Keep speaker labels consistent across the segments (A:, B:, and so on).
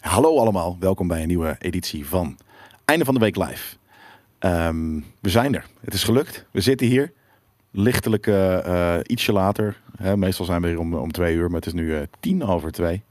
A: Hallo allemaal, welkom bij een nieuwe editie van Einde van de Week Live. Ehm, we zijn er, het is gelukt. We zitten hier, lichtelijk eh, eh, ietsje later. Hè, meestal zijn we hier om, om twee uur, maar het is nu eh, tien over twee.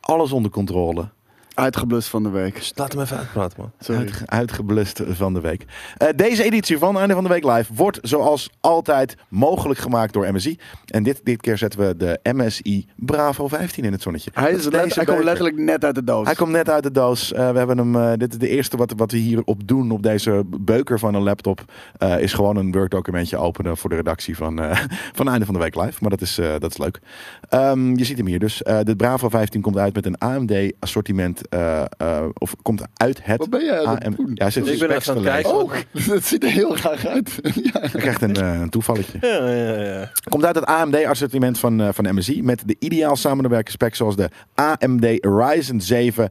A: Alles onder controle,
B: Uitgeblust van de week.
C: Dus laat hem even uitpraten, man.
B: Sorry.
A: Uitge- uitgeblust van de week. Eh, deze editie van Einde van de Week Live wordt zoals altijd mogelijk gemaakt door MSI. En dit, dit keer zetten we de MSI Bravo 15 in het zonnetje.
B: Hij,
A: Dat
B: is net-
A: deze
B: hij komt
A: beker.
B: letterlijk net uit de doos.
A: Hij komt net uit de doos. Eh, we hebben hem, eh, dit is de eerste wat, wat we hierop doen op deze beuker van een laptop. eh, is gewoon een Word documentje openen voor de redactie van, eh, van Einde van de Week Live. Maar dat is, eh, dat is leuk. Ehm, je ziet hem hier dus. Eh, de Bravo 15 komt uit met een AMD assortiment. eh, eh, of komt uit het
B: Wat ben jij aan het
A: AM
B: doen?
A: Ja, hij zit
C: Ik ben
A: specs
C: even aan
A: te
C: het
A: lezen.
C: kijken.
B: Oh, dat ziet er heel raar uit. ja.
A: Hij krijgt een, eh, een toevalletje.
C: Ja, ja, ja.
A: Komt uit het AMD-assortiment van, eh, van MSI met de ideaal samenwerken specs zoals de AMD Ryzen 7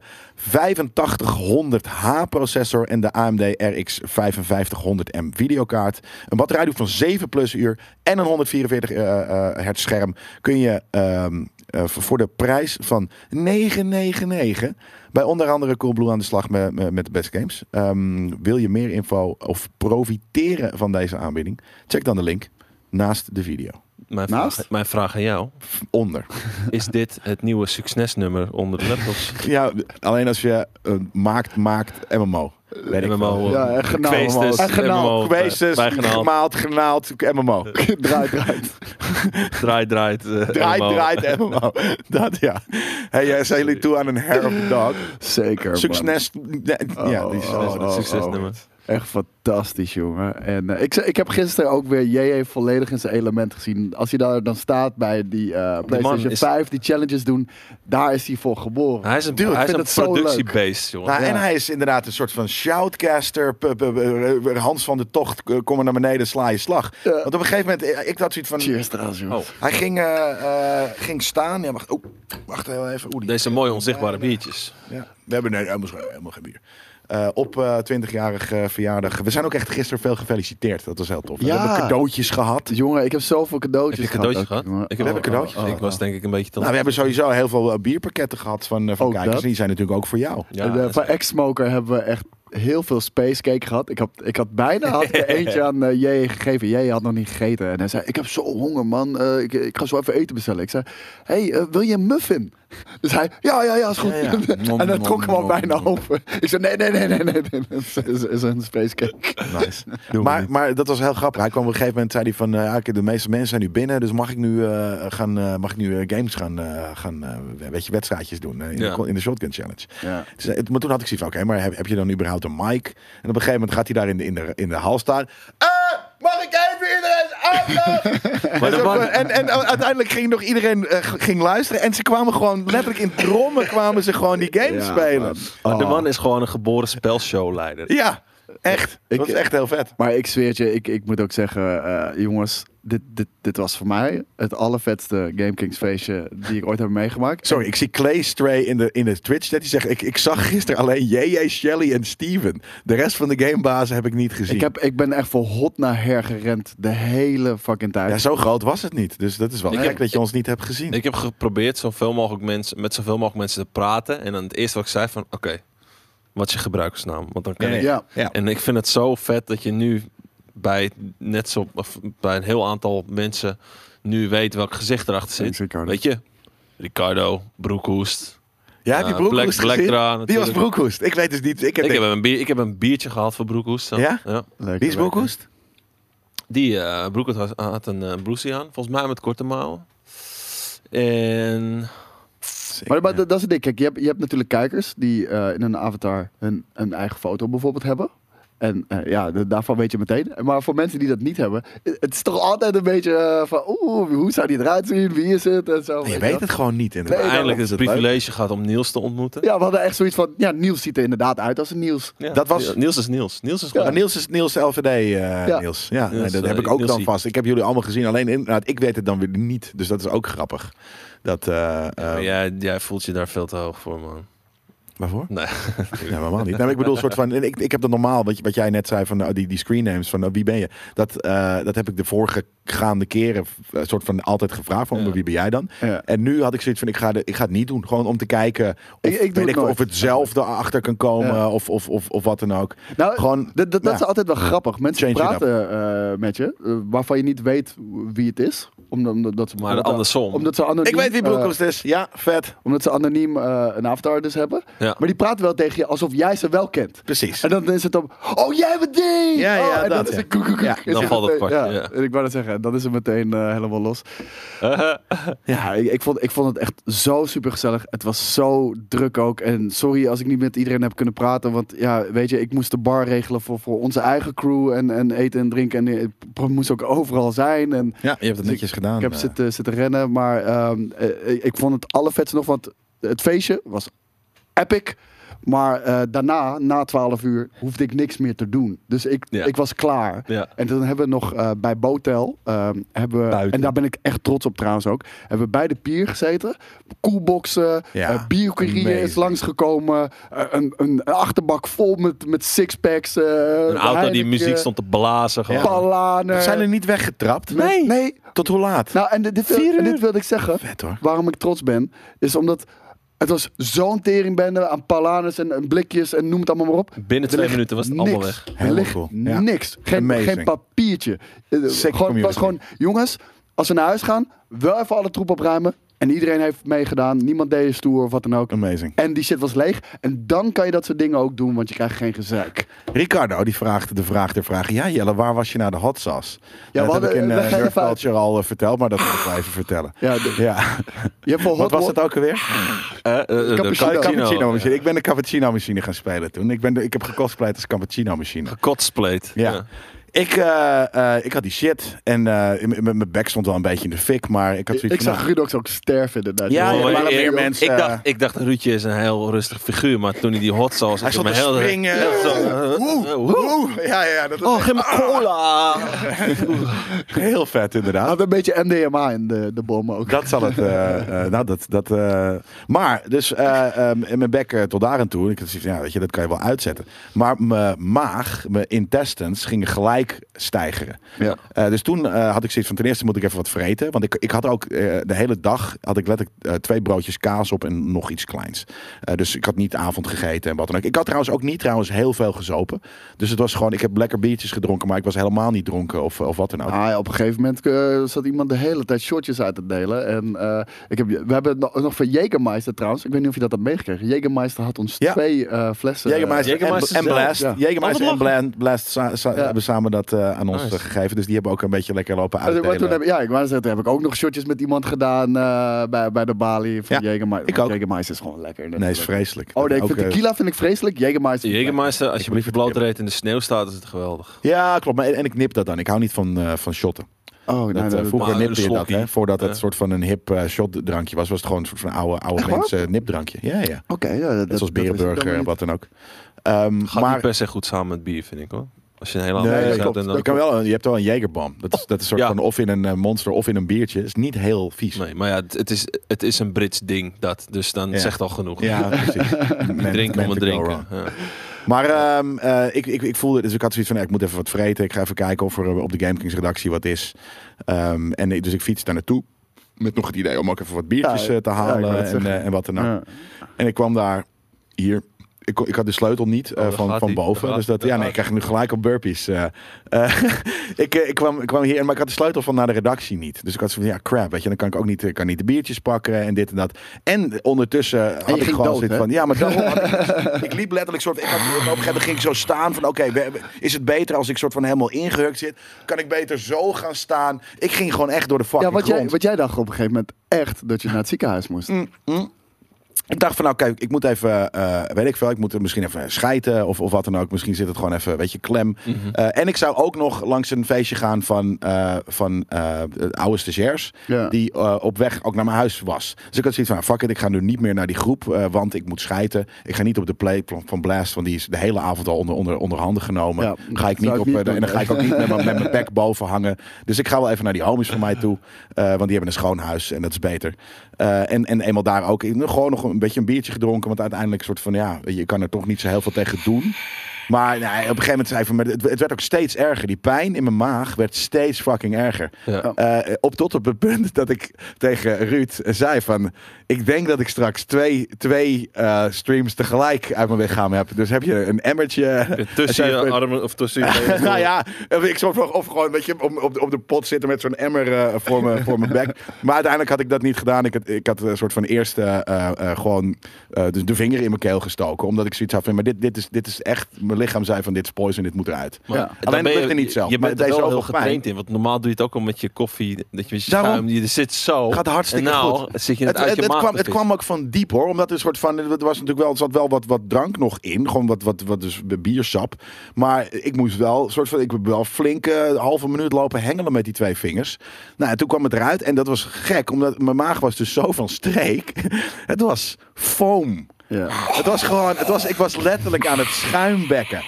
A: 8500H processor en de AMD RX 5500M videokaart. Een batterijduur van 7 plus uur en een 144 eh, eh, hertz scherm kun je ehm, eh, v- voor de prijs van 999 bij onder andere Coolblue aan de slag met, met, met de best games. Ehm, wil je meer info of profiteren van deze aanbieding? Check dan de link naast de video.
C: Mijn,
B: Naast?
C: vraag, mijn vraag aan jou.
A: Onder.
C: Is dit het nieuwe succesnummer onder de laptops?
A: Ja, alleen als je eh, maakt, maakt MMO. Weet ik veel.
C: MMO.
B: Ja, en genaal,
C: Kweestes,
B: man. En genaal.
C: MMO,
A: Geweest,
C: eh, bij- bijgenaald.
A: gemaald, genaald, MMO.
B: draait, draait.
C: Draait, draait. eh,
A: Draait,
C: MMO.
A: draait, MMO. Dat ja. Hey, eh, zijn jullie toe aan een hair of the dog?
B: Zeker, man.
A: Succes. Ja, die is
B: Oh, oh, oh.
C: Succesnummer.
B: Echt fantastisch, jongen. En eh, ik, ik heb gisteren ook weer JJ volledig in zijn element gezien. Als hij daar dan staat bij die eh, PlayStation
C: is-
B: 5, die challenges doen, daar is hij voor geboren.
C: Hij is een,
B: Dude, ik
C: hij is
B: vind
C: een
B: het zo leuk.
C: productiebase, jongen.
A: Nou,
B: Ja.
A: En hij is inderdaad een soort van shoutcaster. p- p- p- Hans van de Tocht, eh, kom maar naar beneden, sla je slag.
B: Ja.
A: Want op een gegeven moment, eh, ik had zoiets van...
B: Cheers trouwens, jongen.
C: Oh.
A: Hij ging, eh, eh, ging staan. Ja, wacht, oh, wacht heel even. Oeh, die-
C: Deze mooie onzichtbare biertjes.
A: Ja. We hebben nee, helemaal, geen- helemaal geen bier. Eh, op eh 20-jarig eh, verjaardag. We zijn ook echt gisteren veel gefeliciteerd. Dat was heel tof. We
B: Ja.
A: hebben cadeautjes gehad.
B: Jongen, ik heb zoveel cadeautjes
C: Heb je cadeautjes
B: gehad.
C: gehad?
B: ook, Oh, jongen.
C: Ik
A: heb cadeautjes
C: Ik
A: gehad.
C: was denk ik een beetje te
A: Nou, we
C: laat.
A: hebben sowieso heel veel eh, bierpakketten gehad van, eh, van
B: Ook
A: kijkers.
B: dat.
A: En die zijn natuurlijk ook voor jou.
C: Ja,
B: En, eh,
C: dat is-
B: van Ex-Smoker hebben we echt heel veel space cake gehad. Ik had, ik had bijna had ik er eentje aan eh J gegeven. J had nog niet gegeten. En hij zei, ik heb zo honger man. Eh, ik, ik ga zo even eten bestellen. Ik zei, hey, eh, wil je een muffin? Dus hij, ja, ja, ja, is goed.
A: Ja, ja. Nom,
B: en hij
A: nom,
B: trok hem al
A: nom,
B: bijna
A: nom.
B: open. Ik zei, nee, nee, nee, nee, nee. nee. Het is, is een space cake.
A: Nice. maar, maar dat was heel grappig. Hij kwam op een gegeven moment, zei hij van... eh, ja, oké, de meeste mensen zijn nu binnen, dus mag ik nu, eh, gaan, eh, mag ik nu eh, games gaan... eh, gaan eh, weet je, wedstrijdjes doen eh, in,
C: Ja.
A: de, in de Shotgun Challenge.
B: Ja.
A: Dus, eh, het- maar toen had ik zoiets van, oké, maar heb, heb je dan überhaupt een mic? En op een gegeven moment gaat hij daar in de, in de, in de hal staan. Eh, mag ik even iedereen aandacht?
C: Maar
A: En
C: er
A: zo-
C: waren-
A: en, en uiteindelijk ging nog iedereen eh, g- ging luisteren. En ze kwamen gewoon letterlijk in trommen kwamen ze gewoon die game
B: Ja,
A: spelen.
B: man.
C: Maar De man is gewoon een geboren spelshowleider.
A: Ja, echt.
B: Ik-
A: dat is echt heel vet.
B: Maar ik zweer het je, ik, ik moet ook zeggen, eh, jongens, dit, dit, dit was voor mij het allervetste Game Kings feestje die ik ooit heb meegemaakt.
A: Sorry, ik zie Clay Stray in de, in de Twitch chat. Die zegt, ik, ik zag gisteren alleen JJ, Shelly en Steven. De rest van de gamebazen heb ik niet gezien.
B: Ik, heb, ik ben echt van hot naar her gerend de hele fucking tijd.
A: Ja, zo groot was het niet. Dus dat is wel
C: Ik
A: gek
C: heb-
A: dat je ons niet hebt gezien.
C: Ik heb geprobeerd zoveel mogelijk mensen, met zoveel mogelijk mensen te praten. En dan het eerste wat ik zei van, oké, wat is je gebruikersnaam? Want dan kan ik...
B: Ja.
A: ja.
C: En ik vind het zo vet dat je nu bij, net zo, of bij een heel aantal mensen nu weet welk gezicht erachter zit.
B: Thanks, Ricardo.
C: Weet je? Ricardo, Broekhoest.
A: Ja, heb je
C: Eh,
A: Broekhoest
C: Black-
A: gezien?
C: Blackdra
A: die was
C: natuurlijk.
A: Broekhoest. Ik weet dus niet. Ik heb,
C: Ik heb,
A: denk-
C: een bier, ik heb een biertje gehaald voor Broekhoest. dan.
A: Ja?
B: Lekker,
A: Wie is
B: lekker.
A: Broekhoest?
C: Die eh Broekhoest had, had een eh blousie aan, volgens mij met korte mouwen. En
B: Maar, maar dat, dat is het ding. Kijk, je hebt, je hebt natuurlijk kijkers die eh, in hun avatar hun, hun eigen foto bijvoorbeeld hebben. En eh, ja, de- daarvan weet je meteen. Maar voor mensen die dat niet hebben, het het is toch altijd een beetje eh, van, oeh, hoe zou die eruit zien? Wie is het? En zo.
A: Je
B: je
A: weet
B: wel.
A: het gewoon niet. Inderdaad.
B: Nee,
C: eindelijk
B: dat
C: is
B: is
C: het
B: het leuk.
C: privilege gehad om Niels te ontmoeten.
B: Ja, we hadden echt zoiets van, ja, Niels ziet er inderdaad uit als een Niels.
C: Ja.
A: Dat was-
C: Niels is Niels. Niels is gewoon
A: Maar Niels is Niels LVD, eh,
B: Ja.
A: Niels. Ja, nee,
C: Niels,
A: dat
C: eh,
A: heb ik ook dan
C: Nielsie.
A: vast. Ik heb jullie allemaal gezien. Alleen inderdaad, ik weet het dan weer niet. Dus dat is ook grappig. Dat, eh, eh,
C: Maar jij, jij voelt je daar veel te hoog voor, man.
A: Waarvoor?
C: Nee.
A: Nee, helemaal niet. Nee, maar ik bedoel, soort van. en Ik, ik heb dat normaal, wat, je- wat jij net zei van nou, die, die screennames van nou, wie ben je? Dat, eh, dat heb ik de vorige gaande keren eh, soort van altijd gevraagd van
C: Ja.
A: wie ben jij dan?
B: Ja.
A: En nu had ik zoiets van ik ga, de, ik ga het niet doen. Gewoon om te kijken of,
B: Ik- ik doe
A: weet
B: het
A: ik,
B: nooit.
A: of hetzelfde achter kan komen
B: Ja.
A: of, of, of, of wat dan ook.
B: Nou,
A: Gewoon,
B: dat, dat, dat
A: ja.
B: is altijd wel grappig. Mensen
A: Change it
B: praten eh, met je, eh, waarvan je niet weet wie het is. Omdat, omdat, ze-
C: Maar
B: omdat-
C: andersom.
B: Omdat ze anoniem,
A: Ik weet wie
B: eh,
A: Broekhorst is. dus. Ja, vet.
B: omdat ze anoniem eh, een avatar dus hebben.
C: Ja.
B: Maar die praten wel tegen je alsof jij ze wel kent.
A: Precies.
B: En dan is het dan, oh jij bent die!
A: Ja,
B: Oh,
A: ja,
B: en dan
A: dat,
B: is
A: ja.
B: het koek, koek, koek.
A: Ja,
B: Is
C: dan valt het
B: meteen-
C: kwartje,
B: Ja,
C: ja.
B: en ik wou dat zeggen, dan is het meteen eh, helemaal los. Ja, ik, ik vond, ik vond het echt zo super gezellig. Het was zo druk ook. En sorry als ik niet met iedereen heb kunnen praten. Want ja, weet je, ik moest de bar regelen voor, voor onze eigen crew. En, en eten en drinken. En ik pro- moest ook overal zijn. En
A: Ja, je hebt het
B: ik-
A: netjes gedaan.
B: ik heb
A: eh.
B: zitten, zitten rennen. Maar ehm, eh, eh, ik vond het allervetste nog. Want het feestje was epic. Maar eh, daarna, na 12 uur, hoefde ik niks meer te doen. Dus ik,
C: Ja.
B: ik was klaar.
C: Ja.
B: En dan hebben we nog eh, bij Botel, ehm, hebben we-
C: Buiten.
B: en daar ben ik echt trots op trouwens ook, hebben we bij de pier gezeten. Koelboxen,
A: Ja,
B: eh biercourier is
A: amazing.
B: langsgekomen. eh, een, een achterbak vol met, met sixpacks. eh,
C: Een auto die
B: Heineken,
C: muziek stond te blazen.
A: Ja.
C: Gewoon.
B: Palanen.
A: Zijn er niet weggetrapt?
B: Met- nee.
A: Tot hoe laat?
B: Nou, en dit, dit, wil- en dit wilde ik zeggen.
A: Vet hoor.
B: Waarom ik trots ben, is omdat het was zo'n teringbende aan palanes en, en blikjes en noem het allemaal maar op.
C: Binnen twee
B: Er ligt
C: minuten was het
B: niks.
C: allemaal weg.
B: Er
A: Helemaal
B: ligt
A: cool. Ja.
B: niks. Geen,
A: Amazing.
B: geen papiertje. Eh,
A: Sick
B: Gewoon, het was
A: community.
B: gewoon, jongens, als we naar huis gaan, wel even alle troep opruimen. En iedereen heeft meegedaan. Niemand deed een stoer of wat dan ook.
A: Amazing.
B: En die shit was leeg. En dan kan je dat soort dingen ook doen, want je krijgt geen gezeik.
A: Ricardo die vraagt de vraag der vraag. Ja, Jelle, waar was je naar de hot sauce?
B: we
A: dat
B: hadden-
A: heb ik in
B: we
A: eh,
B: gaan
A: Nerd
B: even uit.
A: Culture al eh, verteld, maar dat moet ik wel even vertellen.
B: Ja, de-
A: Ja.
B: je hebt wel
A: Wat
B: hot
A: was
B: wa-
A: het ook alweer?
C: Eh, eh, eh, de
B: Cappuccino.
A: Oh, de cappuccino
C: cappuccino.
A: machine. Ik ben de cappuccino machine gaan spelen toen. Ik, ben de- ik heb gekostpleid als cappuccino machine.
C: Gekotspleet.
A: Ja. Ik, eh, eh, ik had die shit en eh, m- m- mijn bek stond wel een beetje in de fik, maar ik had zoiets
B: Ik
A: van,
B: zag
A: nou,
B: Rudox ook sterven inderdaad.
A: Ja,
B: Jongen,
A: ja,
C: Oh,
A: er
B: maar-
A: waren
C: ik-
A: meer
C: ik-
A: mensen,
C: Ik
A: eh,
C: dacht, ik dacht, Ruudje is een heel rustig figuur, maar toen hij die hot sauce...
A: hij
C: had,
A: stond te
C: mijn hele-
A: springen.
C: Ja, zo,
A: Oeh,
C: eh,
A: oeh,
C: eh,
A: oeh. Ja, ja, dat was
C: Oh, geef me cola!
A: heel vet inderdaad.
B: Had een beetje MDMA in de, de bom ook.
A: Dat zal het. eh, eh, nou, dat. dat eh, maar, dus eh, ehm, in mijn bek eh, tot daar en toe. Ik had zoiets van, ja, weet je, dat kan je wel uitzetten. Maar mijn maag, mijn intestines gingen gelijk stijgeren.
B: Ja.
A: Eh, dus toen eh, had ik zoiets van, ten eerste moet ik even wat vreten. Want ik, ik had ook eh, de hele dag, had ik letterlijk eh, twee broodjes kaas op en nog iets kleins. Eh, dus ik had niet avond gegeten en wat dan ook. Ik had trouwens ook niet trouwens heel veel gezopen. Dus het was gewoon, ik heb lekker biertjes gedronken, maar ik was helemaal niet dronken of, of wat dan ook.
B: Ah, ja, op een gegeven moment eh, zat iemand de hele tijd shortjes uit te delen. En eh, ik heb, we hebben nog, nog van Jägermeister trouwens. Ik weet niet of je dat had meegekregen. Jägermeister had ons
A: Ja.
B: twee eh, flessen.
A: Jägermeister,
B: eh,
C: Jägermeister
A: en, en
C: zelf,
A: Blast.
B: ja.
A: Jägermeister
C: Oh,
A: en
C: wat
A: Blast, Blast sa- sa-
B: Ja.
A: hebben samen dat eh, aan ons
C: Nice.
A: eh, gegeven. Dus die hebben ook een beetje lekker lopen
B: eh, maar toen
A: uitdelen.
B: heb, ja, ik wou zeggen, toen heb ik ook nog shotjes met iemand gedaan eh, bij, bij de balie van
A: Ja,
B: Jägermeister.
A: ik ook.
B: Jägermeister is gewoon lekker.
A: Nee,
B: natuurlijk.
A: is vreselijk.
B: Oh nee, ik
A: Ook,
B: vind
A: eh,
B: tequila vind ik vreselijk. Jägermeister. vind ik
C: Jägermeister, als je
A: moet je
C: met je blote reet in de sneeuw staat, is het geweldig.
A: eh, Ja, klopt. Maar, en ik nip dat dan. Ik hou niet van, eh, van shotten.
B: lekker. Oh, nee,
A: Dat,
B: nee,
A: eh,
B: dat-
A: vroeger
C: maar een
A: nipte je dat,
C: slokkie.
A: hè? Voordat het
C: Ja.
A: soort van een hip eh, shotdrankje was, was het gewoon een soort van oude, oude
B: waar?
A: mensen nipdrankje. Ja, ja.
B: Oké, ja,
A: Net
B: dat, dat-
A: zoals
B: dat wist ik
A: Berenburger
B: helemaal
A: en
B: niet.
A: wat dan ook. Ehm,
C: Gaat
A: maar
C: niet per se goed samen met bier, vind ik hoor. Als je een hele
A: Nee,
C: andere
A: dat
C: hebt
B: klopt.
C: en
A: je,
C: dan...
A: kan wel, je hebt wel een Jägerbom. Dat is, dat is soort
C: Ja.
A: van of in een eh, monster of in een biertje. is niet heel vies.
C: Nee, maar ja, het, het is, het is een Brits ding, dat. Dus dan
A: Ja.
C: zegt al genoeg.
A: Ja, precies. Men-
C: Drinken
A: meant
C: om het
A: to go
C: drinken.
A: wrong.
C: Ja.
A: Maar ehm, eh, ik, ik, ik voelde, dus ik had zoiets van, nee, ik moet even wat vreten. Ik ga even kijken of er eh, op de GameKings redactie wat is. Ehm, en ik- dus ik fiets daar naartoe. Met nog het idee om ook even wat biertjes
B: Ja,
A: eh, te
B: ja, ik wou
A: halen
B: net
A: en,
B: zeggen.
A: eh, en wat dan ook.
B: Ja.
A: En ik kwam daar hier. Ik, kon- ik had de sleutel niet eh,
C: Oh, daar
A: van,
C: gaat
A: van
C: ie.
A: boven.
C: Daar
A: Dus
C: gaat-
A: dat, ja,
C: daar
A: nee, ik
C: gaat
A: krijg nu gelijk op burpees. eh. Eh, ik, eh, ik, kwam, ik kwam hier, maar ik had de sleutel van naar de redactie niet. Dus ik had zo van, ja, crap, weet je. Dan kan ik ook niet, eh, kan niet de biertjes pakken en dit en dat. En ondertussen had ik
B: ging
A: gewoon
B: dood,
A: zoiets
B: hè?
A: van, ja, maar daarom had ik, ik liep letterlijk soort, ik had, op een gegeven moment ging ik zo staan van, oké, we- we- is het beter als ik soort van helemaal ingehukt zit? Kan ik beter zo gaan staan? Ik ging gewoon echt door de fucking
B: Ja, wat
A: grond. Mm.
B: jij, wat jij dacht op een gegeven moment echt dat je naar het ziekenhuis moest.
A: Ik dacht van, nou kijk, ik moet even, eh, weet ik veel, ik moet er misschien even schijten of, of wat dan ook. Misschien zit het gewoon even, een beetje klem. Eh, en ik zou ook nog langs een feestje gaan van, eh, van eh, de oude stagiairs,
B: Ja.
A: die eh, op weg ook naar mijn huis was. Dus ik had zoiets van, fuck it, ik ga nu niet meer naar die groep, eh, want ik moet schijten. Ik ga niet op de play van- van Blast, want die is de hele avond al onder, onder, onder handen genomen.
B: Ja,
A: ga ik
B: zou
A: niet
B: ik
A: op,
B: niet
A: eh, de- en dan
B: doen.
A: ga ik ook niet met, mijn- met mijn bek boven hangen. Dus ik ga wel even naar die homies van mij toe, eh, want die hebben een schoon huis en dat is beter. Eh, en, en eenmaal daar ook, ik- gewoon nog een een beetje een biertje gedronken. Want uiteindelijk soort van, ja, je kan er toch niet zo heel veel tegen doen. Maar nee, op een gegeven moment zei van, maar het, het werd ook steeds erger. Die pijn in mijn maag werd steeds fucking erger.
C: Ja.
A: Eh, op tot op het punt dat ik tegen Ruud zei van... Ik denk dat ik straks twee, twee eh, streams tegelijk uit mijn lichaam heb. Dus heb je een emmertje...
C: Tussen
A: En
C: je
A: zei-
C: armen of tussen je benen.
A: nou ja, ik soort van- of gewoon weet je, op, op, de- op de pot zitten met zo'n emmer eh, voor, me, voor mijn bek. Maar uiteindelijk had ik dat niet gedaan. Ik had, ik had een soort van eerst eh, eh, eh, gewoon eh, de, de vinger in mijn keel gestoken. Omdat ik zoiets had van, maar dit, dit, is, dit is echt, mijn lichaam zei van dit is poison, dit moet eruit.
C: Maar
B: Ja.
C: dan
A: Alleen
C: ben
A: dat lukt er niet zelf.
C: Je
A: Maar
C: bent
A: het
C: er
A: is
C: wel heel
A: zoveel pijn.
C: getraind in. Want normaal doe je het ook al met je koffie. Dat je met je
A: Daarom.
C: schuim, je zit zo.
A: Gaat hartstikke
C: en nou,
A: goed.
C: zit je
A: Het,
C: het, uit
A: het,
C: je
A: het
C: maag
A: kwam,
C: te
A: het kwam ook van diep hoor. Omdat er, soort van, het was natuurlijk wel, er zat wel wat, wat drank nog in. Gewoon wat, wat, wat dus biersap. Maar ik moest wel, soort van, ik heb wel flink eh, een halve minuut lopen hengelen met die twee vingers. Nou, en toen kwam het eruit. En dat was gek, omdat mijn maag was dus zo van streek. het was foam.
B: Ja.
A: Het was gewoon, het was, ik was letterlijk aan het schuimbekken.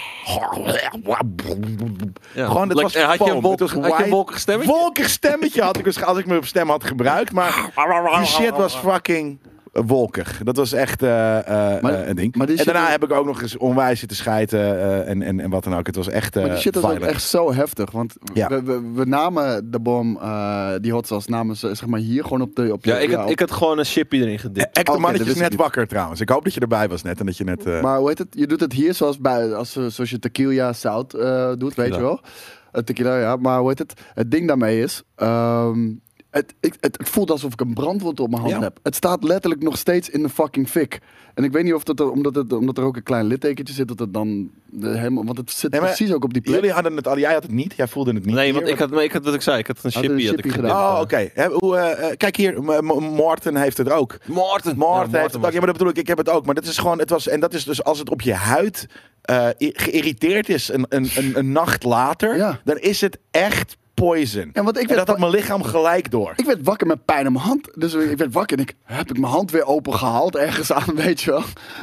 C: Ja.
A: Gewoon, het
C: Like,
A: was
C: eh, had je een
A: foam.
C: wolk-
A: Het was
C: had je een
A: white-
C: wolkig stemmetje?
A: Wolkig stemmetje had ik, waarsch- als ik me op stem had gebruikt. Maar die shit was fucking eh, wolkig. Dat was echt eh, eh,
B: Maar-
A: eh, een ding.
B: maar die
A: en daarna
B: shit-
A: heb ik ook nog eens onwijs zitten schijten eh, en, en, en wat dan ook. Het was echt eh
B: Maar die shit was ook
A: violent.
B: echt zo heftig. Want
A: Ja.
B: we, we, we namen de bom, eh, die hot sauce, namen ze zeg maar hier gewoon op de... Op de-
C: Ja, ik had,
B: op-
C: ik had gewoon een chipje erin gedipt.
A: Echte
B: Oké, Oh, dat
A: mannetje
B: wist
A: is
B: ik
A: net
B: niet.
A: wakker trouwens. Ik hoop dat je erbij was net en dat je net... eh,
B: Maar hoe heet het? Je doet het hier zoals, bij, als, eh, zoals je tequila zout eh, doet, weet je wel. Eh, tequila, ja. Maar hoe heet het? Het ding daarmee is... ehm, het, ik, het, het voelt alsof ik een brandwond op mijn hand
A: Ja.
B: heb. Het staat letterlijk nog steeds in de fucking fik. En ik weet niet of dat er, omdat, het, omdat er ook een klein littekentje zit, dat het dan eh, helemaal... Want het zit
A: Nee, maar
B: precies ook op die plek.
A: Jullie hadden het al, jij had het niet, jij voelde het niet.
C: Nee,
A: Hier,
C: want ik had, maar ik had wat ik zei. Ik had een
B: Had een
C: chipje.
B: chippy gedaan.
A: Oh, oké. Hè, hoe, eh, eh, kijk hier, M- M- Morten heeft het ook.
C: Maarten.
A: Maarten heeft het ook. Ja, maar dat bedoel ik, ik heb het ook. Maar dat is gewoon, het was, en dat is dus als het op je huid eh, i- geïrriteerd is een, een, een, een nacht later,
B: Ja.
A: dan is het echt poison.
B: En wat ik
A: En
B: werd
A: dat had mijn lichaam gelijk door.
B: Ik werd wakker met pijn aan mijn hand. Dus ik werd wakker en ik heb ik mijn hand weer open gehaald ergens aan, weet je wel.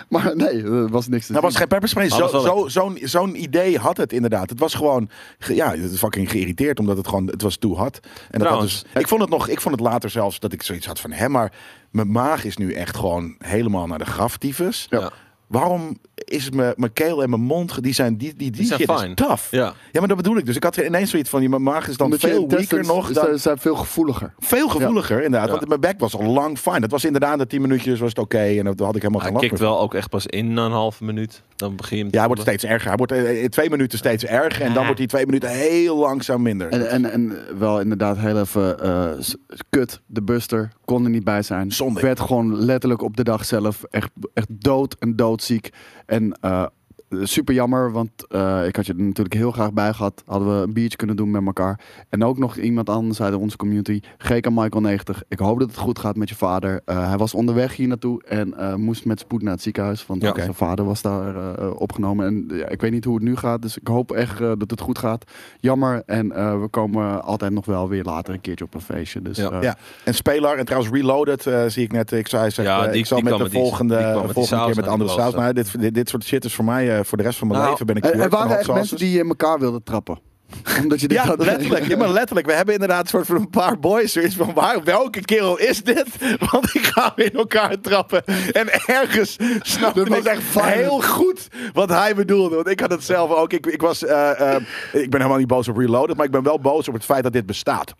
B: Maar nee, er was niks te
A: Nou,
B: zien.
A: was geen pepperspray.
C: Maar was
A: Zo,
C: wel
A: zo, zo'n, zo'n idee had het inderdaad. Het was gewoon, ge- ja, fucking geïrriteerd omdat het gewoon, het was too hot. En dat had
C: Trouwens.
A: dus, ik vond het nog, ik vond het later zelfs dat ik zoiets had van, hè, maar mijn maag is nu echt gewoon helemaal naar de graftyfus.
C: Ja.
A: Waarom is mijn, mijn keel en mijn mond, ge- die zijn, die, die, die,
C: zijn
A: shit
C: fijn.
A: is tough.
C: Ja.
A: Ja, maar dat bedoel ik dus. Ik had ineens zoiets van, je mijn maag is dan
B: Omdat je
A: veel weaker
B: intestines
A: nog
B: is-
A: dan...
B: zijn veel gevoeliger.
A: Veel gevoeliger, inderdaad.
C: Ja.
A: Want mijn bek was al lang fijn. Dat was inderdaad na tien minuutjes was het oké. en dat had ik helemaal
C: Hij
A: geen last meer
C: kikt wel ook echt pas in na een halve minuut. Dan begin je hem te
A: ja, hij wordt
C: voelen.
A: steeds erger. Hij wordt eh, in twee minuten steeds erger. En dan wordt die twee minuten heel langzaam minder.
B: En, en, en wel inderdaad heel even eh, s- kut. De buster kon er niet bij zijn.
A: Zonde.
B: Werd gewoon letterlijk op de dag zelf echt, echt dood en doodziek. En eh, super jammer, want eh, ik had je er natuurlijk heel graag bij gehad. Hadden we een biertje kunnen doen met elkaar. En ook nog iemand anders uit onze community. GK Michael 90. Ik hoop dat het goed gaat met je vader. Eh, hij was onderweg hier naartoe en eh, moest met spoed naar het ziekenhuis. Want
C: Ja.
B: zijn vader was daar eh, eh, opgenomen. En eh, ja, ik weet niet hoe het nu gaat. Dus ik hoop echt eh, dat het goed gaat. Jammer. En eh, we komen altijd nog wel weer later een keertje op een feestje. Dus,
C: Ja.
B: eh,
A: ja. En Spelar, en trouwens Reloaded eh, zie ik net. Ik zou hij zegt,
C: Ja,
A: eh,
C: die-
A: ik zal
C: die
A: met
C: kwam
A: de
C: met die-
A: volgende,
C: die kwam met die
A: volgende
C: saus
A: keer met
C: en
A: andere
C: die
A: saus.
C: was,
A: Maar dit, dit, dit soort shit is voor mij, eh, voor de rest van mijn
C: Nou,
A: leven ben ik
B: Er,
A: cured
B: er
A: van
B: waren echt
A: hot
B: mensen
A: sauces.
B: die in elkaar wilden trappen. Omdat je dit
A: Ja,
B: had-
A: letterlijk. Ja, maar letterlijk. We hebben inderdaad een soort van een paar boys. Zoiets van, waar, welke kerel is dit? Want ik ga hem in elkaar trappen. En ergens snapte
B: Dat was
A: ik
B: echt violent.
A: heel goed wat hij bedoelde. Want ik had het zelf ook. Ik, ik, was, eh, eh, ik ben helemaal niet boos op Reloaded. Maar ik ben wel boos op het feit dat dit bestaat.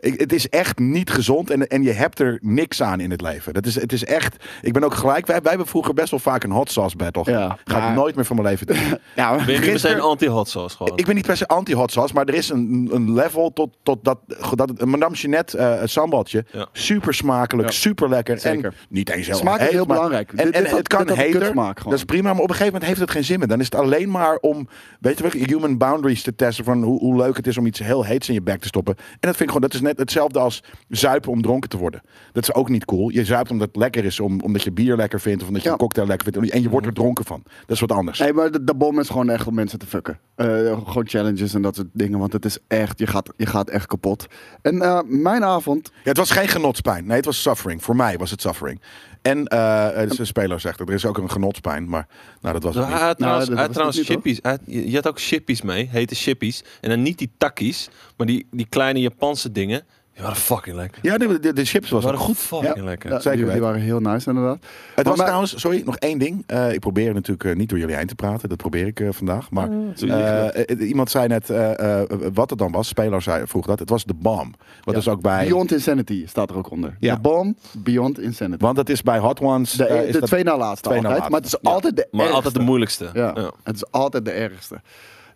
A: Ik, het is echt niet gezond en, en je hebt er niks aan in het leven. Dat is, het is echt... Ik ben ook gelijk... Wij, wij hebben vroeger best wel vaak een hot sauce battle.
B: Ja.
A: Ga ik
B: Maar-
A: nooit meer van mijn leven doen. Ja,
C: Ben je nu meteen anti-hot sauce gewoon?
A: ik ben niet per se anti-hot sauce, maar er is een, een level tot, tot dat, dat het- een Madame Jeanette eh, een sambaltje.
C: Ja.
A: Super smakelijk, super lekker.
B: Zeker.
A: En niet eens heel
B: Smaak is
A: heet,
B: heel
A: maar-
B: belangrijk.
A: En,
B: Dit-
A: en
B: dit had-
A: het kan
B: dit had een
A: heter,
B: kutsmaak gewoon.
A: dat is prima, maar op een gegeven moment heeft het geen zin meer. Dan is het alleen maar om, weet je wel, human boundaries te testen van hoe, hoe leuk het is om iets heel heets in je bek te stoppen. En dat vind ik gewoon, dat is net hetzelfde als zuipen om dronken te worden. Dat is ook niet cool. Je zuipt omdat het lekker is, om, omdat je bier lekker vindt of omdat je
B: Ja. Mhm.
A: een cocktail lekker vindt. En je wordt er dronken van. Dat is wat anders.
B: Nee, maar de, de bom is gewoon echt om mensen te fucken. Eh, gewoon challenges en dat soort dingen. Want het is echt, je gaat, je gaat echt kapot. En eh, mijn avond,
A: Ja, het was geen genotspijn. Nee, het was suffering. Voor mij was het suffering. En eh eh, de speler zegt dat er is ook een genotspijn, maar nou, dat was het
C: Hij
A: niet.
C: had trouwens,
B: dat
C: hij had
B: was
C: trouwens
B: het niet,
C: chippies. Hij had- je, je had ook chippies mee, hete chippies. En dan niet die takkies, maar die, die kleine Japanse dingen. Die waren fucking lekker.
A: Ja, de, de, de chips
C: Die
A: was
C: waren
A: ook
C: goed fucking lekker.
B: Ja,
A: zeker
B: die, die
A: weten.
B: waren heel nice inderdaad.
A: Het was
B: Maar-
A: trouwens, sorry, nog één ding. Eh, ik probeer natuurlijk eh, niet door jullie heen te praten. Dat probeer ik eh, vandaag. Maar eh,
C: Zo jullie-
A: eh, iemand zei net eh, eh, wat het dan was. Speler zei, vroeg dat. Het was de bom. Wat
B: Ja.
A: is ook bij.
B: Beyond Insanity staat er ook onder.
A: Ja.
B: De bom, Beyond Insanity.
A: Want dat is bij Hot Ones.
B: De,
A: eh, is
B: de
A: dat-
B: twee na laatste
A: twee na laatste.
B: altijd. Maar het
A: Ja.
B: is altijd de
C: maar
B: ergste.
C: altijd de moeilijkste.
B: Ja,
C: Ja.
B: het is altijd de ergste.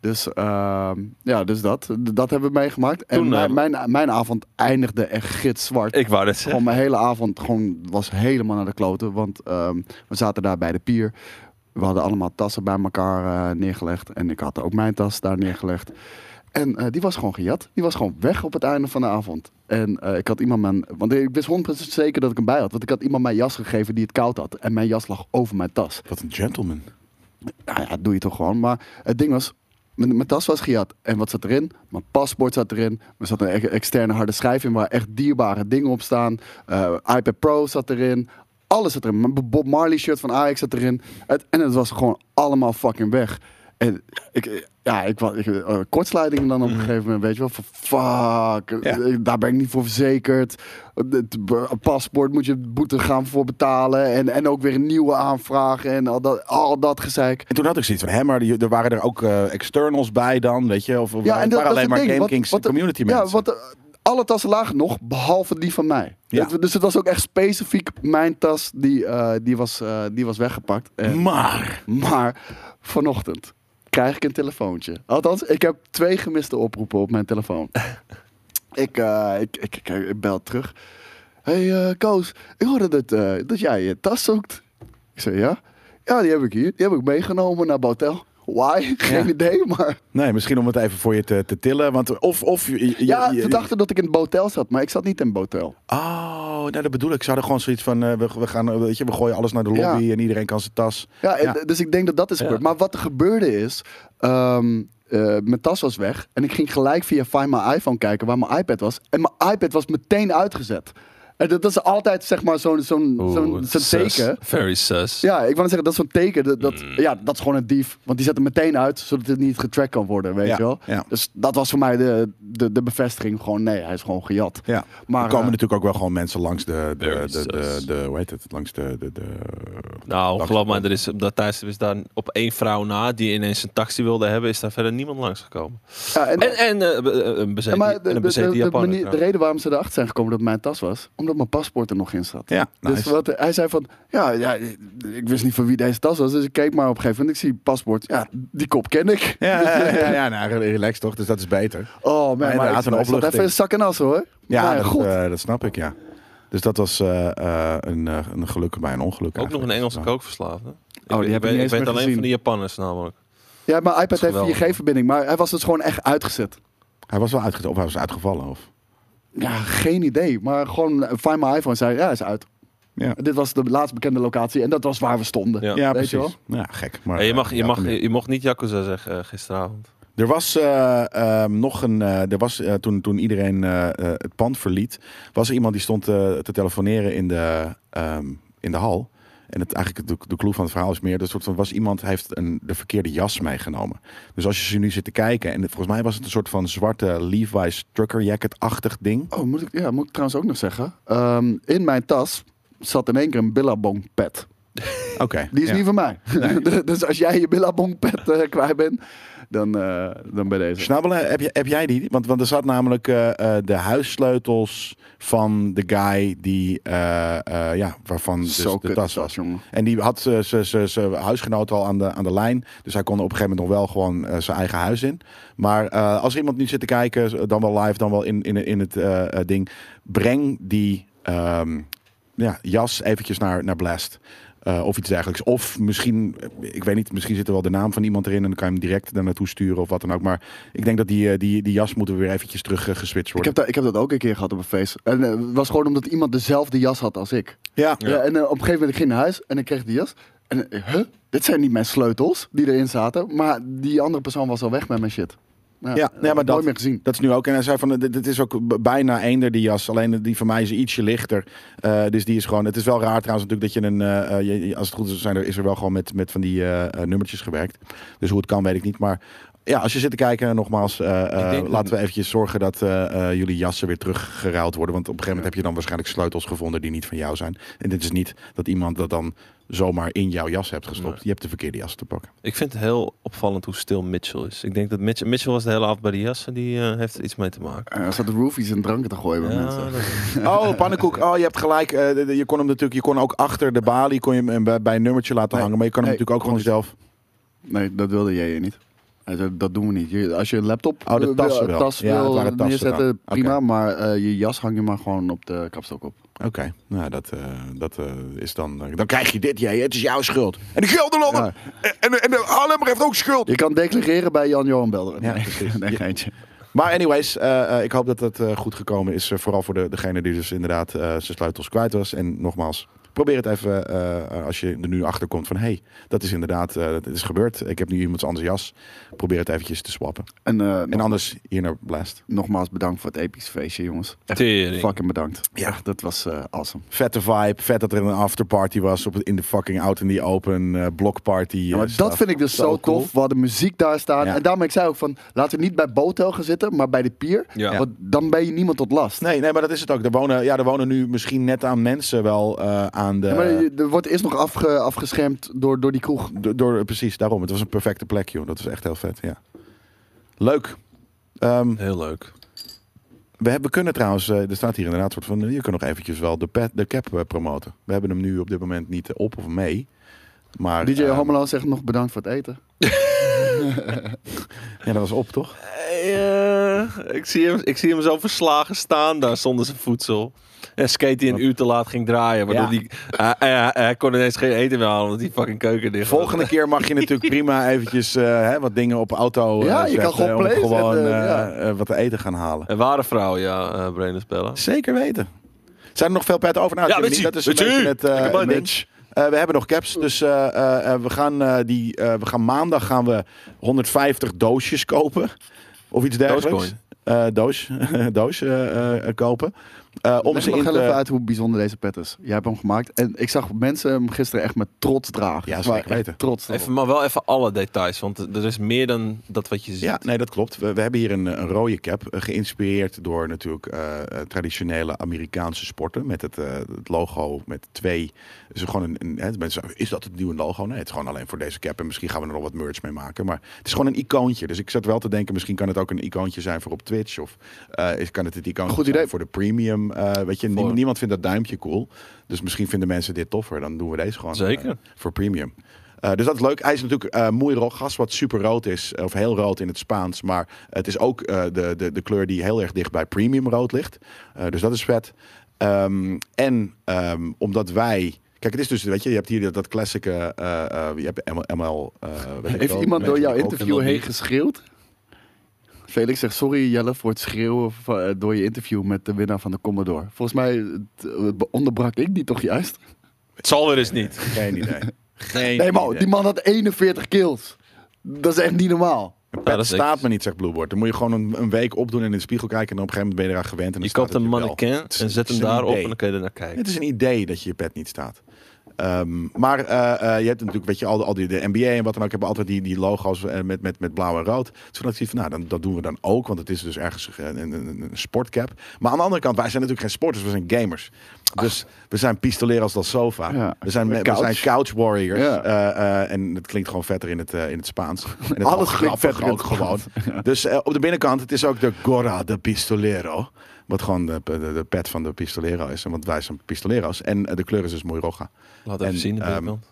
B: Dus ehm, ja, dus dat. D- Dat hebben we meegemaakt. En
C: Toen,
B: mijn,
C: eh,
B: mijn, mijn avond eindigde echt gitzwart.
C: Ik wou dat zeggen.
B: Gewoon mijn hele avond gewoon was helemaal naar de kloten. Want ehm, we zaten daar bij de pier. We hadden allemaal tassen bij elkaar eh, neergelegd. En ik had ook mijn tas daar neergelegd. En eh, die was gewoon gejat. Die was gewoon weg op het einde van de avond. En eh, ik had iemand mijn... Want ik wist 100% zeker dat ik hem bij had. Want ik had iemand mijn jas gegeven die het koud had. En mijn jas lag over mijn tas.
A: Wat een gentleman.
B: Nou ja, doe je toch gewoon. Maar het ding was, mijn, mijn tas was gejat. En wat zat erin? Mijn paspoort zat erin. Er zat een e- externe harde schijf in waar echt dierbare dingen op staan. Eh, iPad Pro zat erin. Alles zat erin. Mijn Bob Marley shirt van Ajax zat erin. Het, en het was gewoon allemaal fucking weg. En ik, ja, ik, wa- ik, eh, kortsluiting dan op een gegeven moment, weet je wel. Van fuck,
A: Ja.
B: eh, daar ben ik niet voor verzekerd. Het b- een paspoort moet je boete gaan voor betalen. En, en ook weer een nieuwe aanvragen en al dat, al dat gezeik.
A: En toen had ik zoiets van, hè, maar die- er waren er ook eh, externals bij dan, weet je? Of ja,
B: en
A: waren
B: dat- dat is
A: alleen
B: het
A: maar
B: ding,
A: Game
B: want-
A: Kings
B: want de-
A: community
B: Ja,
A: mensen?
B: want eh, alle tassen lagen nog, behalve die van mij.
A: Ja.
B: Het- dus het was ook echt specifiek mijn tas die, eh, die, was, eh, die was weggepakt. En-
A: maar,
B: maar vanochtend krijg ik een telefoontje. Althans, ik heb twee gemiste oproepen op mijn telefoon. ik, eh, ik, ik, ik, ik bel terug. Hé hey, eh, Koos, ik hoorde dat, eh, dat jij je tas zoekt. Ik zei ja. Ja, die heb ik hier. Die heb ik meegenomen naar Botel. Why? Geen idee, maar...
A: nee, misschien om het even voor je te, te tillen. Want of, of je- je-
B: Ja,
A: je-
B: we dachten dat ik in het botel zat, maar ik zat niet in het botel.
A: Oh, nou dat bedoel ik. Ze hadden gewoon zoiets van, eh, we, we, gaan, eh, weet je, we gooien alles naar de lobby en iedereen kan zijn tas.
B: Ja, en-
A: Ja.
B: dus ik denk dat dat is gebeurd. Maar wat er gebeurde is, ehm, eh, mijn tas was weg en ik ging gelijk via Find My iPhone kijken waar mijn iPad was. En mijn iPad was meteen uitgezet. En dat, dat is altijd zeg maar zo'n zo'n zo'n
C: Oeh,
B: zo'n
C: sus.
B: teken.
C: Very sus.
B: Ja, ik wou net zeggen, dat is zo'n teken. Dat, dat,
A: Mm.
B: Ja, dat is gewoon een dief. Want die zet hem meteen uit, zodat het niet getrackt kan worden, weet
A: Ja,
B: je wel.
A: ja.
B: Dus dat was voor mij de, de, de bevestiging. Gewoon, nee, hij is gewoon gejat.
A: Ja,
B: Maar,
A: er komen
B: eh,
A: natuurlijk ook wel gewoon mensen langs de, de,
C: Very
A: de, de,
C: sus.
A: de- hoe heet het, langs de, de, de
C: Nou,
A: Langs-
C: geloof mij, er is op dat tijdstip is daar op één vrouw na die ineens een taxi wilde hebben, is daar verder niemand langsgekomen.
B: Ja, en-
C: En, en eh, be- eh, een
B: Ja,
C: bezeten,
B: maar
C: en
B: de,
C: een
B: de, de,
C: bezeten
B: de
C: Japaner.
B: manier- de
C: ja.
B: reden waarom ze erachter zijn gekomen dat mijn tas was, omdat mijn paspoort er nog in zat.
A: ja, nice.
B: Dus wat, hij zei van, ja, ja, ik wist niet van wie deze tas was, dus ik keek maar op een gegeven moment, ik zie paspoort, ja, die kop ken ik.
A: ja, ja, ja, ja, nou, relax toch, dus dat is beter.
B: Oh man, maar
A: inderdaad,
B: ik-
A: een
B: ik zat
A: opluchting.
B: even in zak en as hoor.
A: Ja,
B: Maar
A: dat,
B: Nou goed.
A: eh, dat snap ik, ja. Dus dat was eh, eh, een, eh, een geluk bij een ongeluk
C: Ook nog
A: eigenlijk.
C: een
A: Dus,
C: Engelse
A: Ja.
B: Oh,
C: kookverslaafde.
B: die
C: ik,
B: heb ik
C: ik weet,
B: niet
C: ik
B: eens
C: weet
B: meer
C: alleen
B: gezien. Oh,
C: van de Japanners namelijk.
B: ja, mijn iPad
C: is
B: heeft
C: geweldig.
B: 4G-verbinding, maar hij was dus gewoon echt uitgezet.
A: eh, Hij was wel uitge- of hij was uitgevallen. Of?
B: Ja, geen idee, maar gewoon eh, Find My iPhone zei, ja, hij is uit.
A: Ja.
B: Dit was de laatst bekende locatie en dat was waar we stonden.
C: Ja.
A: Ja,
B: Weet je
A: precies. Ja, gek. Maar,
C: Hey, je,
A: eh,
C: mag, je,
A: ja,
C: mag,
A: kom hier.
C: je mocht niet Yakuza zeggen eh, gisteravond.
A: Er was eh, ehm, nog een. eh, er was, eh, toen, toen iedereen eh, eh, het pand verliet, was er iemand die stond eh, te telefoneren in de, ehm, in de hal. En het, eigenlijk de, de clue van het verhaal is meer. Dat soort van was iemand heeft een, de verkeerde jas meegenomen. Dus als je ze nu zit te kijken. En het- volgens mij was het een soort van zwarte Levi's trucker jacket-achtig ding.
B: Oh, moet ik, ja, moet ik trouwens ook nog zeggen. Ehm, in mijn tas zat in één keer een Billabong pet.
A: Oké.
B: Die is
A: ja.
B: niet van mij. dus als jij je Billabong pet eh, kwijt bent, dan, eh, dan bij deze.
A: Snabbelen, heb, je, heb jij die? Want, want er zat namelijk eh, eh, de huissleutels van de guy die, eh, eh, ja, waarvan dus
B: Zo
A: de
B: kut
A: tas
B: tas,
A: was.
B: jongen.
A: En die had ze- ze- ze- zijn huisgenoot al aan de, aan de lijn. Dus hij kon op een gegeven moment nog wel gewoon eh, zijn eigen huis in. Maar eh, als er iemand nu zit te kijken, dan wel live, dan wel in, in, in het eh, eh, ding. Breng die ehm, ja, jas eventjes naar, naar Blast. Eh, of iets dergelijks. Of misschien, eh, ik weet niet, misschien zit er wel de naam van iemand erin. En dan kan je hem direct daar naartoe sturen of wat dan ook. Maar ik denk dat die, eh, die, die jas moeten we weer eventjes terug eh, geswitcht
B: Ik
A: worden.
B: heb, dat, ik heb dat ook een keer gehad op een feest. En eh, het was gewoon omdat iemand dezelfde jas had als ik.
A: Ja,
B: Ja. en eh, op een gegeven moment ik ging ik naar huis en ik kreeg die jas. En eh, huh? dit zijn niet mijn sleutels die erin zaten. Maar die andere persoon was al weg met mijn shit.
A: Ja, nee, maar
B: nooit
A: dat-
B: meer gezien.
A: Dat is nu ook. En hij zei van, eh, dit dit is ook b- bijna eender die jas. Alleen die van mij is ietsje lichter. Eh, dus die is gewoon, het is wel raar trouwens natuurlijk dat je een, eh, eh, je- je- als het goed is, zijn er, is er wel gewoon met, met van die eh, eh, nummertjes gewerkt. Dus hoe het kan weet ik niet. Maar ja, als je zit te kijken, nogmaals, eh, eh,
C: Ik denk dat-
A: laten we eventjes zorgen dat eh, eh, jullie jassen weer teruggeruild worden. Want op een gegeven moment heb je dan waarschijnlijk sleutels gevonden die niet van jou zijn. En dit is niet dat iemand dat dan zomaar in jouw jas hebt gestopt.
C: Nee.
A: Je hebt de verkeerde jas te pakken.
C: Ik vind het heel opvallend hoe stil Mitchell is. Ik denk dat Mitchell, Mitchell was de hele avond bij de jassen. Die eh, heeft er iets mee te maken.
B: Er zaten roofies en dranken te gooien bij mensen.
C: dat-
A: Oh, pannenkoek. Oh, je hebt gelijk. Eh, de- de- je kon hem natuurlijk, je kon ook achter de balie kon je hem eh, bij, bij een nummertje laten
B: Nee.
A: hangen. Maar je kan hem
B: Nee,
A: natuurlijk ook gewoon zelf.
B: Nee, dat wilde jij hier niet. Hij zei, dat doen we niet. Je- als je een laptop
A: Oh, de
B: eh,
A: tassen
B: wil,
A: wel.
B: tas
A: Ja, het
B: wil
A: waren tassen
B: neerzetten,
A: dan. Oké.
B: prima. Maar eh, je jas hang je maar gewoon op de kapstok op.
A: Oké, nou dat, eh, dat eh, is dan. eh, dan krijg je dit, jij. Het is jouw schuld. En de Gelderlander.
B: Ja.
A: En, en, en de Haarlemmer heeft ook schuld.
B: Je kan declareren bij Jan-Johan Belder.
A: Ja,
B: nee,
A: precies.
B: nee,
A: Je-
B: geintje.
A: Maar anyways, eh, eh, ik hoop dat dat eh, goed gekomen is. eh, vooral voor de, degene die dus inderdaad eh, zijn sleutels kwijt was. En nogmaals, probeer het even eh, als je er nu achter komt van... hé, hey, dat is inderdaad, eh, dat is gebeurd. Ik heb nu iemands anders jas. Probeer het eventjes te swappen.
B: En, eh,
A: En anders hier naar Blast.
B: nogmaals bedankt voor het epische feestje, jongens. Echt
C: Tering.
B: fucking bedankt.
A: Ja.
B: Dat was eh, awesome.
A: Vette vibe. Vet dat er een afterparty was op, het- in de fucking out in the open eh blokparty.
B: Ja, maar dat vind ik dus zo,
A: cool.
B: tof. We hadden muziek daar staan.
A: Ja.
B: En daarmee ik zei ook van, laten we niet bij Botel gaan zitten, maar bij de pier.
C: Ja.
B: Want dan ben je niemand tot last.
A: Nee, nee, maar dat is het ook. Er wonen, ja, er wonen nu misschien net aan mensen wel eh, aan de...
B: Ja, maar je- er wordt eerst nog afge, afgeschermd door, door die kroeg.
A: Door, door- precies, daarom. Het was een perfecte plek, joh. Dat was echt heel vet, ja. Leuk. Ehm,
C: Heel leuk.
A: we, hebben, we kunnen trouwens, eh, er staat hier inderdaad een soort van, je kan nog eventjes wel de, pet, de cap eh, promoten. We hebben hem nu op dit moment niet eh, op of mee. Maar,
B: DJ
A: ehm,
B: Homelo zegt nog bedankt voor het eten.
A: Ja, dat was op, toch?
C: Eh, ik, zie hem, ik zie hem zo verslagen staan daar zonder zijn voedsel. En skate die een uur te laat ging draaien. Waardoor
A: Ja.
C: die, hij, hij- hij kon ineens geen eten meer halen. Omdat die fucking keuken dicht was.
A: Volgende keer mag je natuurlijk prima eventjes eh, hè, wat dingen op auto eh,
B: Ja, je kan
A: zetten
B: gewoon
A: om
B: plays
A: gewoon
B: zetten,
A: eh,
B: ja.
A: eh, wat te eten gaan halen.
C: Een ware vrouw, ja, eh Brandon Spellen.
A: Zeker weten. Zijn er nog veel petten over? Nou,
C: Ja,
A: Jimmy,
C: met je-
A: dat is een
C: met je.
A: beetje het eh,
C: Lekker man,
A: ding. Eh, we hebben nog caps, dus eh, eh, eh, we, gaan, eh, die, eh, we gaan maandag gaan we 150 doosjes kopen. Of iets dergelijks.
C: Dogecoin.
A: Eh, doos doos eh, eh, kopen. Eh, om
B: Leg
A: ze
B: me nog
A: in
B: heel even
A: te...
B: uit hoe bijzonder deze pet is. Jij hebt hem gemaakt. En ik zag mensen hem gisteren echt met trots dragen.
A: Ja,
B: Ze
A: zeker
B: waren echt
A: weten.
B: Trots erop.
C: Even, maar wel even alle details, want er is meer dan dat wat je ziet.
A: Ja, nee, dat klopt. We, we hebben hier een, eh, een rode cap, eh, geïnspireerd door natuurlijk eh, eh, traditionele Amerikaanse sporten. Met het, eh, het logo met twee. Dus gewoon een, een, hè, mensen zeggen, is dat het nieuwe logo? Nee, het is gewoon alleen voor deze cap. En misschien gaan we er nog wat merch mee maken. Maar het is gewoon een icoontje. Dus ik zat wel te denken, misschien kan het ook een icoontje zijn voor op Twitch. Of eh, is- kan het het icoontje
B: Goed
A: zijn
B: idee.
A: voor de premium. eh, weet je, nie-
C: Voor-
A: niemand vindt dat duimpje cool. Dus misschien vinden mensen dit toffer. Dan doen we deze gewoon eh,
C: Zeker.
A: voor premium. Eh, dus dat is leuk. Hij is natuurlijk eh mooi gas, wat super rood is. eh, Of heel rood in het Spaans. Maar het is ook eh, de, de, de kleur die heel erg dicht bij premium rood ligt. Eh, dus dat is vet. Ehm, en ehm, omdat wij... Kijk, het is dus, weet je, je hebt hier dat, dat classic, eh, eh, eh, je hebt ML... ML eh, weet ik
B: Heeft
A: wel,
B: iemand door
A: mensen
B: jouw
A: die koken.
B: interview
C: wel
B: heen
C: niet.
B: geschreeuwd? Felix zegt, sorry Jelle voor het schreeuwen van- eh, door je interview met de winnaar van de Commodore. Volgens mij eh, t- onderbrak ik die toch juist?
C: Het zal weer eens niet.
A: Geen idee. Geen
B: Nee, man,
A: idee.
B: die man had 41 kills. Dat is echt niet normaal.
C: Ja,
A: Pet
C: dat is
A: staat
C: niks.
A: me niet, zegt Blueboard. Dan moet je gewoon een, een week opdoen en in de spiegel kijken. En op een gegeven moment ben je eraan gewend. En dan
C: Je
A: staat
C: koopt een
A: het je wel.
C: mannequin
A: Het is-
C: en
A: het
C: zet hem
A: is een
C: daarop
A: idee.
C: en dan kun je er naar kijken.
A: Het is een idee dat je je pet niet staat. Ehm, maar eh, eh, je hebt natuurlijk, weet je, al, al die de NBA en wat dan ook, hebben altijd die, die logo's eh, met, met, met blauw en rood. Dus toen had ik zoiets van, nou, dan, dat doen we dan ook, want het is dus ergens een, een, een, een sportcap. Maar aan de andere kant, wij zijn natuurlijk geen sporters, we zijn gamers. Dus we zijn pistoleros del sofa.
B: Ja.
A: We, zijn, me- we
B: Couch.
A: zijn couch warriors.
B: Ja.
A: Eh, eh, en het klinkt gewoon vetter in het, eh, in het Spaans. En het is
B: Alles
A: wel
B: klinkt
A: grappig
B: vetter in
A: ook
B: het
A: gewoon. Dus eh, op de binnenkant, het is ook de Gora de Pistolero. Wat gewoon de, de, de pet van de pistolero is. Want wij zijn pistoleros. En eh, de kleur is dus mooi roga.
C: Laat even
A: En,
C: zien de
A: ehm,
C: binnenkant.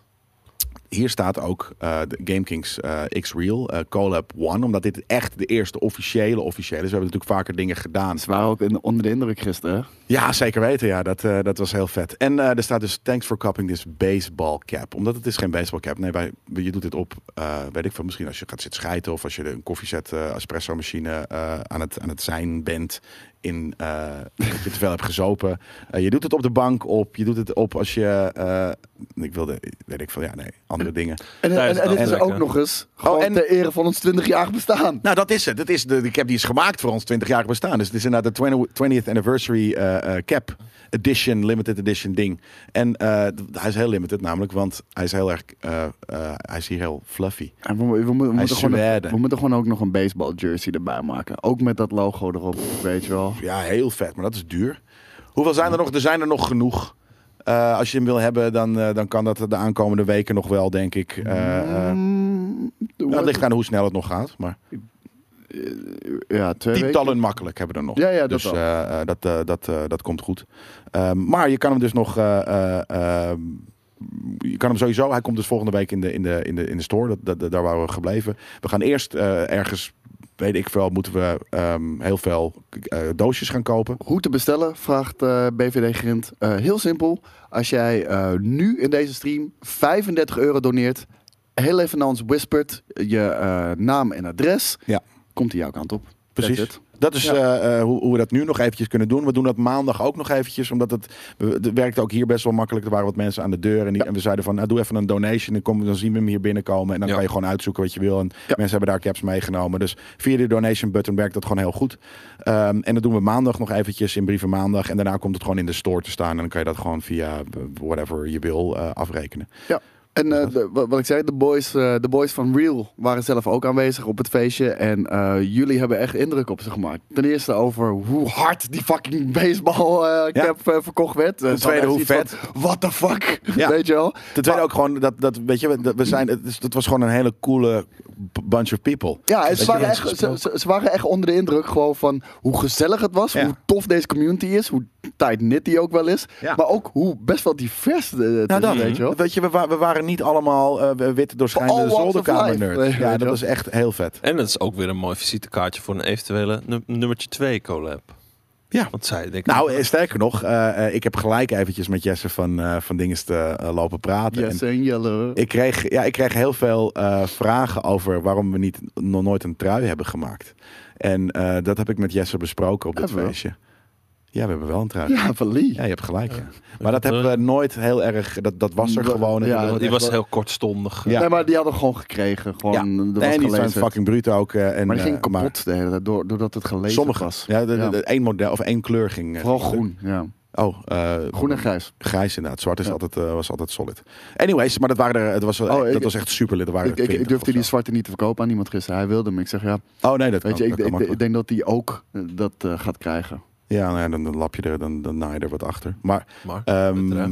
A: Hier staat ook eh, de GameKings eh, X-Real eh, Collab One. Omdat dit echt de eerste officiële officiële is. We hebben natuurlijk vaker dingen gedaan.
B: Ze waren ook in- onder de indruk gisteren. hè?
A: Ja, zeker weten. Ja, dat, eh, dat was heel vet. En eh, er staat dus thanks for cupping this baseball cap. Omdat het is geen baseball cap. Nee, wij, je doet dit op, eh, weet ik veel, misschien als je gaat zitten schijten... of als je een koffiezet eh espresso machine eh, aan, het, aan het zijn bent... In, eh, dat je te veel hebt gezopen. Eh, je doet het op de bank op. Je doet het op als je... eh, ik wilde, weet ik veel, ja nee. andere dingen.
B: En, en,
C: Daar is
B: en,
C: het
B: dit
C: dan
B: is
C: lekker.
B: ook nog eens gewoon
A: Oh, en-
B: ter ere van ons 20-jarig bestaan.
A: Nou, dat is het. Dat is de, ik heb die is gemaakt voor ons 20-jarig bestaan. Dus het is inderdaad de 20 20th anniversary eh, eh, cap edition, limited edition ding. En eh, d- hij is heel limited namelijk, want hij is heel erg, eh, eh, hij is hier heel fluffy.
B: En we, mo- we, mo- we moeten gewoon,
A: Zweden.
B: we moeten gewoon ook nog een baseball jersey erbij maken. Ook met dat logo erop, weet je wel.
A: Ja, heel vet, maar dat is duur. Hoeveel zijn er nog? Er zijn er nog genoeg. Eh, als je hem wil hebben, dan, eh, dan kan dat de aankomende weken nog wel, denk ik. Eh eh,
B: Mm,
A: nou, het
B: wat-
A: ligt aan hoe snel het nog gaat, maar
B: ja, twee weken.
A: tientallen makkelijk hebben we er nog.
B: Ja, ja, dat
A: dus
B: wel.
A: eh, eh, dat, eh, dat, eh, dat komt goed. Ehm, maar je kan hem dus nog. eh, eh, ehm, je kan hem sowieso. Hij komt dus volgende week in de, in de, in de, in de store. Dat, dat, dat- daar waren we gebleven. We gaan eerst eh, ergens. Weet ik veel, moeten we ehm, heel veel eh, doosjes gaan kopen.
B: Hoe te bestellen, vraagt eh, BVD Grind. Eh, heel simpel. Als jij eh, nu in deze stream 35 euro doneert, heel even naar ons whispert, je eh, naam en adres,
A: Ja.
B: komt hij jouw kant op.
A: Precies.
B: That's it.
A: Dat is
B: Ja.
A: eh, eh, hoe, hoe we dat nu nog eventjes kunnen doen. We doen dat maandag ook nog eventjes, omdat het, we- het werkte ook hier best wel makkelijk. Er waren wat mensen aan de deur en, die, en we zeiden van, nou, doe even een donation. Dan, kom, dan zien we hem hier binnenkomen en dan
C: Ja.
A: kan je gewoon uitzoeken wat je wil. En mensen hebben daar caps meegenomen. Dus via de donation button werkt dat gewoon heel goed. Ehm, en dat doen we maandag nog eventjes in Brieven Maandag. En daarna komt het gewoon in de store te staan. En dan kan je dat gewoon via eh, whatever je wil eh, afrekenen.
B: Ja. En eh, de- wa- wat ik zei, de boys, eh, de boys van Real waren zelf ook aanwezig op het feestje. En eh, jullie hebben echt indruk op ze gemaakt. Ten eerste over hoe hard die fucking baseball eh,
A: Ja.
B: cap eh, verkocht werd. Ten
A: tweede, hoe
B: What the fuck?
A: Ja.
B: Weet je wel?
A: Ten tweede ook gewoon, dat, dat, weet je, we- dat, we zijn, het, is- dat was gewoon een hele coole b- bunch of people.
B: Ja, en
A: Weet
B: ze
A: je,
B: waren,
A: mensen
B: echt, ze, ze- ze waren echt onder de indruk gewoon van hoe gezellig het was,
A: Ja.
B: hoe tof deze community is, hoe tight-knit die ook wel is,
A: Ja.
B: maar ook hoe best wel divers eh, het
A: Nou,
B: is,
A: dat
B: weet je wel. Oh,
A: Weet je, we, wa- we waren niet allemaal eh, witte
B: All
A: doorschijnende
B: walks of life.
A: zolderkamer-nerds.
B: Nee,
A: Ja,
B: weet je
A: dat
B: wel.
A: was echt heel vet.
C: En dat is ook weer een mooi visitekaartje voor een eventuele nu- nummertje 2 collab.
A: Ja.
C: Want zij denken...
A: Nou, eh, sterker nog, eh, eh, ik heb gelijk eventjes met Jesse van, eh van Dinges te eh, lopen praten.
B: Yes
A: En
B: en yellow.
A: ik, kreeg, ja, ik kreeg heel veel eh, vragen over waarom we niet, nog nooit een trui hebben gemaakt. En eh, dat heb ik met Jesse besproken op dit
B: Hebben we?
A: feestje. Ja, we hebben wel een trui.
B: Ja, van Lee.
A: Ja, je hebt gelijk. ja. Maar dat hebben we nooit heel erg... Dat, dat was er
B: Ja,
A: gewoon.
B: ja,
A: En dat-
C: die was heel kortstondig.
A: Ja.
B: Nee, maar die hadden we gewoon gekregen. Gewoon,
A: Ja.
B: er was
A: en die zijn
B: gelezen.
A: fucking bruut ook. eh, en,
B: Maar die
A: eh,
B: ging kapot de hele tijd, door- doordat het gelezen
A: Sommige.
B: was.
A: Ja, de,
B: Ja.
A: de- één model of één kleur ging. eh,
B: Vooral
A: ging-
B: groen, ja.
A: Oh, eh,
B: Groen en grijs.
A: grijs inderdaad. Zwart is
B: Ja.
A: altijd, eh, was altijd solid. Anyways, maar dat, waren er, het was, wel-
B: Oh, ik-
A: dat was echt super lid. Er waren
B: Ik,
A: er
B: ik, ik
A: 20
B: durfde
A: of
B: die
A: zo.
B: zwarte niet te verkopen aan iemand gisteren. Hij wilde hem. Ik zeg, ja,
A: Oh nee, dat
B: weet
A: kan,
B: je,
A: dat kan
B: ik, ik- ik,
A: makkelijk.
B: denk dat hij ook eh, dat eh, gaat krijgen.
A: Ja, nou ja, dan, dan lap je er, dan, dan naai je er wat achter. Maar,
C: Maar,
B: Eh,
A: ehm,
C: de trui.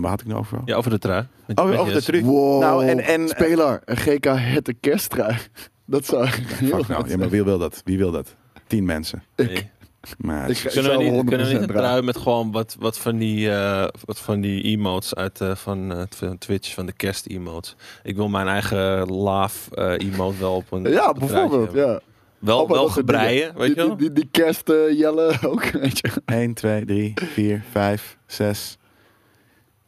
A: waar had ik nou over?
C: ja, over de trui. Met- met
A: Oh, over de
C: Jesse.
A: truc.
B: Wow,
A: Nou, en, en
B: speler, een GK het de kersttrui. Dat zou heel
A: fuck nou,
B: goed
A: ja, maar wie wil dat? Wie wil dat? Tien mensen.
C: Nee.
A: Maar,
B: Ik-
C: Kunnen
B: zou
C: we, niet,
B: 100%
C: kunnen we niet een
B: dragen.
C: trui met gewoon wat, wat, van die, eh, wat van die emotes uit eh, van, eh, van Twitch, van de kerst emotes. Ik wil mijn eigen laaf eh, emote wel op een
B: Ja,
C: op een
B: bijvoorbeeld.
C: truitje hebben.
B: Ja.
C: Wel,
B: Allemaal
C: wel
B: dat soort dingen.
C: gebreien, weet
B: Die,
C: je
B: die,
C: wel?
B: die, die kerst eh, jellen ook, weet je.
A: 1, 2, 3, 4, 5, 6,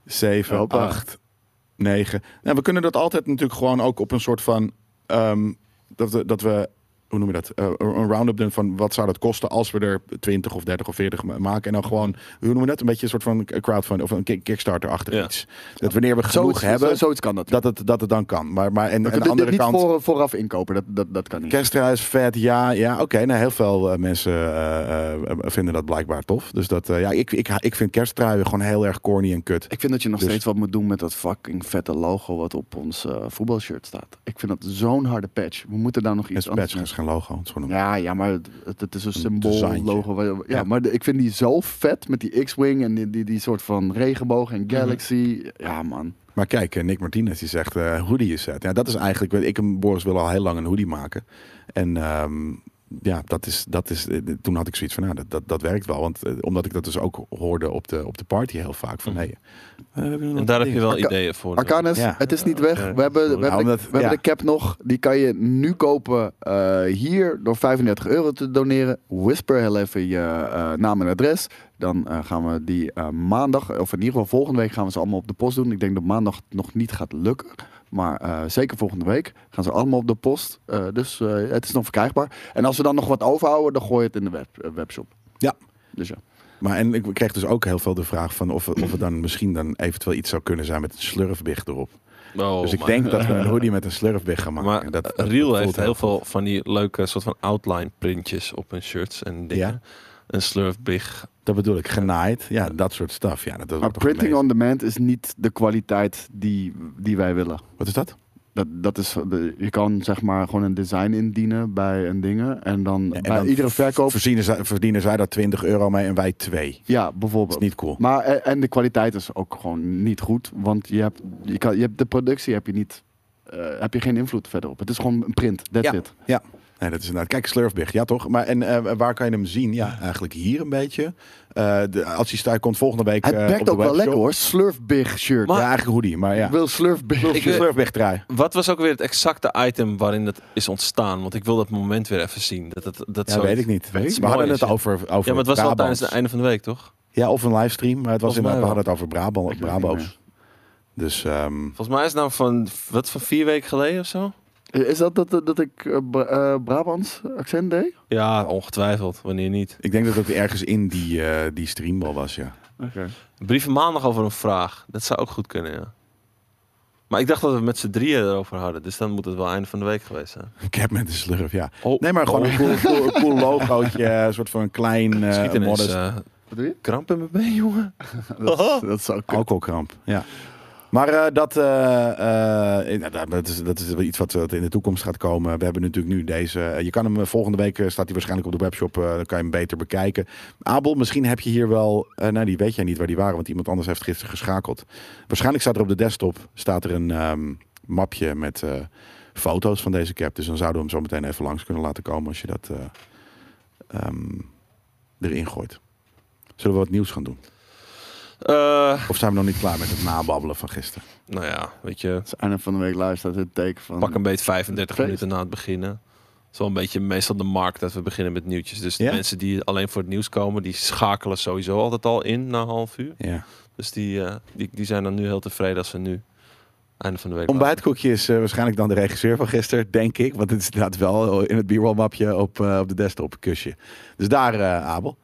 A: 7,
B: Hoppa.
A: 8, 9. Nou, we kunnen dat altijd natuurlijk gewoon ook op een soort van. ehm, dat, we, dat we. Hoe noem je dat? Eh, een round-up doen van wat zou dat kosten als we er 20 of 30 of 40 ma- maken. En dan gewoon, hoe noemen we dat? Een beetje een soort van crowdfunding of een kick- kickstarter achter
C: Ja.
A: iets. Dat wanneer we genoeg hebben,
B: zo- zoiets kan dat.
A: dat, het, dat het dan kan. Maar, maar en,
B: we
A: aan de
B: kunnen dit
A: andere
B: niet
A: kant.
B: voor, vooraf inkopen, dat, dat, dat kan niet.
A: Kerstra is vet, ja. ja Oké, nou, heel veel eh, mensen eh, eh, vinden dat blijkbaar tof. Dus dat, eh, ja, ik, ik, ik vind kersttruien gewoon heel erg corny en kut.
B: Ik vind dat je nog
A: Dus-
B: steeds wat moet doen met dat fucking vette logo wat op ons eh, voetbalshirt staat. Ik vind dat zo'n harde patch. We moeten daar nog
A: Het
B: iets
A: is een
B: anders
A: patch,
B: mee.
A: het is geen logo. Het is gewoon een-
B: Ja, ja, maar het, het- het is een symbool,
A: designtje.
B: logo. waar- Ja,
A: Ja.
B: maar de- ik vind die zo vet met die X-Wing en die, die, die soort van regenboog
A: Mhm.
B: en galaxy. Ja, man.
A: Maar kijk, eh, Nick Martinez die zegt eh hoodie is vet. Ja, dat is eigenlijk, ik en Boris willen al heel lang een hoodie maken. En ehm, ja, dat is, dat is, eh, toen had ik zoiets van, nou, dat, dat, dat werkt wel. Want eh, omdat ik dat dus ook hoorde op de, op de party heel vaak. Van,
C: Hm.
A: hey, eh, we doen
C: En
A: nog
C: daar
A: een
C: heb je
A: ding.
C: wel
B: Arca-
C: ideeën voor. dus-
B: Arcanes,
A: Ja.
B: het is niet weg.
C: Ja,
B: we hebben, we
A: Nou,
B: hebben, de,
A: omdat-
B: we hebben
A: ja.
B: de cap nog. Die kan je nu kopen eh, hier door 35 euro te doneren. Whisper heel even je eh, naam en adres. Dan eh, gaan we die eh, maandag, of in ieder geval volgende week, gaan we ze allemaal op de post doen. Ik denk dat maandag het nog niet gaat lukken. Maar eh, zeker volgende week gaan ze allemaal op de post. Eh, dus eh, het is nog verkrijgbaar. En als we dan nog wat overhouden, dan gooi je het in de web, eh, webshop.
A: Ja.
B: Dus ja.
A: Maar en ik kreeg dus ook heel veel de vraag van of, we- of het dan misschien dan eventueel iets zou kunnen zijn met een slurfbig erop.
C: Oh,
A: dus ik
C: maar,
A: denk dat
C: eh,
A: we een hoodie met een slurfbig gaan maken.
C: Maar eh,
A: dat, dat-
C: Riel
A: dat
C: heeft
A: voelt
C: heel veel van die leuke soort van outline printjes op hun shirts en dingen. Een slurfbig.
A: Dat bedoel ik, genaaid. Ja, dat soort stuff. Ja, dat wordt
B: Maar
A: toch
B: printing
A: amazing.
B: on demand is niet de kwaliteit die, die wij willen.
A: Wat is dat?
B: Dat, dat is, je kan zeg maar gewoon een design indienen bij een dingen. En dan
A: Ja, en
B: bij
A: dan
B: iedere
A: v-
B: verkoop.
A: Verdienen zij, verdienen zij daar 20 euro mee en wij 2. Dat
B: Ja,
A: is
B: bijvoorbeeld.
A: niet cool.
B: Maar en, en de kwaliteit is ook gewoon niet goed. Want je hebt, je kan, je hebt de productie heb je niet. eh, heb je geen invloed verder op. Het is gewoon een print. That's
A: Ja.
B: it.
A: Ja, nee, dat is inderdaad. Kijk, Slurfbig, ja toch? Maar en eh, waar kan je hem zien? Ja, eigenlijk hier een beetje. Eh, de, als hij staat, komt volgende week.
B: Het
A: eh, op
B: bekt
A: de
B: ook wel
A: webshop.
B: lekker hoor. Slurf big shirt.
A: Ja,
C: Maar-
A: eigenlijk een hoodie, maar ja.
B: Ik wil slurf big.
A: Slurf-
C: Ik-
A: Slurfbig draai.
C: Wat was ook weer het exacte item waarin dat is ontstaan? Want ik wil dat moment weer even zien. Dat, dat, dat
A: Ja,
C: zo-
A: weet ik niet.
C: Weet je?
A: we hadden
C: Mooi is,
A: het
C: ja.
A: over, over
C: Ja, maar het was al
A: Brabants.
C: tijdens het einde van de week, toch?
A: Ja, of een livestream, maar het was
C: Volgens mij
A: inderdaad, we
C: wel.
A: hadden het over Brabant,
B: Ik weet het
A: Brabo's.
B: niet
A: Dus ehm,
C: Volgens mij is het nou van, wat, van vier weken geleden of zo?
A: eh,
B: Eh, Is dat dat, dat ik eh, Bra- eh, Brabants accent deed?
C: Ja, ongetwijfeld. Wanneer niet.
A: ik denk dat het ergens in die, eh, die stream wel was, ja.
C: Brieven maandag over een vraag. Dat zou ook goed kunnen, ja. Maar ik dacht dat we het met z'n drieën erover hadden. Dus dan moet het wel einde van de week geweest zijn.
A: Cap met een slurf, ja.
C: Oh,
A: Nee, maar gewoon
C: oh.
A: een cool, cool, cool logootje, een soort van klein
C: Schiet
A: eh
C: ineens,
A: modest
C: eh,
B: Wat doe je?
C: kramp in mijn been, jongen.
B: Dat, dat zou kunnen.
A: Alcoholkramp, ja. Maar eh, dat, eh, eh, nou, dat- dat, is, dat is wel iets wat, wat in de toekomst gaat komen. We hebben natuurlijk nu deze. eh, je kan hem eh, volgende week eh, staat hij waarschijnlijk op de webshop. eh, dan kan je hem beter bekijken. Abel, misschien heb je hier wel. eh, nou, die weet jij niet waar die waren, want iemand anders heeft gisteren geschakeld. Waarschijnlijk staat er op de desktop staat er een ehm, mapje met eh, foto's van deze cap. Dus dan zouden we hem zo meteen even langs kunnen laten komen als je dat eh, ehm, erin gooit. Zullen we wat nieuws gaan doen?
C: Eh,
A: Of zijn we nog niet klaar met het nababbelen van gisteren?
C: nou ja, weet je.
B: Het is einde van de week live staat het teken van.
C: Pak een beetje 35
B: Feest.
C: minuten na het beginnen. Het is wel een beetje meestal de markt dat we beginnen met nieuwtjes. Dus de
A: Ja?
C: mensen die alleen voor het nieuws komen, die schakelen sowieso altijd al in na een half uur.
A: Ja.
C: Dus die, eh, die, die zijn dan nu heel tevreden als ze nu einde van de week...
A: Ontbijtkoekje is eh, waarschijnlijk dan de regisseur van gisteren, denk ik. Want het staat wel in het b-roll mapje op, eh, op de desktop, kusje. Dus daar, eh, Abel.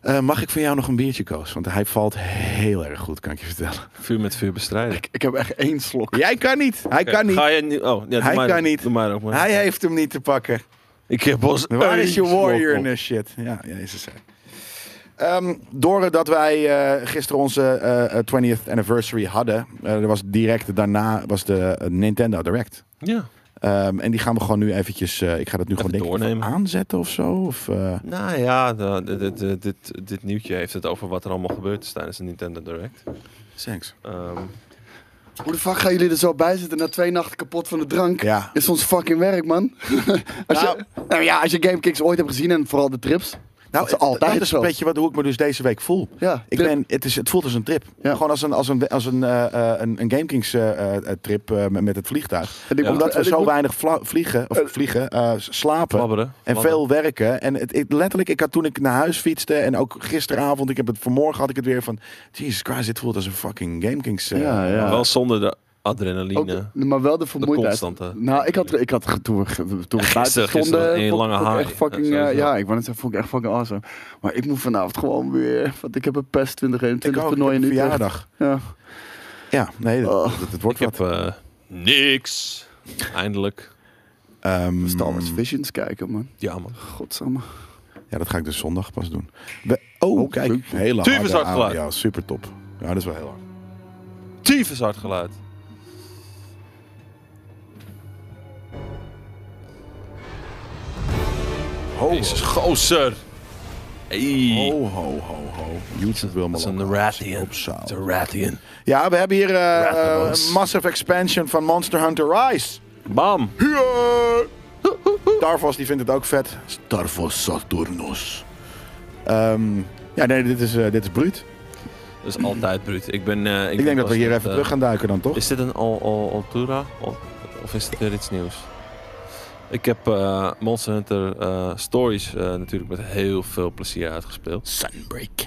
A: Eh, mag ik van jou nog een biertje, Koos? Want hij valt heel erg goed, kan ik je vertellen.
C: Vuur met vuur bestrijden.
B: Ik, ik heb echt één slok.
A: Jij kan niet. Hij kan niet.
C: Ga je nu... Oh, ja, doe
A: Hij
C: maar,
A: kan niet.
C: Doe maar ook maar.
A: Hij heeft hem niet te pakken.
C: Ik heb ons...
A: Waar is je
C: een
A: warrior
C: slok
A: in
C: op.
A: this shit? Ja, jezus. hè. Ehm doordat wij eh, gisteren onze eh, eh, 20th anniversary hadden, eh, er was direct daarna was de eh, Nintendo Direct.
C: Ja.
A: Ehm, en die gaan we gewoon nu eventjes. eh, ik ga dat nu gewoon denk ik, even
C: doornemen.
A: aanzetten of zo. Of, eh,
C: Nou ja, de- de- de- de- dit, dit nieuwtje heeft het over wat er allemaal gebeurd is tijdens de Nintendo Direct. Ehm,
B: Hoe de fuck gaan jullie er zo bij zitten na twee nachten kapot van de drank?
A: Ja.
B: Is ons fucking werk, man. als
A: Nou-
B: je, nou ja, als je GameKicks ooit hebt gezien en vooral de trips.
A: Nou,
B: is altijd
A: dat is
B: zo.
A: een beetje wat, hoe ik me dus deze week voel.
B: Ja,
A: ik
B: trip.
A: ben, het, is, het voelt als een trip.
B: Ja.
A: Gewoon als een, als een, als een, eh, eh, een, een GameKings eh, eh, trip eh, met het vliegtuig.
B: En ik moet-
A: Omdat
B: en
A: we
B: ik
A: zo
B: moet-
A: weinig vla- vliegen, of vliegen eh, s- slapen.
C: Flabberen.
A: En
C: Flabberen.
A: veel werken. En het, ik- letterlijk, ik had toen ik naar huis fietste. En ook gisteravond, ik heb het vanmorgen had ik het weer van. Jesus Christ, dit voelt als een fucking GameKings. eh,
B: Ja, ja.
C: Maar wel zonder de
B: Ook-
C: adrenaline.
B: maar wel de vermoeidheid.
C: constante.
B: Nou, ik had, ik had toen, we- toen we buiten
C: gisteren
B: stonden,
C: een
B: vond-
C: lange
B: vond ik
C: haai.
B: echt fucking,
C: Ja,
B: ja,
C: sowieso.
B: ja, ik wou net zeggen, vond ik echt fucking awesome. Maar ik moet vanavond gewoon weer, want ik heb een PES
A: ik
B: 2021
A: ook, ik heb
B: toernooi in
A: een
B: Utrecht.
A: verjaardag.
B: Ja.
A: Ja, nee, dat,
B: Oh.
A: dat- het wordt
C: ik
A: wat.
C: heb eh, niks. Eindelijk.
A: Ehm,
B: Star
C: Hmm.
B: Wars Visions kijken, man.
C: Ja, man.
B: Godsamme.
A: Ja, dat ga ik dus zondag pas doen. We- oh,
B: Oh,
A: kijk.
B: leuk.
A: Heel lang.
C: Tyfus hard geluid.
A: Ja, super top. Ja, dat is wel heel hard.
C: Tyfus hard geluid.
A: Ho,
C: Jezus, gozer. Hey.
A: ho, ho, ho, ho. YouTube wil me
C: Dat is een
A: lokken.
C: Rathian.
A: Opzaal.
C: Dat is een Rathian.
A: Ja, we hebben hier eh,
C: Rathalos.
A: een massive expansion van Monster Hunter Rise.
C: Bam.
A: Starvos, die vindt het ook vet. Starvos Saturnus. Ehm, ja, nee, dit is, eh, dit is bruut.
C: Dat is altijd bruut. Ik ben... eh, ik,
A: Ik denk dat we
C: was
A: hier
C: net,
A: even
C: eh,
A: terug gaan duiken dan, toch?
C: Is dit een Al- Al- Altura? Al- Of is het weer iets nieuws? Ik heb eh, Monster Hunter eh, Stories eh, natuurlijk met heel veel plezier uitgespeeld.
A: Sunbreak.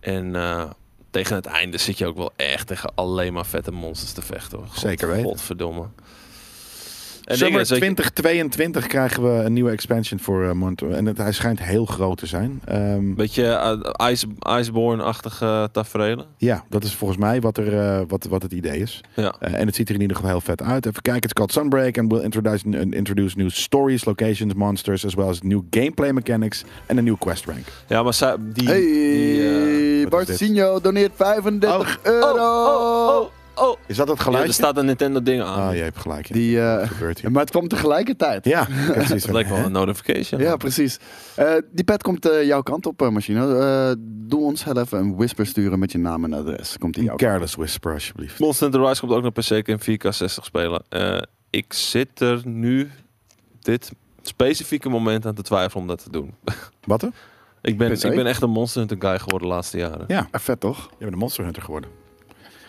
C: En eh, tegen het einde zit je ook wel echt tegen alleen maar vette monsters te vechten. Hoor. God-
A: Zeker weten.
C: Godverdomme. En ding
A: Summer
C: is, weet je-
A: 2022 krijgen we een nieuwe expansion voor eh Monto. En het, hij schijnt heel groot te zijn. Ehm,
C: Beetje eh, Ice, Iceborne-achtige tafereelen.
A: ja, dat is volgens mij wat, er, eh, wat, wat het idee is.
C: Ja.
A: Eh, en het ziet er in ieder geval heel vet uit. Even kijken, het is called Sunbreak and will introduce, and introduce new stories, locations, monsters, as well as new gameplay mechanics en een nieuw quest rank.
C: ja, maar zij, die...
B: Hey,
C: die, eh,
A: wat
B: Bart
A: is dit?
B: Signo doneert 35
C: Oh,
B: euro.
C: oh, oh, oh.
A: Is dat het
C: Ja,
A: geluid?
C: er staat een Nintendo ding aan.
A: Ah, je hebt gelijk. Ja,
B: Die, eh,
A: Dat gebeurt hier.
B: maar het kwam tegelijkertijd.
A: Ja, ik heb zoiets
C: Het
A: van,
C: lijkt wel
A: hè?
C: een notification.
B: Ja, precies. Eh, die pet komt eh, jouw kant op, eh, Machine. Eh, doe ons heel even een whisper sturen met je naam en adres. Komt die
A: Een
B: jouw kant
A: careless whisper, alsjeblieft.
C: Monster Hunter Rise komt ook nog per se in 4K60 spelen. Eh, ik zit er nu dit specifieke moment aan te twijfelen om dat te doen.
A: Wat er?
C: Ik ben,
B: PC?
C: ik ben echt een Monster Hunter guy geworden de laatste jaren.
A: Ja.
B: op? Eh, vet, toch?
A: Je bent een monster hunter geworden.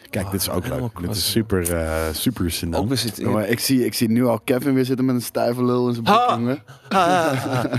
A: Kijk, dit is ook
C: Ah, Animal
A: leuk. Dit
C: Crossing.
A: is super, eh super
C: Ook
A: synoniem.
C: weer zit
B: Jongen, ik, zie, ik zie nu al Kevin weer zitten met een stijve lul in zijn
C: Ha!
B: broek, jongen.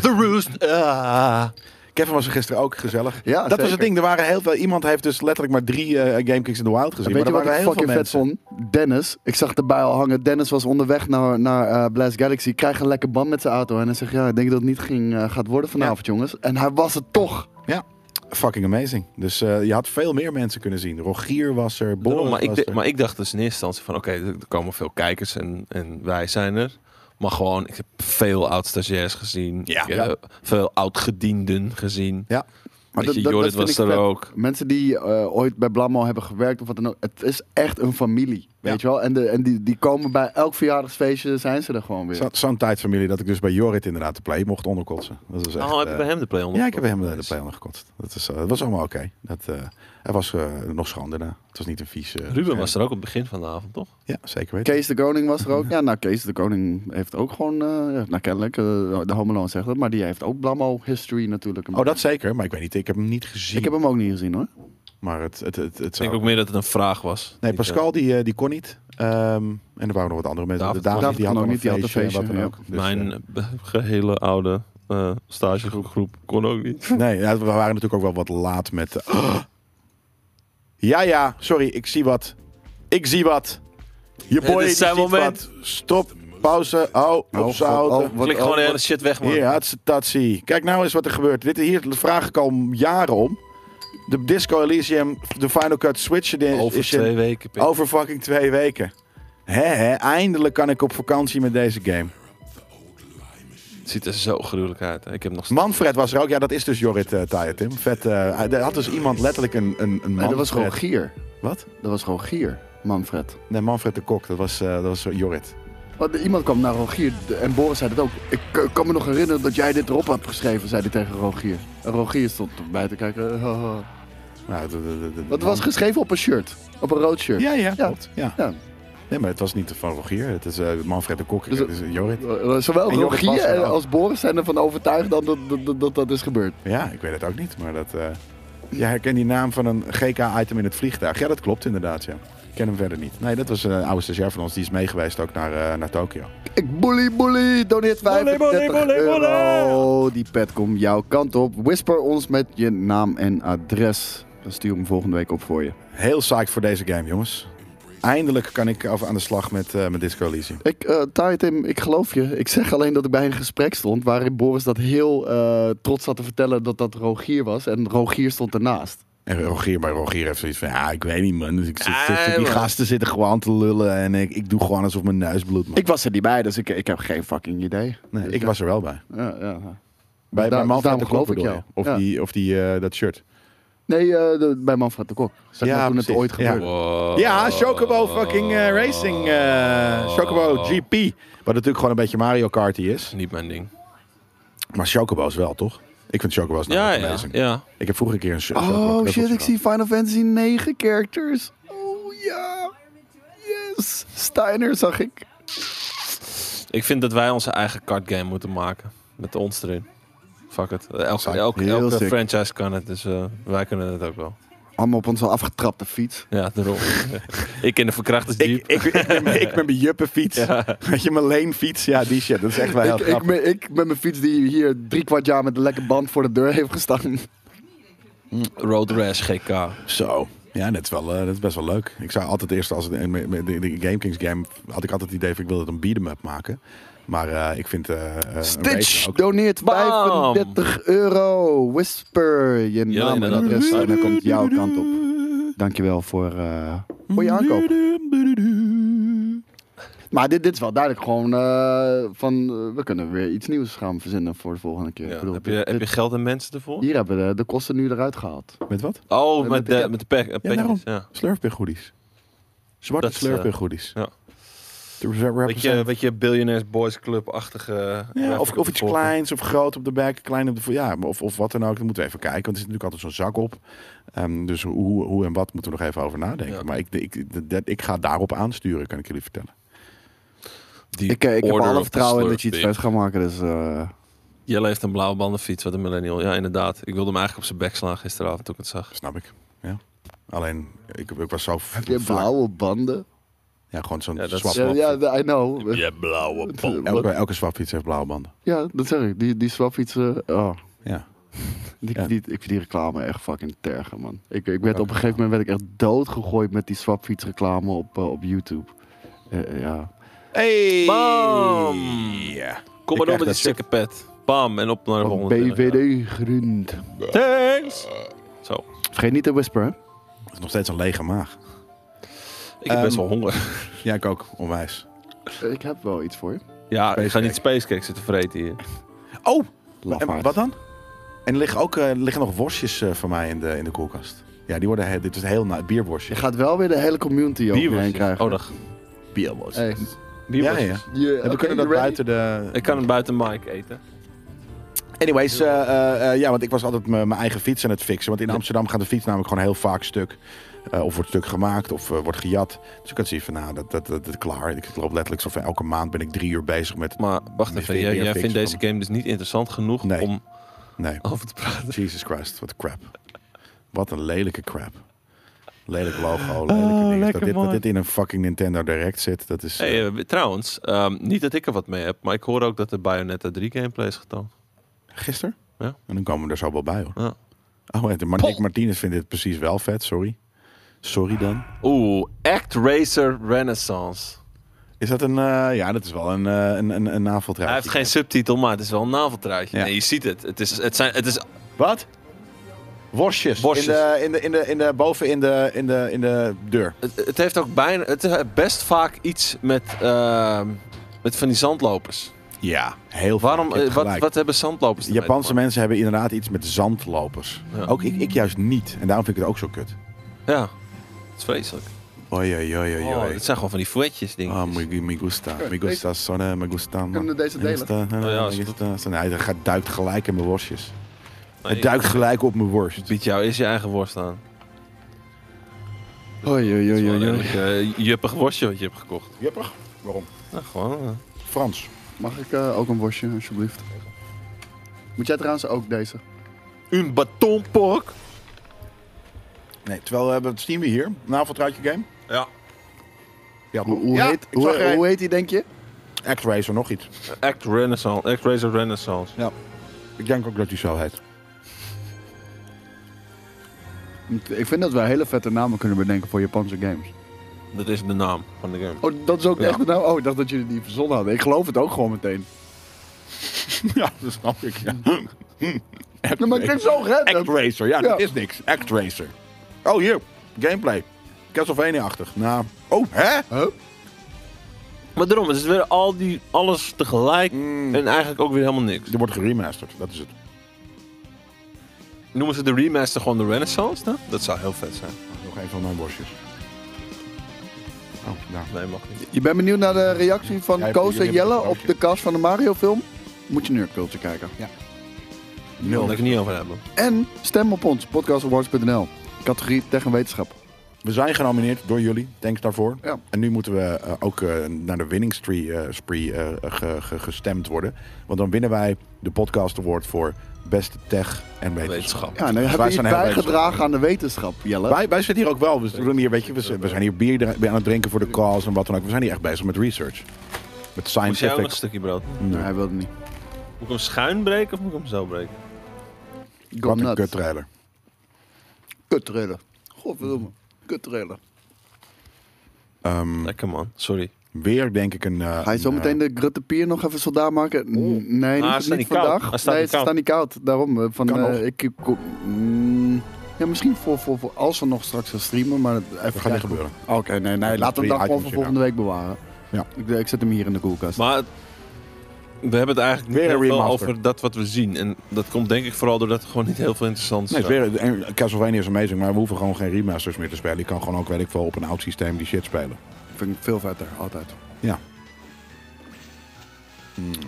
C: The Roost. ah.
A: Kevin was er gisteren ook gezellig.
B: Ja,
A: dat was
B: zeker.
A: het ding. Er waren heel veel. Iemand heeft dus letterlijk maar drie eh, Game Kings in the Wild gezien.
B: Weet je
A: maar er
B: wat ik
A: waren heel veel
B: fucking vet
A: mensen.
B: vond? Dennis. Ik zag erbij al hangen. Dennis was onderweg naar, naar eh, Blast Galaxy. Krijgt een lekker band met zijn auto. En hij zegt, ja, ik denk dat het niet ging, eh, gaat worden vanavond, jongens. En hij was het toch.
A: Ja, fucking amazing. Dus eh, je had veel meer mensen kunnen zien. Rogier was er, Boris
C: Daarom, maar, ik
A: was
C: d-
A: er.
C: maar ik dacht dus in eerste instantie van oké, er er komen veel kijkers en, en wij zijn er. Maar gewoon, ik heb veel oud-stagiairs gezien.
A: Ja.
C: Ik heb,
A: Ja.
C: eh, Veel oud-gedienden gezien.
A: Ja,
B: Maar
C: Weet je,
B: dat- dat-
C: Jorrit
B: dat vind
C: was
B: ik
C: er
B: vet.
C: ook.
B: Mensen die eh, ooit bij Blammo hebben gewerkt of wat dan ook. Het is echt een familie, weet je wel. En, de, en die, die komen bij elk verjaardagsfeestje, zijn ze er gewoon weer.
A: Zo- zo'n tijdfamilie dat ik dus bij Jorrit inderdaad de play mocht onderkotsen. Dat was echt,
C: Oh, heb je
A: eh,
C: bij hem de play onder?
A: Ja, ik heb hem eh, de play ondergekotst. Dat, is, eh, dat was allemaal oké. Dat, eh, hij was eh, nog schande na. Het was niet een vies... eh,
C: Ruben was er ook op het begin van de avond, toch?
A: Ja, zeker weten.
B: Kees de Koning was er ook. Ja, nou, Kees de Koning heeft ook gewoon, eh, ja, nou kennelijk, eh, de Homeland zegt dat, maar die heeft ook Blammo history natuurlijk.
A: Oh, dat zeker. Maar ik weet niet. Ik heb hem niet gezien.
B: Ik heb hem ook niet gezien hoor.
A: Maar het, het, het, het
C: Ik denk
A: zou...
C: ook meer dat het een vraag was.
A: Nee,
C: Niet,
A: Pascal die, eh, die kon niet. Ehm, en er waren nog wat andere mensen.
C: David-
A: de David,
B: David
A: die had
B: kon
A: nog
B: ook
A: niet. Die had een feestje. en Wat dan
B: ja.
A: ook.
C: eh,
A: Dus,
C: mijn
A: eh,
C: eh, gehele oude eh stagegroep kon ook niet.
A: nee, ja, we waren natuurlijk ook wel wat laat met. eh, Ja, ja, sorry, ik zie wat. Ik zie wat. Je
C: Dit
A: boy
C: is
A: die
C: zijn
A: ziet
C: moment.
A: wat. Stop, pauze, hou,
B: Oh,
A: op z'n
B: God,
A: auto.
B: oh, wat-
C: Klik gewoon de hele shit weg, man.
A: Hier, hatsatatsie. Kijk nou eens wat er gebeurt. Dit, hier vraag ik al jaren om. De Disco Elysium, de Final Cut Switch Edition.
C: Over twee weken. Pik.
A: Over fucking twee weken. Hè, hè, eindelijk kan ik op vakantie met deze game.
C: Het ziet er zo gruwelijk uit. hè. Ik heb nog steeds...
A: Manfred was er ook. Ja, dat is dus Jorrit eh Taya, Tim. Vet. eh, hij- er had dus iemand letterlijk een, een, een
B: Nee,
A: Manfred.
B: dat was gewoon Gier.
A: Wat?
B: Dat was gewoon Gier, Manfred.
A: Nee, Manfred de Kok. Dat was, eh, dat was Jorrit.
B: Want iemand kwam naar Rogier d- en Boris zei dat ook. Ik eh, kan me nog herinneren dat jij dit erop had geschreven, zei hij tegen Rogier. En Rogier stond erbij te kijken. eh, haha.
A: Nou, de- de- de- de-
B: Want het was geschreven op een shirt. Op een rood shirt.
A: Ja, ja,
B: Ja.
A: klopt. Ja.
B: Ja.
A: Nee, maar het was niet van Rogier. Het is eh, Manfred de Kok.
B: Dus
A: het is eh, Jorrit.
B: Eh, Zowel
A: En Jorrit
B: Rogier
A: was er
B: eh,
A: ook.
B: als Boris zijn ervan overtuigd dat dat, dat, dat, dat is gebeurd.
A: Ja, ik weet het ook niet. Maar dat... eh je herkent die naam van een GK-item in het vliegtuig. Ja, dat klopt inderdaad, ja. Ik ken hem verder niet. Nee, dat was eh, een oude stagiair van ons. Die is meegeweest ook naar, eh, naar Tokio.
B: Ik bully bully, doneert
C: Bully,
B: 35
C: bully, bully,
B: euro. Die pet komt jouw kant op. Whisper ons met je naam en adres. Dan stuur ik hem volgende week op voor je.
A: Heel psyched voor deze game, jongens. Eindelijk kan ik af aan de slag met, eh met Disco Elysium.
B: Ik, eh Taai, Tim, ik geloof je. Ik zeg alleen dat ik bij een gesprek stond waarin Boris dat heel eh, trots zat te vertellen dat dat Rogier was. En Rogier stond ernaast.
A: En Rogier, maar Rogier heeft zoiets van, ja, ik weet niet, man. Dus ik zit,
C: Nee,
A: zit- die
C: man.
A: gasten zitten gewoon te lullen en ik, ik doe gewoon alsof mijn neus bloedt. man.
B: Ik was er niet bij, dus ik, ik heb geen fucking idee.
A: nee,
B: Dus
A: ik
B: ja,
A: was er wel bij.
B: Ja, ja.
A: Bij, bij
B: daarom
A: Manfred de
B: geloof
A: Klok
B: ik
A: bedoel
B: jou.
A: je? Of,
B: Ja.
A: die, of die, eh, dat shirt.
B: Nee, eh, de- bij Manfred de Kok. Zeg
A: Ja,
B: maar toen
A: precies.
B: het ooit
A: Ja.
B: gebeurde.
C: Wow.
A: Ja, Chocobo fucking eh, Racing. eh,
C: Oh.
A: Chocobo GP. Wat natuurlijk gewoon een beetje Mario Kart is.
C: Niet mijn ding.
A: Maar Chocobo's wel, toch? Ik vind Chocobo's nou
C: Ja,
A: echt
C: ja,
A: amazing.
C: ja.
A: Ik heb vroeger een keer een shirt.
B: Oh shit, ik zie Final Fantasy 9 characters. Oh ja. Yes. Steiner zag ik.
C: Ik vind dat wij onze eigen card game moeten maken. Met ons erin. Fuck it. Elke,
A: Sick.
C: elke,
B: Heel
C: elke
B: sick.
C: franchise kan het, dus eh, wij kunnen het ook wel.
B: Allemaal op onze afgetrapte fiets.
C: Ja, daarom. ik in de verkrachters
A: Ik,
C: jeep.
A: ik, ik, ben, ik ben mijn juppenfiets. Weet je, mijn leenfiets. Ja, die shit. Dat is echt wel heel
B: Ik, ik,
A: grappig.
B: me- ik met mijn fiets die hier drie kwart jaar met een lekker band voor de deur heeft gestaan.
C: Road Rash GK.
A: Zo. Ja, dat is, wel, eh, dat is best wel leuk. Ik zou altijd eerst als het- met- met de, de Game Kings game had ik altijd het idee van ik wilde het een beat'em up maken. Maar eh, ik vind eh, eh, een
B: Stitch
A: racer ook-
B: doneert
C: Bam!
B: 35 euro. Whisper je
C: Ja,
B: naam en
C: inderdaad.
B: adres
A: nou,
B: en dan komt jouw kant op. Dankjewel voor, eh, voor je aankoop. Maar dit, dit is wel duidelijk gewoon eh, van eh, we kunnen weer iets nieuws gaan verzinnen voor de volgende keer.
C: Ja,
B: Ik bedoel,
C: heb, je,
B: dit-
C: heb je geld en mensen ervoor?
B: Hier hebben we de, de kosten nu eruit gehaald.
A: Met wat?
C: Oh,
B: Eh,
C: met
B: met
C: de,
B: de-
C: met de pack, eh,
A: Ja, daarom.
C: packjes, ja.
A: Slurfbeer goodies. Zwarte
C: Dat is, eh,
A: slurfbeer goodies.
C: ja.
A: De re-
C: Weet je,
A: represent-
C: weet je Billionaires Boys eh, Club-achtige...
A: Ja, of, of iets kleins of groot op de bek, klein op de vo- ja, maar of, of wat dan ook. Dan moeten we even kijken, want er zit natuurlijk altijd zo'n zak op. Ehm, dus hoe, hoe en wat moeten we nog even over nadenken.
C: Ja.
A: Maar ik, ik, dat, ik ga daarop aansturen, kan ik jullie vertellen.
B: Ik, eh, ik heb alle vertrouwen in dat je iets vet gaat maken. Dus, eh,
C: Jelle heeft een blauwe bandenfiets, wat een millennial. Ja, inderdaad. Ik wilde hem eigenlijk op zijn bek slaan gisteravond toen ik het zag.
A: Snap ik. Ja. Alleen, ik, ik was zo
B: heb je
A: vaak-
B: blauwe banden?
A: Ja, gewoon zo'n
C: Ja, dat is-
A: swap.
B: Ja, ja, I know.
C: Je blauwe
A: Elke, elke swapfiets heeft blauwe banden.
B: Ja, dat zeg ik. Die, die swapfietsen. Oh,
A: Ja.
B: die,
A: Ja.
B: die, ik vind die reclame echt fucking tergen, man. Ik, ik werd op een gegeven moment werd ik echt doodgegooid met die swapfietsreclame op, eh, op YouTube. Eh, ja.
A: Hey!
C: Bam!
A: Ja.
C: Kom maar
A: Ik
C: door
A: krijg
C: met die
A: dat
C: stikke pet. Bam, en op naar de
B: Van
C: volgende.
B: BVD Grund.
C: Thanks! Zo.
B: Vergeet niet te whisperen.
A: Het is nog steeds een lege maag.
C: Ik heb
A: Ehm,
C: best wel honger.
A: Ja, ik ook. Onwijs.
B: hè? Ik heb wel iets voor je.
C: Ja, ik ga
A: spacecake.
C: niet spacecake zitten vreten hier.
A: Oh, en
B: Lafaard.
A: wat dan? En er liggen ook eh, er liggen nog worstjes eh, van mij in de, in de koelkast. Ja, die worden, he- dit is heel na, bierworstje.
B: Je gaat wel weer de hele community over je heen krijgen.
C: Oh, dag.
A: bierworstjes.
B: Hey.
A: Ja,
C: Bierworstjes.
A: ja. En
B: Je-
A: we
B: oké,
A: kunnen
B: you
A: dat buiten
B: ready?
A: de...
C: Ik kan hem buiten Mike eten.
A: Anyways, eh, eh, eh, ja, want ik was altijd mijn mijn eigen fiets aan het fixen. Want in Amsterdam gaat de fiets namelijk gewoon heel vaak stuk. Eh, of wordt stuk gemaakt, of eh, wordt gejat. Dus ik had zoiets van, nou, dat, dat, dat, dat klaar. Ik loop letterlijk zo van elke maand ben ik drie uur bezig met...
C: Maar wacht
A: Mis
C: even,
A: die
C: jij, jij
A: BFX
C: vindt deze
A: van-
C: game dus niet interessant genoeg
A: Nee.
C: om
A: Nee,
C: over te praten.
A: Jesus Christ, wat crap. Wat een lelijke crap. Lelijk logo, lelijke dingen.
C: lekker
A: dat, dit, dat
C: man.
A: dit in een fucking Nintendo Direct zit, dat is... eh,
C: Hey, eh, trouwens, ehm, niet dat ik er wat mee heb, maar ik hoor ook dat de Bayonetta 3 gameplay is getoond.
A: Gisteren?
C: Ja.
A: En dan komen we er zo wel bij hoor.
C: Ja.
A: Oh, en de Mar- Nick Martinez vindt dit precies wel vet, sorry. Sorry dan.
C: Oeh, Act Racer Renaissance.
A: Is dat een... eh, ja, dat is wel een, eh een, een, een
C: Hij heeft geen subtitel, maar het is wel een naveltruitje.
A: Ja.
C: Nee, je ziet het. Het is, het zijn, het is
A: Wat? Worstjes.
C: Worstjes.
A: In de, in de, in de, in de, boven in de, in de, in de deur.
C: Het, het heeft ook bijna, het heeft best vaak iets met, ehm, met van die zandlopers.
A: Ja, heel vaak.
C: Waarom,
A: Je hebt
C: eh, wat,
A: gelijk.
C: wat hebben zandlopers ermee te
A: Japanse
C: maken?
A: mensen hebben inderdaad iets met zandlopers.
C: Ja.
A: Ook ik, ik juist niet. En daarom vind ik het ook zo kut.
C: Ja, het is vreselijk.
A: Oei, oei, oei, oei,
C: Oh,
A: oei.
C: het zijn gewoon van die fouetjes dingen.
A: Ah, me, me gusta. Me gusta, sonne, me gusta.
B: Kunnen we deze delen?
C: Oh, ja, is
A: delen? Hij gaat- duikt gelijk in mijn worstjes.
C: Nee,
A: Het duikt gelijk op mijn worst.
C: Bied jou is je eigen worst aan.
B: Oei, oei,
C: Het is
B: oei,
C: wel
B: oei,
C: een
B: oei.
C: redelijk, eh, juppig worstje wat je hebt gekocht.
A: Jeppig. Waarom?
C: Nou, gewoon. eh.
A: Frans.
B: Mag ik eh, ook een worstje, alsjeblieft? Moet jij trouwens ook deze?
C: Een batonpork.
A: Nee, terwijl eh, we hebben het zien we hier. Een avondruitje game.
C: Ja.
A: Ja,
B: Hoe, hoe, heet, hoe, hoe heet die, denk je?
A: X-Racer nog iets.
C: Act Renaissance. Act Razor Renaissance.
A: Ik denk ook dat hij zo heet.
B: Ik vind dat wij hele vette namen kunnen bedenken voor Japanse games.
C: Dat is de naam van de game.
B: Oh, dat is ook
C: Ja.
B: echt nou. Oh, ik dacht dat jullie die verzonnen hadden. Ik geloof het ook gewoon meteen.
A: ja, dat snap ik. Ja.
B: Nee, maar ik denk zo random.
A: X-Racer, ja, dat
B: Ja.
A: is niks. X-Racer. Oh, hier. Gameplay. Castlevania-achtig. Nou. Oh, hè?
B: Huh?
C: Maar daarom, het is weer al die, alles tegelijk
A: Mm.
C: en eigenlijk ook weer helemaal niks.
A: Er wordt geremasterd, dat is het.
C: Noemen ze de remaster gewoon de Renaissance dan? Dat zou heel vet zijn.
A: Nog een van mijn borstjes. Oh, nou.
C: Nee, mag niet.
B: Je bent benieuwd naar de reactie van
A: Jij hebt-
B: Koos en
A: jullie hebben
B: Jelle
A: een
B: op
A: broodje.
B: de cast van de Mario film? Moet je Nerdculture kijken.
C: Nul. Daar ik het niet over hebben.
B: En stem op ons, podcastawards.nl. Categorie Tech en Wetenschap.
A: We zijn genomineerd door jullie, thanks daarvoor.
B: Ja.
A: En nu moeten we eh, ook eh, naar de winning spree, eh, spree, eh, ge- ge- gestemd worden. Want dan winnen wij de Podcast Award voor Beste Tech en Wetenschap. Dus
C: Wetenschap.
B: Ja, en dan hebben
A: wij
B: we iets
A: zijn heel
B: bijgedragen aan de wetenschap, Jelle.
A: Wij, wij zitten hier ook wel. We, doen hier, weet je, we, we zijn hier bier dra- aan het drinken voor de cause en wat dan ook. We zijn hier echt bezig met research. Met
C: Moet jij ook nog
A: scientific.
C: een stukje brood?
B: Nee, hij wilde niet.
C: Moet ik hem schuin breken of moet ik hem zo breken?
B: Go
A: Wat een
B: nuts.
A: kut trailer.
B: Kut trillen. Godverdomme. Kut trailer.
A: Ehm,
C: Lekker man, sorry.
A: weer denk ik een... eh,
B: Ga je zo
A: een, eh,
B: meteen de Grutte Pier nog even soldaat maken? N-
A: Oeh.
B: Nee, niet,
C: Ah, ze staan
B: niet
C: niet koud.
B: vandaag.
C: Ah, ze staan
B: nee,
C: niet
B: ze
C: koud.
B: staan niet koud. Daarom, eh, van,
A: Kan
B: eh,
A: nog.
B: ik, ik- ko- mm, ja, misschien voor, voor, voor als we nog straks gaan streamen, maar het- even
A: Dat gaat
B: kijken. Ah,
A: niet gebeuren.
B: Oké, nee, nee,
A: Dat
B: laat hem
A: drie
B: dan gewoon
A: items,
B: voor
A: ja.
B: volgende week bewaren.
A: Ja.
B: Ik, eh, ik zet hem hier in de koelkast.
C: Maar het- we hebben het eigenlijk
A: Weer
C: niet
A: een
C: heel veel
A: remaster.
C: over dat wat we zien. En dat komt denk ik vooral doordat er gewoon niet heel veel interessant
A: Nee,
C: is.
A: het is weer, en Castlevania is amazing, maar we hoeven gewoon geen remasters meer te spelen. Je kan gewoon ook, weet ik veel, op een oud systeem die shit spelen.
B: vind ik veel vetter, altijd.
A: Ja.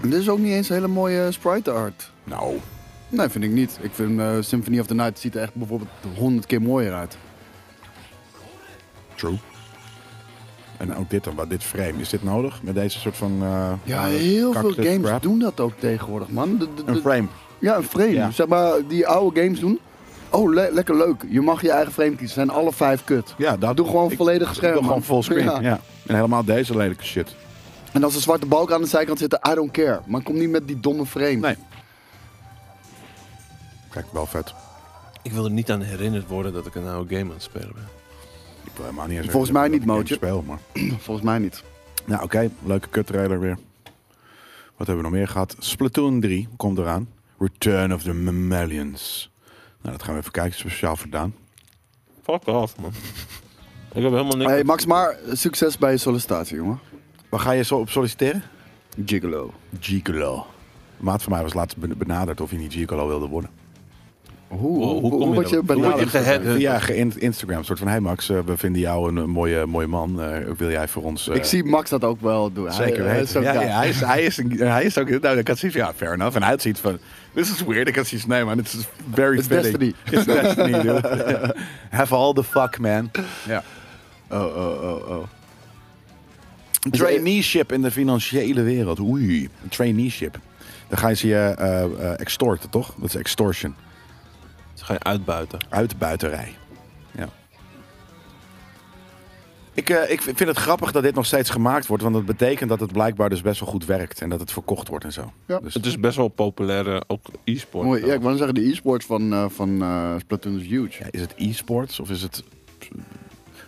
B: En dit is ook niet eens hele mooie eh, sprite art.
A: Nou,
B: Nee, vind ik niet. Ik vind eh, Symphony of the Night ziet er echt bijvoorbeeld honderd keer mooier uit.
A: true. En ook dit dan, wat dit frame. Is dit nodig met deze soort van... eh,
B: Ja,
A: eh,
B: heel veel
A: cactus
B: games
A: crap?
B: doen dat ook tegenwoordig, man. De- de- de-
A: Een frame.
B: Ja, een frame.
A: Ja.
B: Zeg maar, die oude games doen. Oh, le- lekker leuk. Je mag je eigen frame kiezen. Zijn alle vijf kut.
A: Ja, dat
B: Doe gewoon
A: ik-
B: volledig
A: ik
B: scherm,
A: Doe gewoon
B: man.
A: full screen.
B: Ja.
A: Ja. En helemaal deze lelijke shit.
B: En als een zwarte balk aan de zijkant zit, I don't care. Maar kom niet met die domme frame.
A: Nee. Kijk, wel vet.
C: Ik wil er niet aan herinnerd worden dat ik een oude game aan het spelen ben.
A: Ik wil helemaal niet eens
B: Volgens mij niet,
A: mootje.
B: Mootje.
A: Speel, maar.
B: Volgens mij niet.
A: Nou, oké. Leuke cut trailer weer. Wat hebben we nog meer gehad? Splatoon 3 komt eraan. Return of the Mammalians. Nou, dat gaan we even kijken. Speciaal voor Daan.
C: Fuck off, man. Ik heb helemaal niks.
B: Hey, Max, maar eh, succes bij je sollicitatie, jongen.
A: Waar ga je zo op solliciteren?
B: Gigolo.
A: Gigolo. Een maat van mij was laatst ben- benaderd of hij niet Gigolo wilde worden.
B: Hoe, hoe,
C: hoe
B: hoe,
C: kom je
B: word je
C: dat- hoe word je
B: benaderd?
C: gehacked? Eh,
A: ja, ge- in- Instagram. Een soort van, hey Max, eh, we vinden jou een, eh, mooie, mooie man. Eh, wil jij voor ons... eh,
B: Ik zie Max dat ook wel doen. Hij-
A: Zeker
B: hij
A: weten.
B: is ook-
A: ja,
B: ja.
A: ja, Eh, hij, is, hij, is, een- hij is ook... Nou, ik had zoiets van, ja, fair enough. En hij had zoiets van... This is weird. Ik had zoiets van, nee man, this is very
B: It's
A: fitting.
B: destiny.
A: It's destiny, dude. Have all the fuck, man. Ja.
B: Oh, oh, oh, oh.
A: Een Traineeship in de financiële wereld. Oei, een traineeship. Dan ga je ze je eh, eh, extorten, toch? Dat is extortion.
C: Ze gaan je uitbuiten.
A: Uitbuiterij. Ja. Ik, eh, ik vind het grappig dat dit nog steeds gemaakt wordt. Want dat betekent dat het blijkbaar dus best wel goed werkt. En dat het verkocht wordt en zo.
B: Ja.
A: Dus,
C: Het is best wel populair, eh, ook e-sport.
B: Mooi. Ja, ik wou zeggen, de e-sports van, eh, van eh, Splatoon is huge.
A: ja, is het e-sports of is het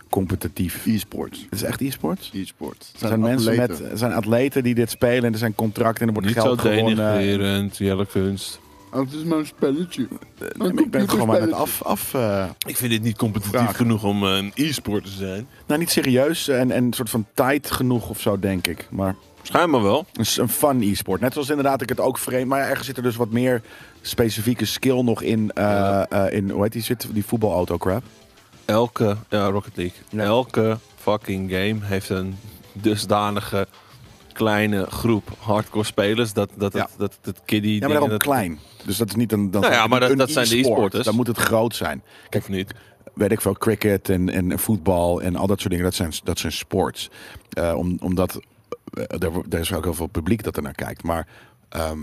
A: competitief?
B: E-sports.
A: Het is echt e-sports?
B: E-sports.
A: Er zijn, mensen met,
B: atleten.
A: er zijn atleten die dit spelen en er zijn contracten en er wordt
C: Niet zo
A: geld gewonnen.
C: denigrerend, Jelle Kunst.
B: Oh, het is maar een spelletje. Oh,
A: Nee, maar ik ben het gewoon maar net af, af, eh,
C: Ik vind dit niet competitief
A: Vraag.
C: genoeg om eh, een e-sport te zijn.
A: Nou, niet serieus en, en een soort van tijd genoeg of zo, denk ik. Maar
C: Schijnbaar wel.
A: een, s- een fun e-sport. Net zoals inderdaad ik het ook vreemd... Maar ja, ergens zit er dus wat meer specifieke skill nog in... eh,
C: Ja.
A: eh, in hoe heet die, zit, die voetbalauto-crap?
C: Elke, ja, Rocket League.
A: Ja.
C: Elke fucking game heeft een dusdanige kleine groep hardcore spelers. Dat, dat,
A: Ja.
C: dat, dat, dat kiddie...
A: Ja, maar daarom klein. Dus dat is niet een... Dan
C: Nou ja, maar dat-
A: een
C: dat zijn de
A: e-sport.
C: e-sporters.
A: Dan moet het groot zijn.
C: Kijk niet.
A: weet ik veel, cricket en, en voetbal en al dat soort dingen, dat zijn, dat zijn sports. Eh, om, omdat eh, er, wo- er is ook heel veel publiek dat er naar kijkt. Maar. ehm,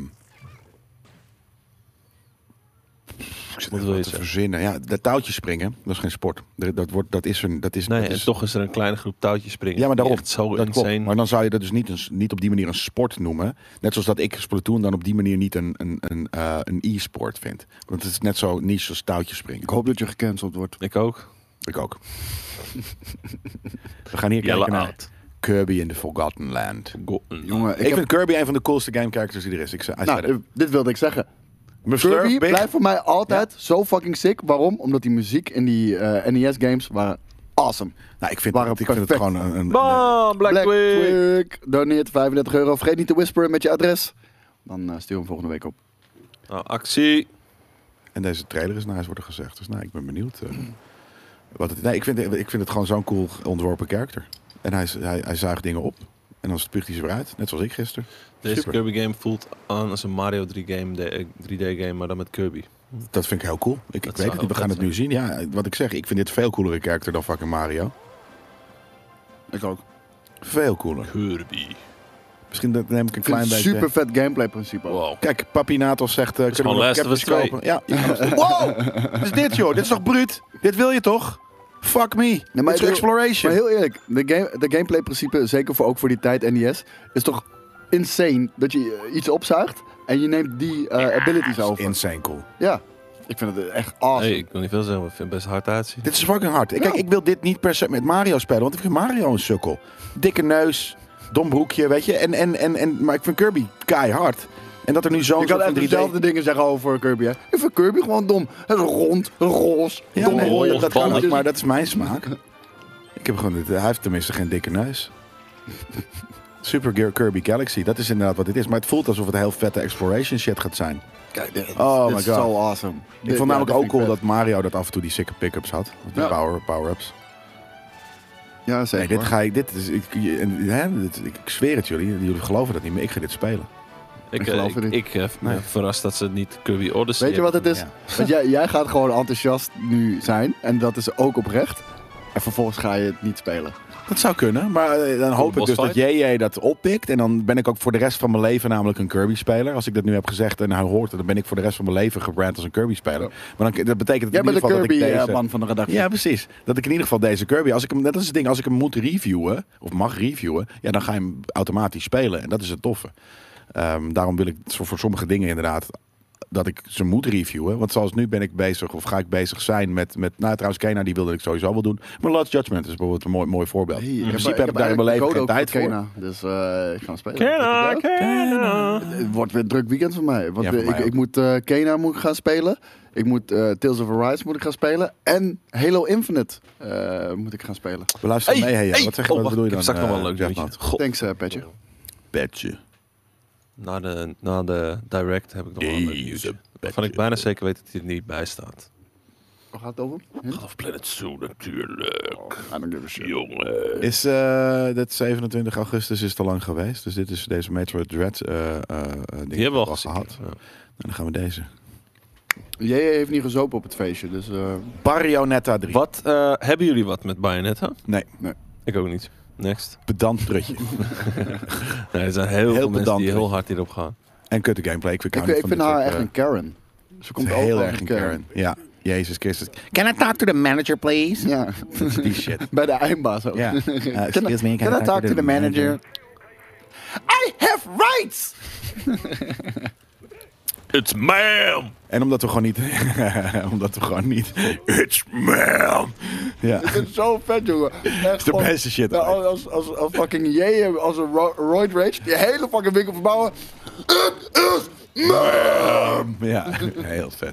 A: ik zit
C: Wat
A: even
C: wil je
A: te
C: zeggen?
A: verzinnen. Ja, de touwtjes springen, dat is geen sport. Er- Dat, wordt, dat is een. Dat is,
C: Nee,
A: dat
C: en
A: is-
C: toch is er een kleine groep touwtjes springen.
A: ja, maar daarom.
C: Echt zo
A: dat klopt.
C: insane.
A: Maar dan zou je dat dus niet, een, s- niet op die manier een sport noemen. Net zoals dat ik Splatoon dan op die manier niet een, een, een, eh, een e-sport vind. Want het is net zo niche als touwtjes springen.
B: Ik hoop dat je gecanceld wordt.
C: Ik ook.
A: Ik ook. We gaan hier
C: Jelle
A: kijken naar
C: out.
A: Kirby in the Forgotten Land.
C: Go-
B: Jongen, ik,
A: Ik,
B: heb...
A: vind Kirby een van de coolste game characters die er is. Ik zei, hij
B: Nou,
A: zei dat.
B: dit- dit wilde ik zeggen.
A: Mijn slurp,
B: Kirby
A: big.
B: blijft voor mij altijd zo fucking sick. Waarom? Omdat die muziek in die eh, NES-games waren awesome.
A: nou, ik vind,
B: waren
A: ik vind het
B: perfect.
A: gewoon een... een
C: Bam, Black,
B: Black
C: Twig.
B: Twig, doneert 35 euro. Vergeet niet te whisperen met je adres. Dan eh, stuur hem volgende week op.
C: Nou, actie.
A: en deze trailer is nice, wordt er gezegd. Dus nou, ik ben benieuwd. eh,
B: Mm.
A: wat het, nee, ik, vind, ik vind het gewoon zo'n cool ontworpen character. En hij, hij, hij zuigt dingen op. En dan spuugt hij ze weer uit. Net zoals ik gisteren.
C: Deze
A: Super.
C: Kirby game voelt aan als een Mario 3 game, de- eh, 3D game, maar dan met Kirby.
A: Dat vind ik heel cool. Ik, ik
C: Dat
A: weet
C: zou
A: het niet. We
C: ook
A: gaan het
C: vet
A: nu zien. Ja, wat ik zeg. Ik vind dit veel coolere character dan fucking Mario.
B: Ik ook.
A: Veel cooler.
C: Kirby.
A: Misschien dat neem ik een
B: Ik vind
A: klein
B: het
A: beetje...
B: super vet gameplay principe. ook.
C: Wow.
A: Kijk, Papi Natos zegt... eh kunnen we
C: gewoon
A: nog
C: Last of Us
A: captains
C: 2.
A: kopen? Ja. je kan nog steeds- wow! Wat is dit, joh? Dit is toch bruut? Dit wil je toch? Fuck me. dit is
B: ik-
A: exploration.
B: Maar heel eerlijk, de, game, de gameplay principe, zeker voor, ook voor die tijd NES, is toch insane dat je eh, iets opzuigt en je neemt die eh, abilities
A: Dat is
B: over.
A: Insane cool.
B: Ja. Ik vind het echt awesome.
C: Nee, ik wil niet veel zeggen, maar ik vind het best hard uitzien.
A: Dit is fucking hard. Kijk,
B: Ja.
A: ik wil dit niet per se met Mario spelen, want ik vind Mario een sukkel. Dikke neus, dom broekje, weet je. En, en, en, en, maar ik vind Kirby keihard. En dat er nu zo'n
B: Ik kan
A: soort
B: echt
A: van 3D...
B: dezelfde dingen zeggen over Kirby. Hè. Ik vind Kirby gewoon dom. Het is rond, roze,
A: Ja,
B: dom
A: nee,
B: rode
A: dat kan ook,
B: balletjes.
A: maar dat is mijn smaak. Ik heb gewoon, dit- hij heeft tenminste geen dikke neus. Super Gear Kirby Galaxy, dat is inderdaad wat dit is. Maar het voelt alsof het heel vette exploration shit gaat zijn.
B: Kijk, dit,
A: Oh
B: dit
A: my
B: is
A: God.
B: zo awesome.
A: Ik vond namelijk ook cool dat Mario dat af en toe die sikke pick-ups had. Die
B: Ja.
A: power- power-ups.
B: Ja,
A: nee,
B: zeker.
A: dit ga ik, dit is, ik, je- en- hè, dit- ik zweer het jullie, jullie geloven dat niet, maar ik ga dit spelen.
C: Ik,
B: Ik
C: eh,
B: geloof
C: ik,
B: het niet.
C: ik, eh, ben
A: Nee.
C: verrast dat ze niet Kirby Odyssey
B: Weet je wat het is?
A: Ja.
B: Want jij, jij gaat gewoon enthousiast nu zijn. En dat is ook oprecht. En vervolgens ga je het niet spelen.
A: Dat zou kunnen, maar eh, dan hoop ik
C: boss
A: dus dat
C: fight?
A: JJ dat oppikt. En dan ben ik ook voor de rest van mijn leven namelijk een Kirby-speler. Als ik dat nu heb gezegd en hij hoort het, dan ben ik voor de rest van mijn leven gebrand als een Kirby-speler.
B: Ja.
A: Maar dan, dat betekent
B: Jij
A: in ieder
B: bent de
A: geval dat ik deze...
B: Kirby-man van de redactie.
A: Ja, precies. Dat ik in ieder geval deze Kirby, als ik hem, dat is het ding, als ik hem moet reviewen, of mag reviewen, ja, dan ga je hem automatisch spelen. En dat is het toffe. Ehm, daarom wil ik zo- voor sommige dingen inderdaad dat ik ze moet reviewen. Want zoals nu ben ik bezig, of ga ik bezig zijn met, met nou trouwens, Kena, die wilde ik sowieso wel doen. Maar Last Judgment is bijvoorbeeld een mooi, mooi voorbeeld.
B: Hey,
A: In
B: ik
A: principe heb ik daar in mijn
B: eigenlijk
A: leven
B: code
A: geen
B: ook
A: tijd voor.
B: Kena, Dus eh, ik ga hem spelen.
C: Kenna,
B: Weet je
C: Kenna.
B: wel? Eh, Het wordt weer een druk weekend voor mij. Want
A: Ja, voor
B: ik,
A: mij ook.
B: ik moet eh, Kena moet ik gaan spelen. Ik moet eh, Tales of Arise moet ik gaan spelen. En Halo Infinite eh, moet ik gaan spelen.
A: We luisteren mee, hey, ja. wat zeg je, wat
C: oh, wacht,
A: bedoel je dan?
C: ik heb straks nog wel een
A: eh,
C: leuk
A: Jeff
C: nieuwtje.
A: Maat?
C: God,
B: Thanks, eh Petje.
A: Petje.
C: na, de, na de direct heb ik nog wel een leuk
A: Deze
C: nieuwtje. Waarvan
A: petje.
C: ik bijna zeker weet dat hij er niet bij staat.
B: Waar gaat het over? Hm?
C: Of Planet Zoo natuurlijk,
B: I don't give a shit.
C: jongen.
A: Is eh dat 27 augustus is te lang geweest. Dus dit is deze Metroid Dread eh eh ding
C: Die hebben
A: al
C: we al gezien.
A: gehad.
C: Ja.
A: En dan gaan we deze.
B: JJ heeft niet gezopen op het feestje, dus... eh,
A: Barionetta 3.
C: Wat, eh, hebben jullie wat met Bayonetta?
A: Nee,
C: Ik ook niet. Next.
A: pedant prutje.
C: Nee, er zijn heel,
A: Heel
C: veel mensen die
A: pedant.
C: heel hard hierop gaan.
A: en kutte gameplay. Ik,
B: ik ik vind
A: eh,
B: haar echt een Karen. Ze komt ook
A: heel
B: wel
A: erg een Karen. Ja, Jezus Christus. Can I talk to the manager, please?
B: Ja,
A: Die shit.
B: bij de eindbaas ook.
A: Ja. Eh, excuse me,
B: Can I talk to the manager? I have rights!
C: It's ma'am!
A: En omdat we gewoon niet... omdat we gewoon niet... It's man! Ja.
B: Ik vind het zo vet, jongen. Echt
A: de
B: gewoon-
A: beste shit
B: Nou,
A: ooit.
B: als, als, als fucking jij, als een ro roid rage, die hele fucking winkel verbouwen.
A: Ja, heel vet.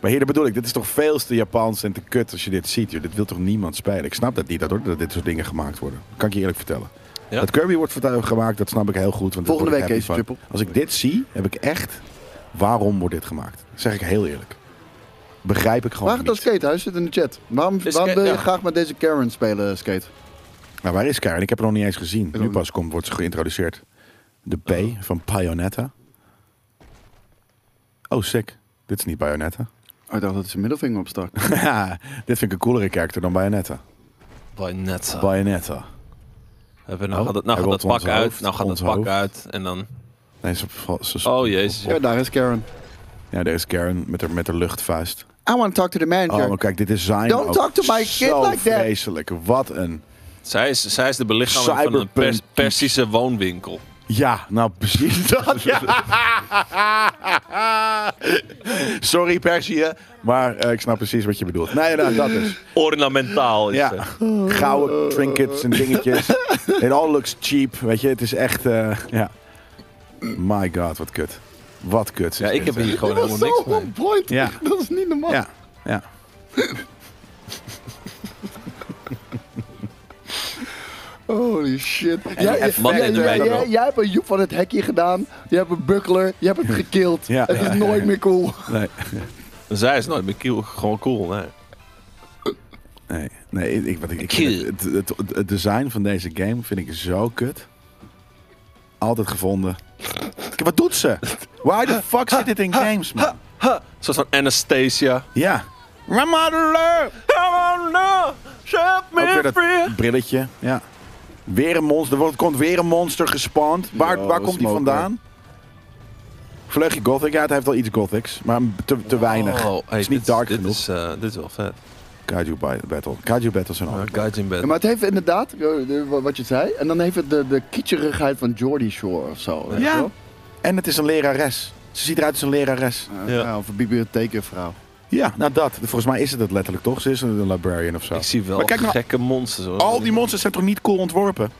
A: Maar hier dat bedoel ik, dit is toch veel te Japans en te kut als je dit ziet. joh. Dit wil toch niemand spelen? Ik snap dat niet, dat, hoor, dat dit soort dingen gemaakt worden. Kan ik je eerlijk vertellen.
C: Ja?
A: Dat Kirby wordt vertu- gemaakt, dat snap ik heel goed. Want daar
B: Volgende
A: word ik
B: week,
A: happy
B: Kees
A: van.
B: Triple.
A: Als ik dit zie, heb ik echt... Waarom wordt dit gemaakt? Dat zeg ik heel eerlijk. Begrijp ik gewoon
B: Waar gaat dat
A: niet.
B: skate? Hij zit in de chat. Waarom,
C: Is
B: waarom
C: Ka-
B: wil je
C: ja.
B: graag met deze Karen spelen, Skate?
A: Nou, waar is Karen? Ik heb haar nog niet eens gezien.
B: ook
A: Nu
B: niet.
A: pas komt, wordt ze geïntroduceerd. De P
C: Oh.
A: van Bayonetta. Oh, sick. Dit is niet Bayonetta.
B: Oh, ik dacht dat hij zijn middelvinger opstak.
A: dit vind ik een coolere character dan Bayonetta.
B: Oh.
C: Bayonetta.
A: Bayonetta.
C: hebben, nou
A: Oh,
C: gaat het, nou
A: hij
C: gaat het
A: wil ons
C: pak uit,
A: hoofd,
C: nou gaat
A: ons
C: het pak
A: hoofd.
C: uit en dan...
A: Nee, ze, ze- ze-
C: Oh jezus.
B: ja, daar is Karen.
A: Ja, daar is Karen met haar, met haar luchtvuist.
B: I want to talk to the
A: Oh,
B: manager.
A: maar kijk, dit is zijn
B: Don't
A: ook
B: talk to my kid
A: zo
B: like that.
A: vreselijk. Wat een...
C: Zij is, zij is de belichaming van een
A: Cyberpunk.
C: Pers- Persische woonwinkel.
A: Ja, nou precies dat. ja. Sorry Persië, maar eh, ik snap precies wat je bedoelt. Nee, nou, dat is.
C: Ornamentaal is
A: Ja,
C: ze.
A: gouden trinkets en dingetjes. It all looks cheap, weet je. Het is echt, eh, ja. My god, wat kut. Wat kut. is
C: Ja, ik
A: dit,
C: heb
A: hè.
C: hier gewoon
B: dat is
C: helemaal
B: zo
C: niks mee.
B: on point.
A: Ja.
B: Dat is niet normaal.
A: Ja, ja.
B: Holy shit. Jij,
C: het man
B: jij-
C: in de
B: jij-
C: wijk
B: jij-
C: wel.
B: jij hebt een joep van het hekje gedaan. Je hebt een buckler. Je hebt het gekild.
A: Ja.
B: Het is nooit meer cool.
A: Nee.
C: Zij is nooit meer cool, gewoon cool, nee.
A: Nee, nee ik, wat ik, ik vind het, het, het- het design van deze game vind ik zo kut. Altijd gevonden. Kijk, Wat doet ze? Why the fuck zit dit in games, man?
C: Een soort van Anastasia.
A: Ja. My mother love. Ook weer dat brilletje. Ja. Weer een monster. Er wordt- komt weer een monster gespawnd. Waar,
B: Yo,
A: waar komt die
B: smoker.
A: vandaan? Vleugje gothic. Ja, het heeft wel iets gothics. Maar te, te weinig.
C: Oh, hey,
A: het is
C: dit
A: niet dark
C: dit
A: genoeg.
C: Is, eh, dit is wel vet.
A: Kaiju Bi- Battle. Kaiju Battle zijn al.
C: Maar Gaijin Bed.
B: Ja, maar het heeft inderdaad, eh, de- wa- wat je zei, en dan heeft het de, de kietcherigheid van Jordy Shore of zo. weet je
A: Ja.
B: wel?
A: En het is een lerares. Ze ziet eruit als een lerares.
B: Eh,
C: Ja.
B: nou, of een bibliothekenvrouw.
A: Ja, nou dat. Volgens mij is het het letterlijk toch? Ze is een librarian of zo.
C: Ik zie wel
A: Maar kijk nou,
C: gekke monsters. Hoor.
A: Al die monsters zijn toch niet cool ontworpen?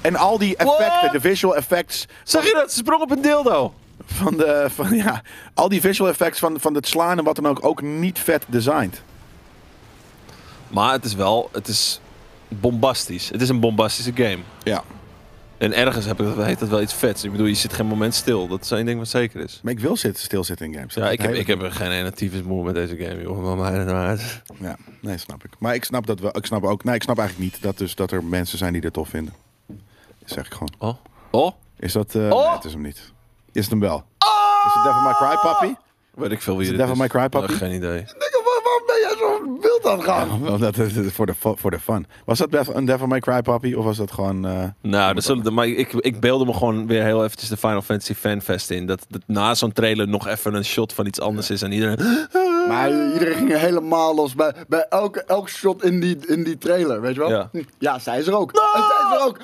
A: En al die effecten,
C: What?
A: de visual effects
C: Zag je dat? Ze sprong op een dildo.
A: van de. Van, ja, al die visual effects van, van het slaan en wat dan ook, ook niet vet designed.
C: Maar het is wel, het is bombastisch. Het is een bombastische game.
A: Ja.
C: En ergens heb ik, heet dat wel iets vets. Ik bedoel, je zit geen moment stil. Dat is één ding wat zeker is.
A: Maar ik wil zit, stilzitten in games.
C: Ja, ik heb, ik heb er geen ene tyfus moe met deze game, joh. Maar mij nou uit.
A: Ja, nee, snap ik. Maar ik snap dat wel. Ik snap ook. Nee, ik snap eigenlijk niet dat, dus, dat er mensen zijn die dit tof vinden. Dat zeg ik gewoon.
C: Oh. Oh?
A: Is dat. eh,
C: Oh!
A: Nee, het is hem niet. Is het hem wel? Is het Devil May Cry, papi?
C: Weet ik veel wie
A: Is
C: dit
A: het Devil May Cry, papi?
C: Ja, geen idee.
B: waarom ben jij zo wild aan het gaan?
A: Omdat het- voor de, fu- voor de fun. Was dat Bev- een Devil May Cry, papi? Of was dat gewoon. eh,
C: Nou, dat zullen, de- maar ik, ik beelde me gewoon weer heel eventjes de Final Fantasy fanfest in. Dat, dat na zo'n trailer nog even een shot van iets anders is. En iedereen...
B: Maar iedereen ging helemaal los bij, bij elke, elk shot in die, in die trailer, weet je wel?
C: Ja.
B: Ja, zij is er ook. En zij is er
A: Ah!
B: ook.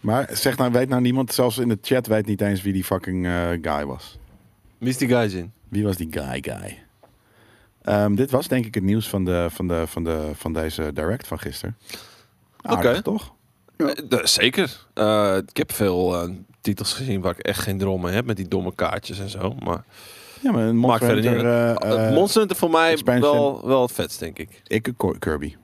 A: Maar zeg nou, weet nou niemand, zelfs in de chat weet niet eens wie die fucking eh, guy was.
C: Wie is die guys in?
A: Wie was die guy guy? Ehm, dit was denk ik het nieuws van, de, van, de, van, de, van deze direct van gisteren. Aardig,
C: Oké.
A: toch?
C: Eh, eh, zeker. Eh, ik heb veel eh, titels gezien waar ik echt geen droom mee heb. Met die domme kaartjes en zo. Maar
A: Ja, maar een
C: maakt
A: Monster
C: verder niet
A: Hunter,
C: uit.
A: eh,
C: Het
A: eh,
C: Monster Hunter voor mij
A: expansion.
C: wel, wel het vetst, denk ik.
A: Ik Cor- Kirby.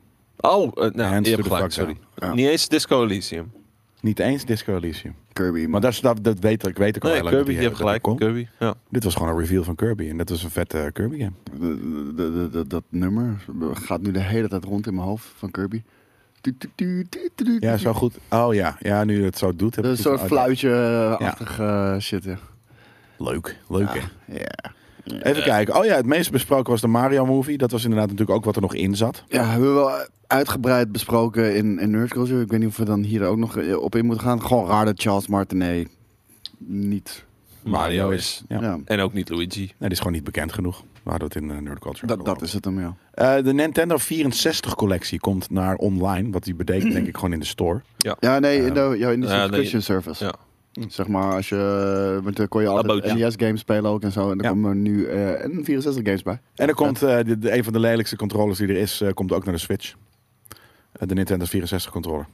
C: Oh, eh, nou,
A: Hands
C: je
A: to the
C: hebt gelijk,
A: fuck
C: sorry.
A: down. Ja.
C: Niet eens Disco Elysium.
A: Niet eens Disco Elysium.
B: Kirby,
A: Maar dat, is- dat, dat weet ik, weet ik al
C: Nee,
A: heel lang dat
C: Kirby,
A: die-
C: je hebt
A: dat die
C: gelijk.
A: komt.
C: Kirby, ja.
A: Dit was gewoon een reveal van Kirby. En dat was een vette Kirby game.
B: De- de- de- de- dat nummer gaat nu de hele tijd rond in mijn hoofd van Kirby. Tu- tu- tu- tu- tu- tu-
A: Ja, zo goed. Oh ja, ja nu het zo doet. heb
B: Dat is
A: ik
B: een
A: het-
B: soort
A: oh,
B: fluitje-achtige shit, ja.
A: Leuk, leuk hè.
B: Ja.
A: Even kijken. Oh ja, het meest besproken was de Mario Movie. Dat was inderdaad natuurlijk ook wat er nog in zat.
B: Ja, hebben we wel uitgebreid besproken in, in Nerd Culture. Ik weet niet of we dan hier ook nog eh, op in moeten gaan. Gewoon raar dat Charles Martinet niet...
C: Mario is.
A: Ja.
B: Ja.
C: En ook niet Luigi.
A: Nee, dit is gewoon niet bekend genoeg. We hadden het in eh, Nerd Culture.
B: Dat,
A: ook al
B: dat is het hem, ja.
A: over. Eh, de Nintendo 64 collectie komt naar online. Wat die betekent denk ik gewoon in de store.
B: Ja, nee, in de, ja, in de
C: ja,
B: subscription service.
C: ja.
B: Zeg maar, als je, want dan kon je altijd
C: Aboutje.
B: NES-games spelen ook en zo. En er
A: Ja.
B: komen er nu eh en 64 games bij.
A: En er komt eh, de, de- een van de lelijkste controllers die er is, eh, komt ook naar de Switch. Eh, de Nintendo 64 controller.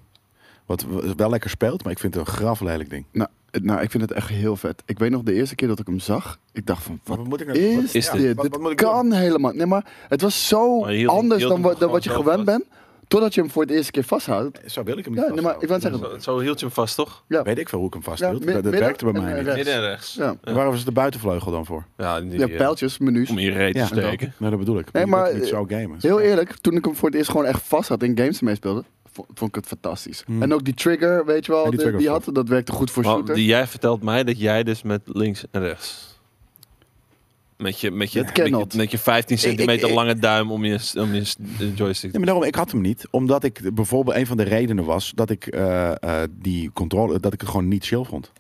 A: Wat w- wel lekker speelt, maar ik vind het een graf lelijk ding.
B: Nou, het- nou, ik vind het echt heel vet. Ik weet nog de eerste keer dat ik hem zag, ik dacht van, wat
A: moet ik nou-
B: is
C: is dit?
B: dit?
A: Wat- wat moet
B: dit
A: ik doen?
B: kan helemaal... Nee, maar het was zo
C: Maar je hield hem-
B: anders
C: je hield
B: dan,
C: hem
B: wa- dan wat je
C: gewoon
B: gewend
C: zelf
B: bent, totdat je hem voor het eerste keer vasthoudt.
A: Zo wil ik hem niet
B: Ja, nee, maar ik
A: vasthouden.
B: wil zeggen...
C: Zo, zo hield je hem vast, toch?
B: Ja,
A: Weet ik wel hoe ik hem vast
B: Ja,
A: hield.
B: mi-
A: dat dat
B: midden
A: werkte bij
B: en
A: mij niet.
B: rechts.
C: Midden en rechts.
B: ja.
A: En Waarom is de buitenvleugel dan voor?
C: Ja, die,
B: ja
C: eh,
B: pijltjes, menus.
C: Om je reet te
A: Ja.
C: steken.
A: Nou, dat bedoel ik.
B: Nee,
A: Je
B: maar, eh,
A: kunt niet zo gamen.
B: Heel eerlijk, toen ik hem voor het eerst gewoon echt vast had in games meespeelde, vo- vond ik het fantastisch. En ook die trigger, weet je wel,
A: Hmm. die
B: die,
A: trigger
B: die
A: was
B: had, dat werkte goed voor
C: Maar
B: shooters.
C: die, jij vertelt mij dat jij dus met links en rechts. Met je, met je,
B: Dat
C: met
B: cannot.
C: je, met je 15 centimeter
A: ik-
C: lange duim om je, om je s- eh, joystick
A: Ja, maar daarom, ik had hem niet. Omdat ik bijvoorbeeld een van de redenen was dat ik eh, eh, die controle, dat ik het gewoon niet chill vond.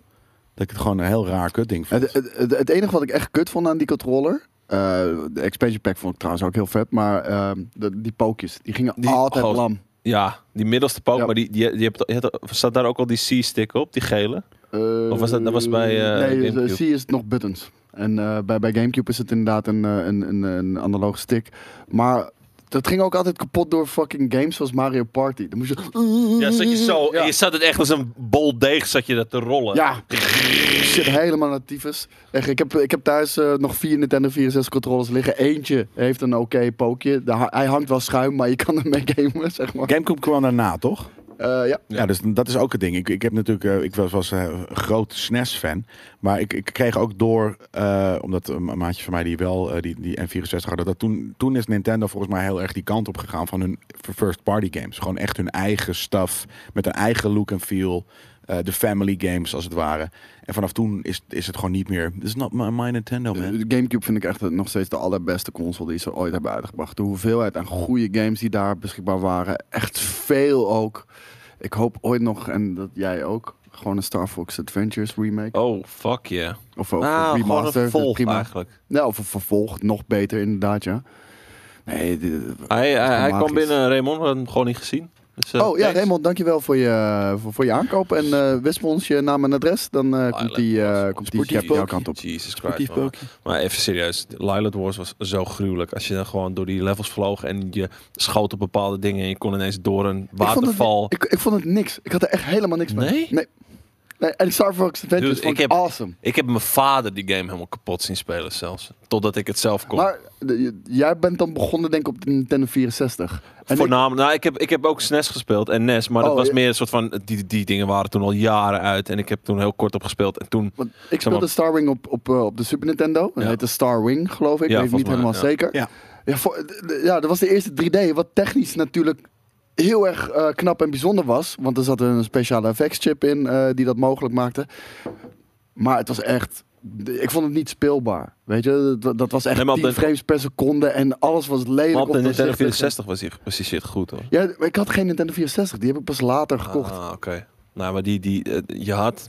A: Dat ik het gewoon een heel raar kut ding vond.
B: Het, het, het, het enige wat ik echt kut vond aan die controller. eh, de expansion pack vond ik trouwens ook heel vet. Maar ehm, de- die pookjes, die gingen
C: Die-
B: altijd
C: goos.
B: lam.
C: Ja, die middelste pook,
B: Ja.
C: maar die, die, die hebt, je had- staat daar ook al die C-stick op, die gele?
B: Eh,
C: Of was dat- dat was bij, eh,
B: nee,
C: Gamecube?
B: C is nog buttons. En eh, bij, bij Gamecube is het inderdaad een, eh, een, een, een analoog stick. Maar dat ging ook altijd kapot door fucking games zoals Mario Party. Dan moest je...
C: Ja, zat je zo,
B: Ja.
C: je zat het echt als een bol deeg zat je dat te rollen.
B: Ja, ik zit helemaal naar tyfus. Echt, ik, heb, ik heb thuis eh, nog vier Nintendo 64 controllers liggen. Eentje heeft een oké pookje. De ha- hij hangt wel schuim, maar je kan ermee gamen, zeg maar.
A: Gamecube kwam daarna, toch?
B: Eh, ja.
A: Ja, dus dat is ook het ding. Ik, ik, heb natuurlijk, eh, ik was, was eh, een groot SNES-fan. Maar ik, ik kreeg ook door, eh, omdat een ma- maatje van mij die wel eh, die, die N64 hadden, dat toen, toen is Nintendo volgens mij heel erg die kant op gegaan van hun first-party games. Gewoon echt hun eigen stuff, met een eigen look en feel. eh, de family games als het ware. En vanaf toen is, is het gewoon niet meer. This is not my, my Nintendo,
C: Eh,
A: man.
B: De Eh, Gamecube vind ik echt nog steeds de allerbeste console die ze ooit hebben uitgebracht. De hoeveelheid aan goede games die daar beschikbaar waren. Echt veel ook. Ik hoop ooit nog, en dat jij ook, gewoon een Star Fox Adventures remake.
C: Oh, fuck yeah.
B: Of, of
C: Nou, gewoon een
B: remaster.
C: vervolg
B: prima.
C: eigenlijk.
B: Ja, of een vervolg, nog beter inderdaad, ja. Nee, dit-
C: Hij, hij, hij
B: magisch.
C: kwam binnen, Raymond, we hadden hem gewoon niet gezien. Dus, eh,
B: oh ja,
C: thanks.
B: Raymond, dankjewel voor je, voor, voor je aankoop. En eh wist me ons je naam en adres, dan eh, komt
C: Island
B: die, eh,
C: Wars.
B: komt die
A: Sportief
B: cap jouw
A: pookje.
B: kant op.
C: Jesus Christ,
A: Sportief
C: man.
A: pookje.
C: Maar even serieus, Lilith Wars was zo gruwelijk. Als je dan gewoon door die levels vloog en je schoot op bepaalde dingen en je kon ineens door een waterval.
B: Ik, ik vond het niks. Ik had er echt helemaal niks mee.
C: Nee?
B: Nee. nee en Star Fox Adventures
C: Dude,
B: vond
C: ik
B: ik
C: heb-
B: awesome.
C: Ik heb mijn vader die game helemaal kapot zien spelen zelfs. Totdat ik het zelf kon.
B: Maar de- je- jij bent dan begonnen denk ik op de Nintendo 64. En ik,
C: Voornamelijk, nou, ik heb, ik heb ook SNES gespeeld en NES, maar dat
B: Oh,
C: was
B: ja.
C: meer een soort van, die, die dingen waren toen al jaren uit en ik heb toen heel kort op gespeeld en toen,
B: want ik
C: Zeg
B: speelde
C: maar-
B: Starwing op, op, eh, op de Super Nintendo. Dat
C: Ja.
B: heette Starwing, geloof ik.
C: Ja,
B: ik weet het niet
C: volgens mij,
B: helemaal
C: ja.
B: zeker.
A: Ja.
B: Ja, voor- d- d- ja, dat was de eerste 3D, wat technisch natuurlijk heel erg eh, knap en bijzonder was. Want er zat een speciale effects chip in eh, die dat mogelijk maakte. Maar het was echt... d- Ik vond het niet speelbaar. Weet je, dat, dat was echt
C: Nee, maar op
B: 10
C: de-
B: frames per seconde en alles was lelijk.
C: maar op de
B: dat
C: Nintendo
B: zicht.
C: 64 was die precies shit goed hoor.
B: Ja, maar ik had geen Nintendo 64. Die heb ik pas later gekocht.
C: Ah, oké. Nou, maar die, die, eh, je had...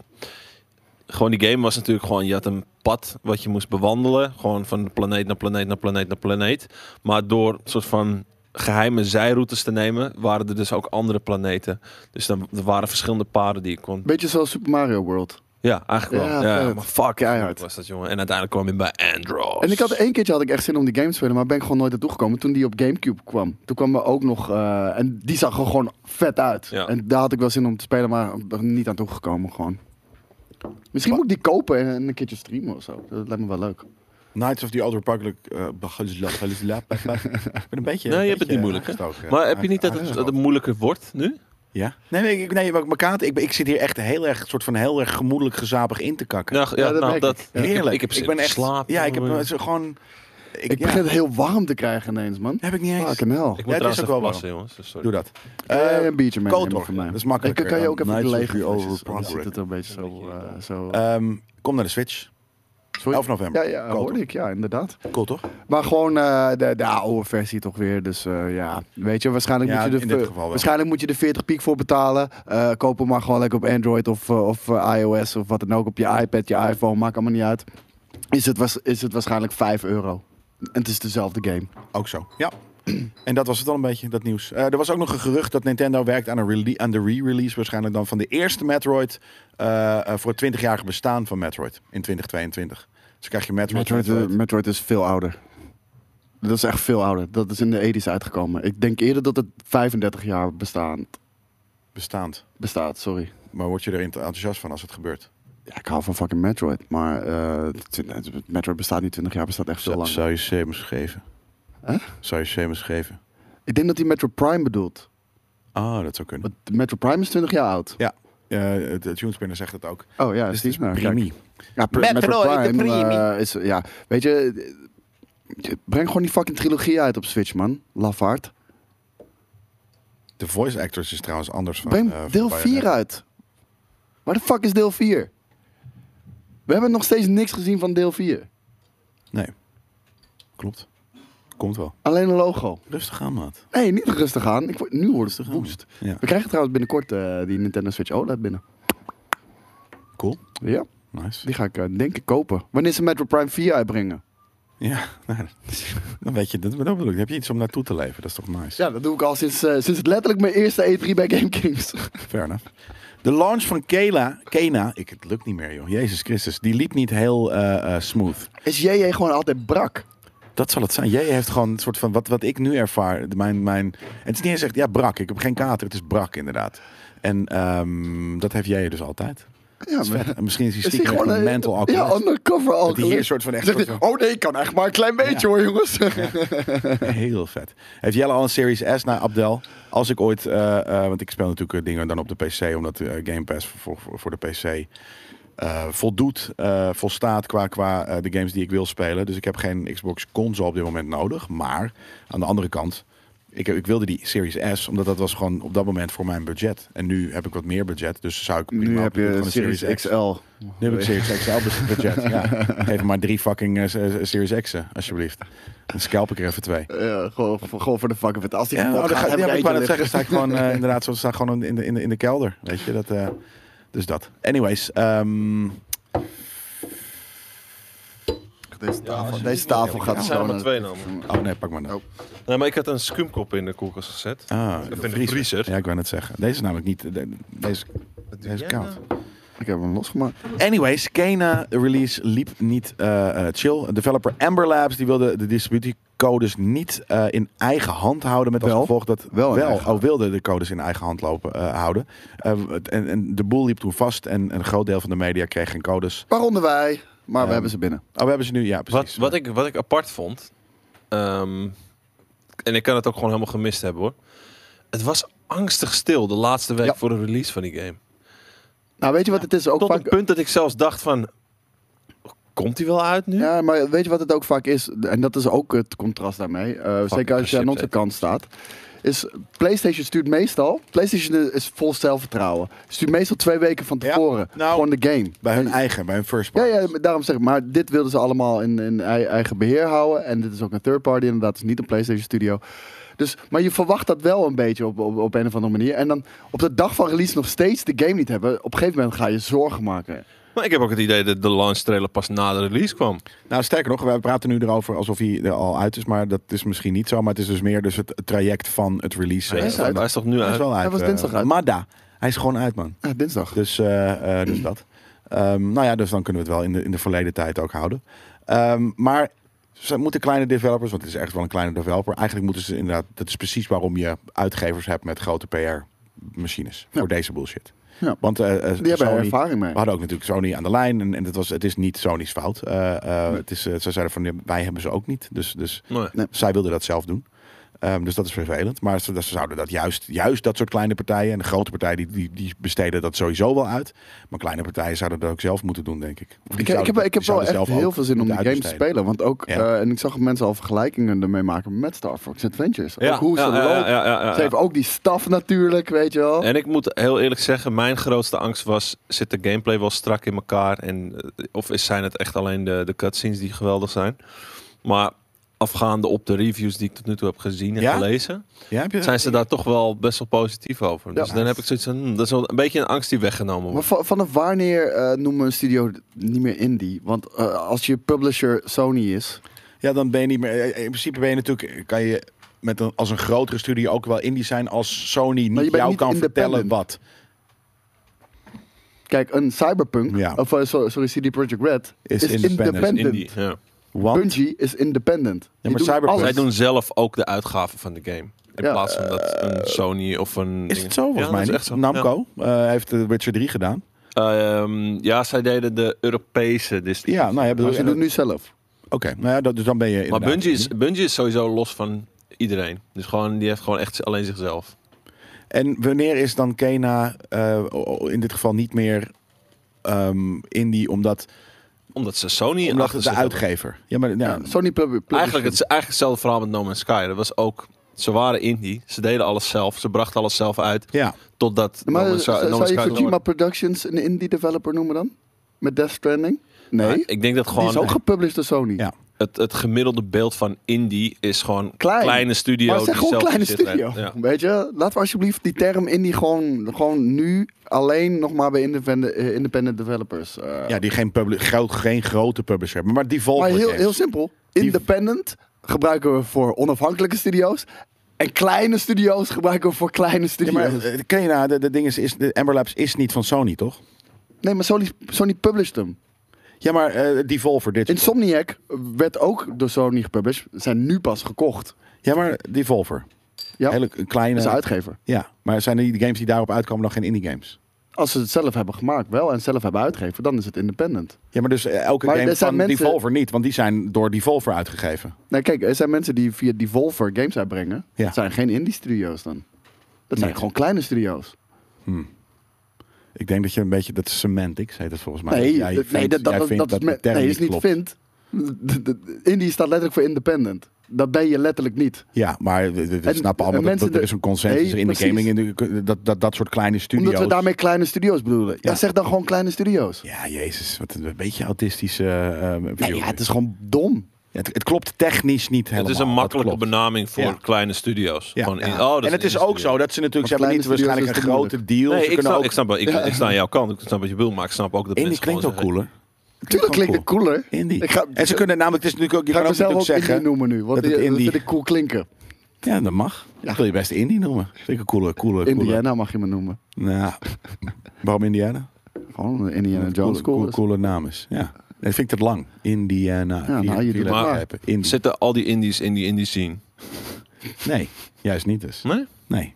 C: Gewoon die game was natuurlijk gewoon... Je had een pad wat je moest bewandelen. Gewoon van planeet naar planeet naar planeet naar planeet. Maar door een soort van geheime zijroutes te nemen... waren er dus ook andere planeten. Dus dan er waren verschillende paden die je kon...
B: Beetje zoals Super Mario World.
C: Ja, eigenlijk wel.
B: Ja,
C: Ja,
B: vet.
C: maar fuck,
B: Keihard.
C: keihard was dat, jongen. En uiteindelijk kwam je bij Andros.
B: En ik had één keertje had ik echt zin om die game te spelen, maar ben ik gewoon nooit naartoe gekomen. Toen die op Gamecube kwam, toen kwam er ook nog eh, en die zag er gewoon vet uit.
C: Ja.
B: En daar had ik wel zin om te spelen, maar er niet aan toegekomen gewoon. Misschien moet ik die kopen en een keertje streamen of zo. Dat lijkt me wel leuk.
A: Knights of the Old Republic. eh, begeleid- begeleid- begeleid- Ik ben een beetje.
C: Nee, je
A: een
C: hebt het
A: beetje
C: niet moeilijk, hè?
A: aangestoken.
C: Maar heb je niet dat het,
A: Aangestoken.
C: dat het moeilijker wordt nu?
A: Ja? Nee, nee, ik, nee maar Kaat, ik, ben- ik zit hier echt heel erg, soort van heel erg gemoedelijk gezapig in te kakken.
C: Nou,
B: Ja,
C: ja,
B: dat
C: nou,
B: merk
C: dat,
B: ik.
C: ik. heb-
A: Heerlijk.
C: Ik heb,
A: ik ben echt.
C: slaap.
A: ja, ik heb eh, zo gewoon. Ik,
B: Ik
A: ja,
B: begin Ah, het heel warm te krijgen ineens, man.
A: heb ik niet eens.
B: Fucking hell.
C: Ik
A: Ja,
C: moet
A: het is
C: trouwens
A: ook
C: even
A: wel warm.
C: plassen, jongens. Dus Sorry.
A: Doe dat.
B: Eh,
A: Eh,
B: een biertje mee.
A: Kotor,
B: voor mij.
A: dat is makkelijker
B: Ik- kan je
A: dan
B: ook even de
A: Knights of
B: lege
A: the Old
B: flesjes, dan
A: Republic.
B: zit het er een beetje zo. eh, zo.
A: ehm, kom naar de Switch.
B: Sorry.
A: 11 november.
B: ja, ja,
A: Kotor.
B: hoorde ik. Ja, inderdaad.
A: Cool toch?
B: Maar gewoon eh, de, de oude versie toch weer. Dus eh, ja, weet je, waarschijnlijk,
A: Ja,
B: moet, je
A: in
B: de,
A: dit geval wel.
B: waarschijnlijk moet je de 40 piek voor betalen. Eh, koop hem maar gewoon lekker op Android of, eh, of eh, iOS of wat dan ook. Op je iPad, je iPhone, maakt allemaal niet uit. Is het, waars- is het waarschijnlijk 5 euro. En het is dezelfde game.
A: Ook zo. Ja. En dat was het al een beetje, dat nieuws. Eh, er was ook nog een gerucht dat Nintendo werkt aan, een rele- aan de re-release waarschijnlijk dan van de eerste Metroid eh, eh, voor het 20-jarige bestaan van Metroid in 2022. Dus krijg je Metroid.
B: Metroid,
A: Metroid.
B: eh, Metroid is veel ouder. Dat is echt veel ouder. Dat is in de 80s uitgekomen. Ik denk eerder dat het 35 jaar bestaan,
A: bestaand.
B: bestaat. Sorry.
A: Maar word je er ent- enthousiast van als het gebeurt?
B: Ja, ik hou van fucking Metroid. Maar eh, twint- Metroid bestaat niet 20 jaar, bestaat echt veel langer.
A: Zou je Samus geven?
B: Huh?
A: Zou je Samus geven?
B: Ik denk dat hij Metro Prime bedoelt.
A: Ah, dat zou kunnen.
B: Want Metro Prime is 20 jaar oud.
A: Ja, eh de TuneSpinner zegt het ook.
B: Oh ja,
A: dus het
B: zie
A: is
B: je. Nou, kijk.
A: primi.
B: Ja, pr-
A: Metroid
B: Metro
A: oh, de
B: Prime
A: Primi.
B: eh, is... Ja, weet je... eh, Breng gewoon die fucking trilogie uit op Switch, man. Lafaard.
A: Oh, De voice actors is trouwens anders van...
B: Breng
A: eh, van
B: deel
A: Bayonetta.
B: 4 uit. Waar de fuck is deel 4? We hebben nog steeds niks gezien van deel 4.
A: Nee. Klopt. Komt wel.
B: Alleen een logo.
A: Rustig aan, maat.
B: Nee, niet rustig aan. Ik, word- nu wordt het
A: Rustig aan.
B: woest.
A: Ja.
B: We krijgen trouwens binnenkort eh, die Nintendo Switch OLED binnen.
A: Cool.
B: Ja,
A: Nice.
B: die ga ik eh, denk ik kopen. Wanneer ze Metro Prime 4 uitbrengen?
A: Ja, nou, dan weet je, dat, dat bedoel ik. Dan heb je iets om naartoe te leven. Dat is toch nice.
B: Ja, dat doe ik al sinds, eh, sinds letterlijk mijn eerste E3 bij Game Kings.
A: Fair enough. De launch van Kela, Kena, ik, het lukt niet meer joh, Jezus Christus, die liep niet heel eh, eh, smooth.
B: Is JJ gewoon altijd brak?
A: Dat zal het zijn. Jij heeft gewoon een soort van, wat, wat ik nu ervaar, de- mijn, mijn, het is niet eens echt, ja brak, ik heb geen kater, het is brak inderdaad. En ehm, dat heeft jij dus altijd.
B: Ja,
A: Dat is vet. En Misschien is hij
B: is
A: stiekem echt een oh,
B: eh,
A: mental alcoholist.
B: Ja,
A: dat
B: undercover
A: hij
B: alcoholist.
A: hier soort van echt...
B: Zegt
A: soort
B: hij,
A: van-
B: oh nee, ik kan echt maar een klein beetje hoor jongens.
A: Heel vet. Heeft Jelle al een Series S naar Abdel? Als ik ooit, eh, eh, want ik speel natuurlijk eh, dingen dan op de PC, omdat eh, Game Pass voor, voor, voor de PC eh, voldoet, eh, volstaat qua, qua eh, de games die ik wil spelen. Dus ik heb geen Xbox console op dit moment nodig. Maar aan de andere kant, ik, heb- ik wilde die Series S, omdat dat was gewoon op dat moment voor mijn budget. En nu heb ik wat meer budget, dus zou ik prima op dit moment gewoon
B: XL.
A: nu heb ik Series XL budget. ja. Geef me maar drie fucking eh, eh, Series X'en, alsjeblieft. Dan scalp ik er even twee.
B: Ja, gewoon, voor- gewoon voor de fuck of it. Als die
A: Ja,
B: kapot
A: oh, dan
B: gaat,
A: ga, ja,
B: hebben
A: maar
B: we
A: ik wou net
B: eentje
A: zeggen, sta ik gewoon eh, inderdaad, zo sta ik gewoon in de, in de, in de kelder. Weet je, dat, eh, oh, dus dat. Anyways, ehm,
B: lastig. Deze tafel,
C: als je-
B: deze tafel
A: Ja,
B: gaat
A: ja.
B: zo
C: zijn er
B: naar-
C: maar twee namen.
A: Oh nee, pak maar dan.
B: Oh.
C: Nee, maar ik had een skumkop in de koelkast gezet.
A: Ah,
C: Of in de vriezer.
A: Ja, ik wou net zeggen. Deze is namelijk niet. de- Deze,
C: Dat doe
A: deze is
C: jij
A: koud.
C: nou?
B: Ik heb hem losgemaakt.
A: Anyways, Kena release liep niet eh, eh, chill. Developer Amber Labs die wilde de distributiecodes niet eh, in eigen hand houden. Met als
B: Wel.
A: gevolg dat
B: Wel in eigen
A: oh, wilde de codes in eigen hand lopen, eh, houden. Eh, het- en, en de boel liep toen vast en een groot deel van de media kreeg geen codes.
B: Waaronder wij, maar
A: Ehm,
B: we hebben ze binnen.
A: Oh, we hebben ze nu, ja precies.
C: Wat, wat, ik, wat ik apart vond, ehm, en ik kan het ook gewoon helemaal gemist hebben hoor. Het was angstig stil de laatste week
B: Ja.
C: voor de release van die game.
B: Nou, weet je wat het is ook
C: Tot
B: vaak...
C: het punt dat ik zelfs dacht van, komt die wel uit
A: Hm?
C: nu?
B: Ja, maar weet je wat het ook vaak is? En dat is ook het contrast daarmee. eh, zeker als je aan
C: chips
B: onze
C: eten.
B: kant staat. Is PlayStation stuurt meestal. PlayStation is vol zelfvertrouwen. Stuurt meestal twee weken van
A: Ja,
B: tevoren.
A: nou-
B: gewoon de game.
A: Bij hun eigen, bij hun first
B: Ja,
A: party.
B: ja, maar daarom zeg ik. Maar dit wilden ze allemaal in, in ei- eigen beheer houden. En dit is ook een third party inderdaad. Het is niet een PlayStation Studio. Dus, maar je verwacht dat wel een beetje op, op, op een of andere manier. En dan op de dag van release nog steeds de game niet hebben. Op een gegeven moment ga je zorgen maken.
C: Maar ik heb ook het idee dat de launch trailer pas na de release kwam.
A: Nou, sterker nog, wij praten nu erover alsof hij er al uit is. Maar dat is misschien niet zo. Maar het is dus meer dus het traject van het release.
C: Hij
A: eh,
C: is,
A: van
C: toch-
A: de-
C: hij is toch nu
A: Hij is
C: uit?
A: wel uit.
B: was
A: eh,
B: dinsdag uit.
A: Mada. Hij is gewoon uit, man.
B: Ja, Ah, dinsdag.
A: Dus, eh, eh, dus dat. Ehm, nou ja, dus dan kunnen we het wel in de, in de verleden tijd ook houden. Ehm, maar ze moeten kleine developers, want het is echt wel een kleine developer. Eigenlijk moeten ze inderdaad, dat is precies waarom je uitgevers hebt met grote PR-machines. Voor deze bullshit.
B: Ja.
A: Want eh, eh,
B: Die hebben er
A: Sony-
B: ervaring mee.
A: we hadden ook natuurlijk Sony aan de lijn. En, en het, was, het is niet Sony's fout. Eh, eh, het is, eh, ze zeiden van, ja, wij hebben ze ook niet. Dus, dus
C: Nee.
A: zij wilden dat zelf doen. Ehm, dus dat is vervelend. Maar ze, ze zouden dat juist, juist dat soort kleine partijen. En de grote partijen die, die, die besteden dat sowieso wel uit. Maar kleine partijen zouden dat ook zelf moeten doen, denk ik. Of die
B: Ik, ik
A: zouden
B: heb,
A: dat-
B: ik heb
A: die
B: wel
A: zouden
B: echt
A: zelf
B: heel
A: ook
B: veel zin om die
A: moeten
B: game te
A: uitbesteden.
B: spelen. Want ook,
A: Ja.
B: eh, en ik zag mensen al vergelijkingen ermee maken met Star Fox Adventures. ook hoe ze
C: ja,
B: loopt.
C: ja, ja, ja, ja,
B: Ze heeft ook die staf natuurlijk, weet je wel.
C: En ik moet heel eerlijk zeggen, mijn grootste angst was: zit de gameplay wel strak in elkaar? En, eh, of is- zijn het echt alleen de, de cutscenes die geweldig zijn? Maar afgaande op de reviews die ik tot nu toe heb gezien en
A: Ja?
C: gelezen,
A: Ja, heb je-
C: zijn ze daar toch wel best wel positief over. Dus dan heb ik zoiets van: hmm, dat is wel een beetje een angst die weggenomen
B: Maar
C: wordt.
B: va- vanaf wanneer eh, noemen we een studio niet meer indie? Want eh, als je publisher Sony is...
A: Ja, dan ben je niet meer. eh, In principe ben je natuurlijk. Kan je met een, als een grotere studie ook wel indie zijn als Sony
B: je
A: niet
B: bent
A: jou
B: niet
A: kan vertellen wat.
B: independent. Kijk, een Cyberpunk,
A: Ja.
B: of eh, so- sorry, CD Projekt Red,
A: Is
B: is,
A: independent.
B: independent.
C: Indie, ja.
A: Want
B: Bungie is independent. Die
A: maar
B: doen
A: Cyberpunk-
B: alles.
C: Zij doen zelf ook de uitgaven van de game. In
B: Ja,
C: plaats van dat een Sony of een.
A: eh, is
C: ding-
A: het zo volgens
C: Ja,
A: mij?
C: dat is
A: niet?
C: echt zo. Ja.
A: Namco eh, heeft de Witcher 3 gedaan.
C: Ehm, ja, zij deden de Europese Disney.
A: Ja, nou ja, bedoel,
B: Maar ze
A: en
B: doen
A: dat-
B: het nu zelf.
A: Oké, nou ja, dat, dus dan ben je.
C: Maar
A: inderdaad Mhm.
C: Bungie is,
A: indie.
C: Bungie is sowieso los van iedereen. Dus gewoon, die heeft gewoon echt alleen zichzelf.
A: En wanneer is dan Kena eh, in dit geval niet meer ehm, indie, omdat,
C: Omdat ze Sony en
A: omdat
C: achter
A: het
C: zich
A: de
C: hebben.
A: uitgever. Ja, maar ja,
B: Ja, Sony pub- publisher.
C: Eigenlijk, het is eigenlijk hetzelfde verhaal met No Man's Sky. Dat was ook... Ze waren indie. Ze deden alles zelf. Ze brachten alles zelf uit.
A: ja.
C: Totdat
B: Maar
C: No Man's, Sky-
B: zou,
C: No
B: zou
C: Man's
B: je
C: Sky...
B: Kojima Productions een indie developer noemen dan? Met Death Stranding? Nee.
C: Maar Ik denk dat
B: die is ook
C: gewoon
B: gepublished door Sony.
A: Ja.
C: het, het gemiddelde beeld van indie is gewoon
B: Klein.
C: kleine studio.
B: Maar zeg
C: die
B: gewoon
C: zelf
B: kleine
C: shit
B: studio.
C: rijdt. Ja.
B: Weet je, laten we alsjeblieft die term indie gewoon, gewoon nu alleen nog maar bij independent, eh, independent developers. eh.
A: ja, die geen, publi- gro- geen grote publisher hebben. Maar Devolver
B: maar heel,
A: Games.
B: heel simpel. Independent gebruiken we voor onafhankelijke studio's. En kleine studio's gebruiken we voor kleine
A: Ja,
B: studio's.
A: maar eh, Kena, de, de ding is, is de Amber Labs is niet van Sony, toch?
B: nee, maar Sony, Sony published hem.
A: Ja, maar eh Devolver Digital.
B: Insomniac werd ook door Sony gepublished. Zijn nu pas gekocht.
A: ja, maar Devolver.
B: Ja,
A: Hele k- kleine.
B: dat is een uitgever.
A: Ja, maar zijn die games die daarop uitkomen dan geen indie games?
B: Als ze het zelf hebben gemaakt wel en zelf hebben uitgegeven, dan is het independent.
A: Ja, maar dus eh, elke
B: Maar
A: game
B: er zijn
A: van
B: mensen-
A: Devolver niet, want die zijn door Devolver uitgegeven.
B: Nou kijk, er zijn mensen die via Devolver games uitbrengen.
A: Ja.
B: Dat zijn geen indie studio's dan. Dat zijn
A: Nee.
B: gewoon kleine studio's.
A: Ik denk dat je een beetje dat is semantics heet het volgens mij.
B: nee,
A: Jij
B: dat- nee,
A: vindt-
B: dat, dat,
A: jij
B: dat,
A: vindt
B: is
A: de
B: me-
A: term
B: nee, is niet
A: klopt.
B: vindt. De- de- de- Indie staat letterlijk voor independent. Dat ben je letterlijk niet.
A: Ja, maar we, we- we
B: En-
A: snappen allemaal
B: en
A: dat,
B: mensen
A: dat er
B: de-
A: is een consensus
B: Nee,
A: in de
B: precies.
A: gaming, in de, dat, dat, dat soort kleine studio's.
B: Omdat we daarmee kleine studio's bedoelen. Ja,
A: Ja.
B: zeg dan gewoon kleine studio's.
A: Ja, jezus, wat een beetje autistische eh, eh, view.
B: Nee, Nou ja, het is gewoon dom.
A: het, het klopt technisch niet helemaal.
C: Het is een
A: dat
C: makkelijke
A: klopt.
C: benaming voor
A: Ja.
C: kleine studio's.
A: Ja.
C: Gewoon in-
A: Ja.
C: oh, dat
A: en het is
C: indie
A: ook
C: studio.
A: zo dat ze natuurlijk, ze
B: Want
A: hebben niet
B: kleine
A: waarschijnlijk een
B: studio's is
A: grote deal.
C: Nee,
A: ze
C: ik
A: kunnen
C: snap,
A: ook...
C: ik, snap, wel- ik, ik sta aan jouw kant. Ik snap wat je bedoelt, maar ik snap ook dat
A: Indie
C: mensen
A: klinkt
C: gewoon
A: ook cooler.
B: Tuurlijk klinkt het cooler.
A: Indie.
B: Ik ga-
A: en ze kunnen namelijk, het is natuurlijk ook, je
B: Ga ik
A: kan ook
B: mezelf ook
A: natuurlijk zeggen.
B: indie noemen nu, want
A: dat het
B: die- dat
A: indie-
B: vind ik cool klinken.
A: Ja, dat mag. Dat wil je best Indie noemen. Vind ik een coole, coole, coole.
B: Indiana mag je me noemen.
A: Nou, waarom Indiana?
B: Gewoon een Indiana
A: Omdat het
B: Jones
A: coole, coole,
B: cool. is.
A: coole naam is. Ja. Nee, vind ik dat lang. Indiana.
B: Ja, nou, je doet
C: het
A: maar.
C: maar.
A: Indie.
C: Zitten al die indies in die indie scene?
A: Nee, juist niet dus.
C: Nee?
A: Nee.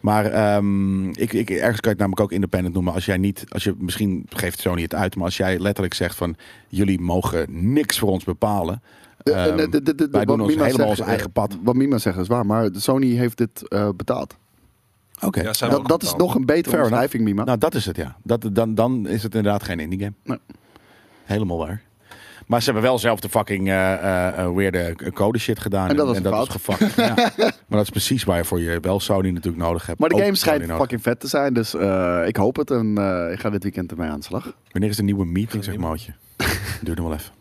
A: Maar ehm, ik, ik, ergens kan je het namelijk ook independent noemen. Als jij niet, als je, misschien geeft Sony het uit, maar als jij letterlijk zegt van jullie mogen niks voor ons bepalen.
B: Eh, eh,
A: ehm,
B: de- de- de- de-
A: wij
B: wat
A: doen ons
B: Mima
A: helemaal
B: zegt,
A: ons
B: eh,
A: eigen pad.
B: Wat Mima zegt is waar, maar Sony heeft dit eh, betaald.
A: Oké,
C: Ja, zijn we
B: Dat,
C: ook
B: dat is
C: betaald.
B: nog een betere
A: Fair enough.
B: omschrijving, Mima.
A: nou dat is het ja. Dat, dan, dan is het inderdaad geen indie game.
B: Nee.
A: Helemaal waar. Maar ze hebben wel zelf de fucking eh eh, eh, weirde code shit gedaan.
B: En dat was
A: is gefuckt. ja. Maar dat is precies waarvoor je wel Sony natuurlijk nodig hebt.
B: maar de
A: Ook
B: game
A: Sony
B: schijnt
A: nodig.
B: fucking vet te zijn, dus eh, ik hoop het. En eh, ik ga dit weekend ermee aan de slag.
A: Wanneer is de nieuwe meeting, zeg Mootje? Duurt nog wel even.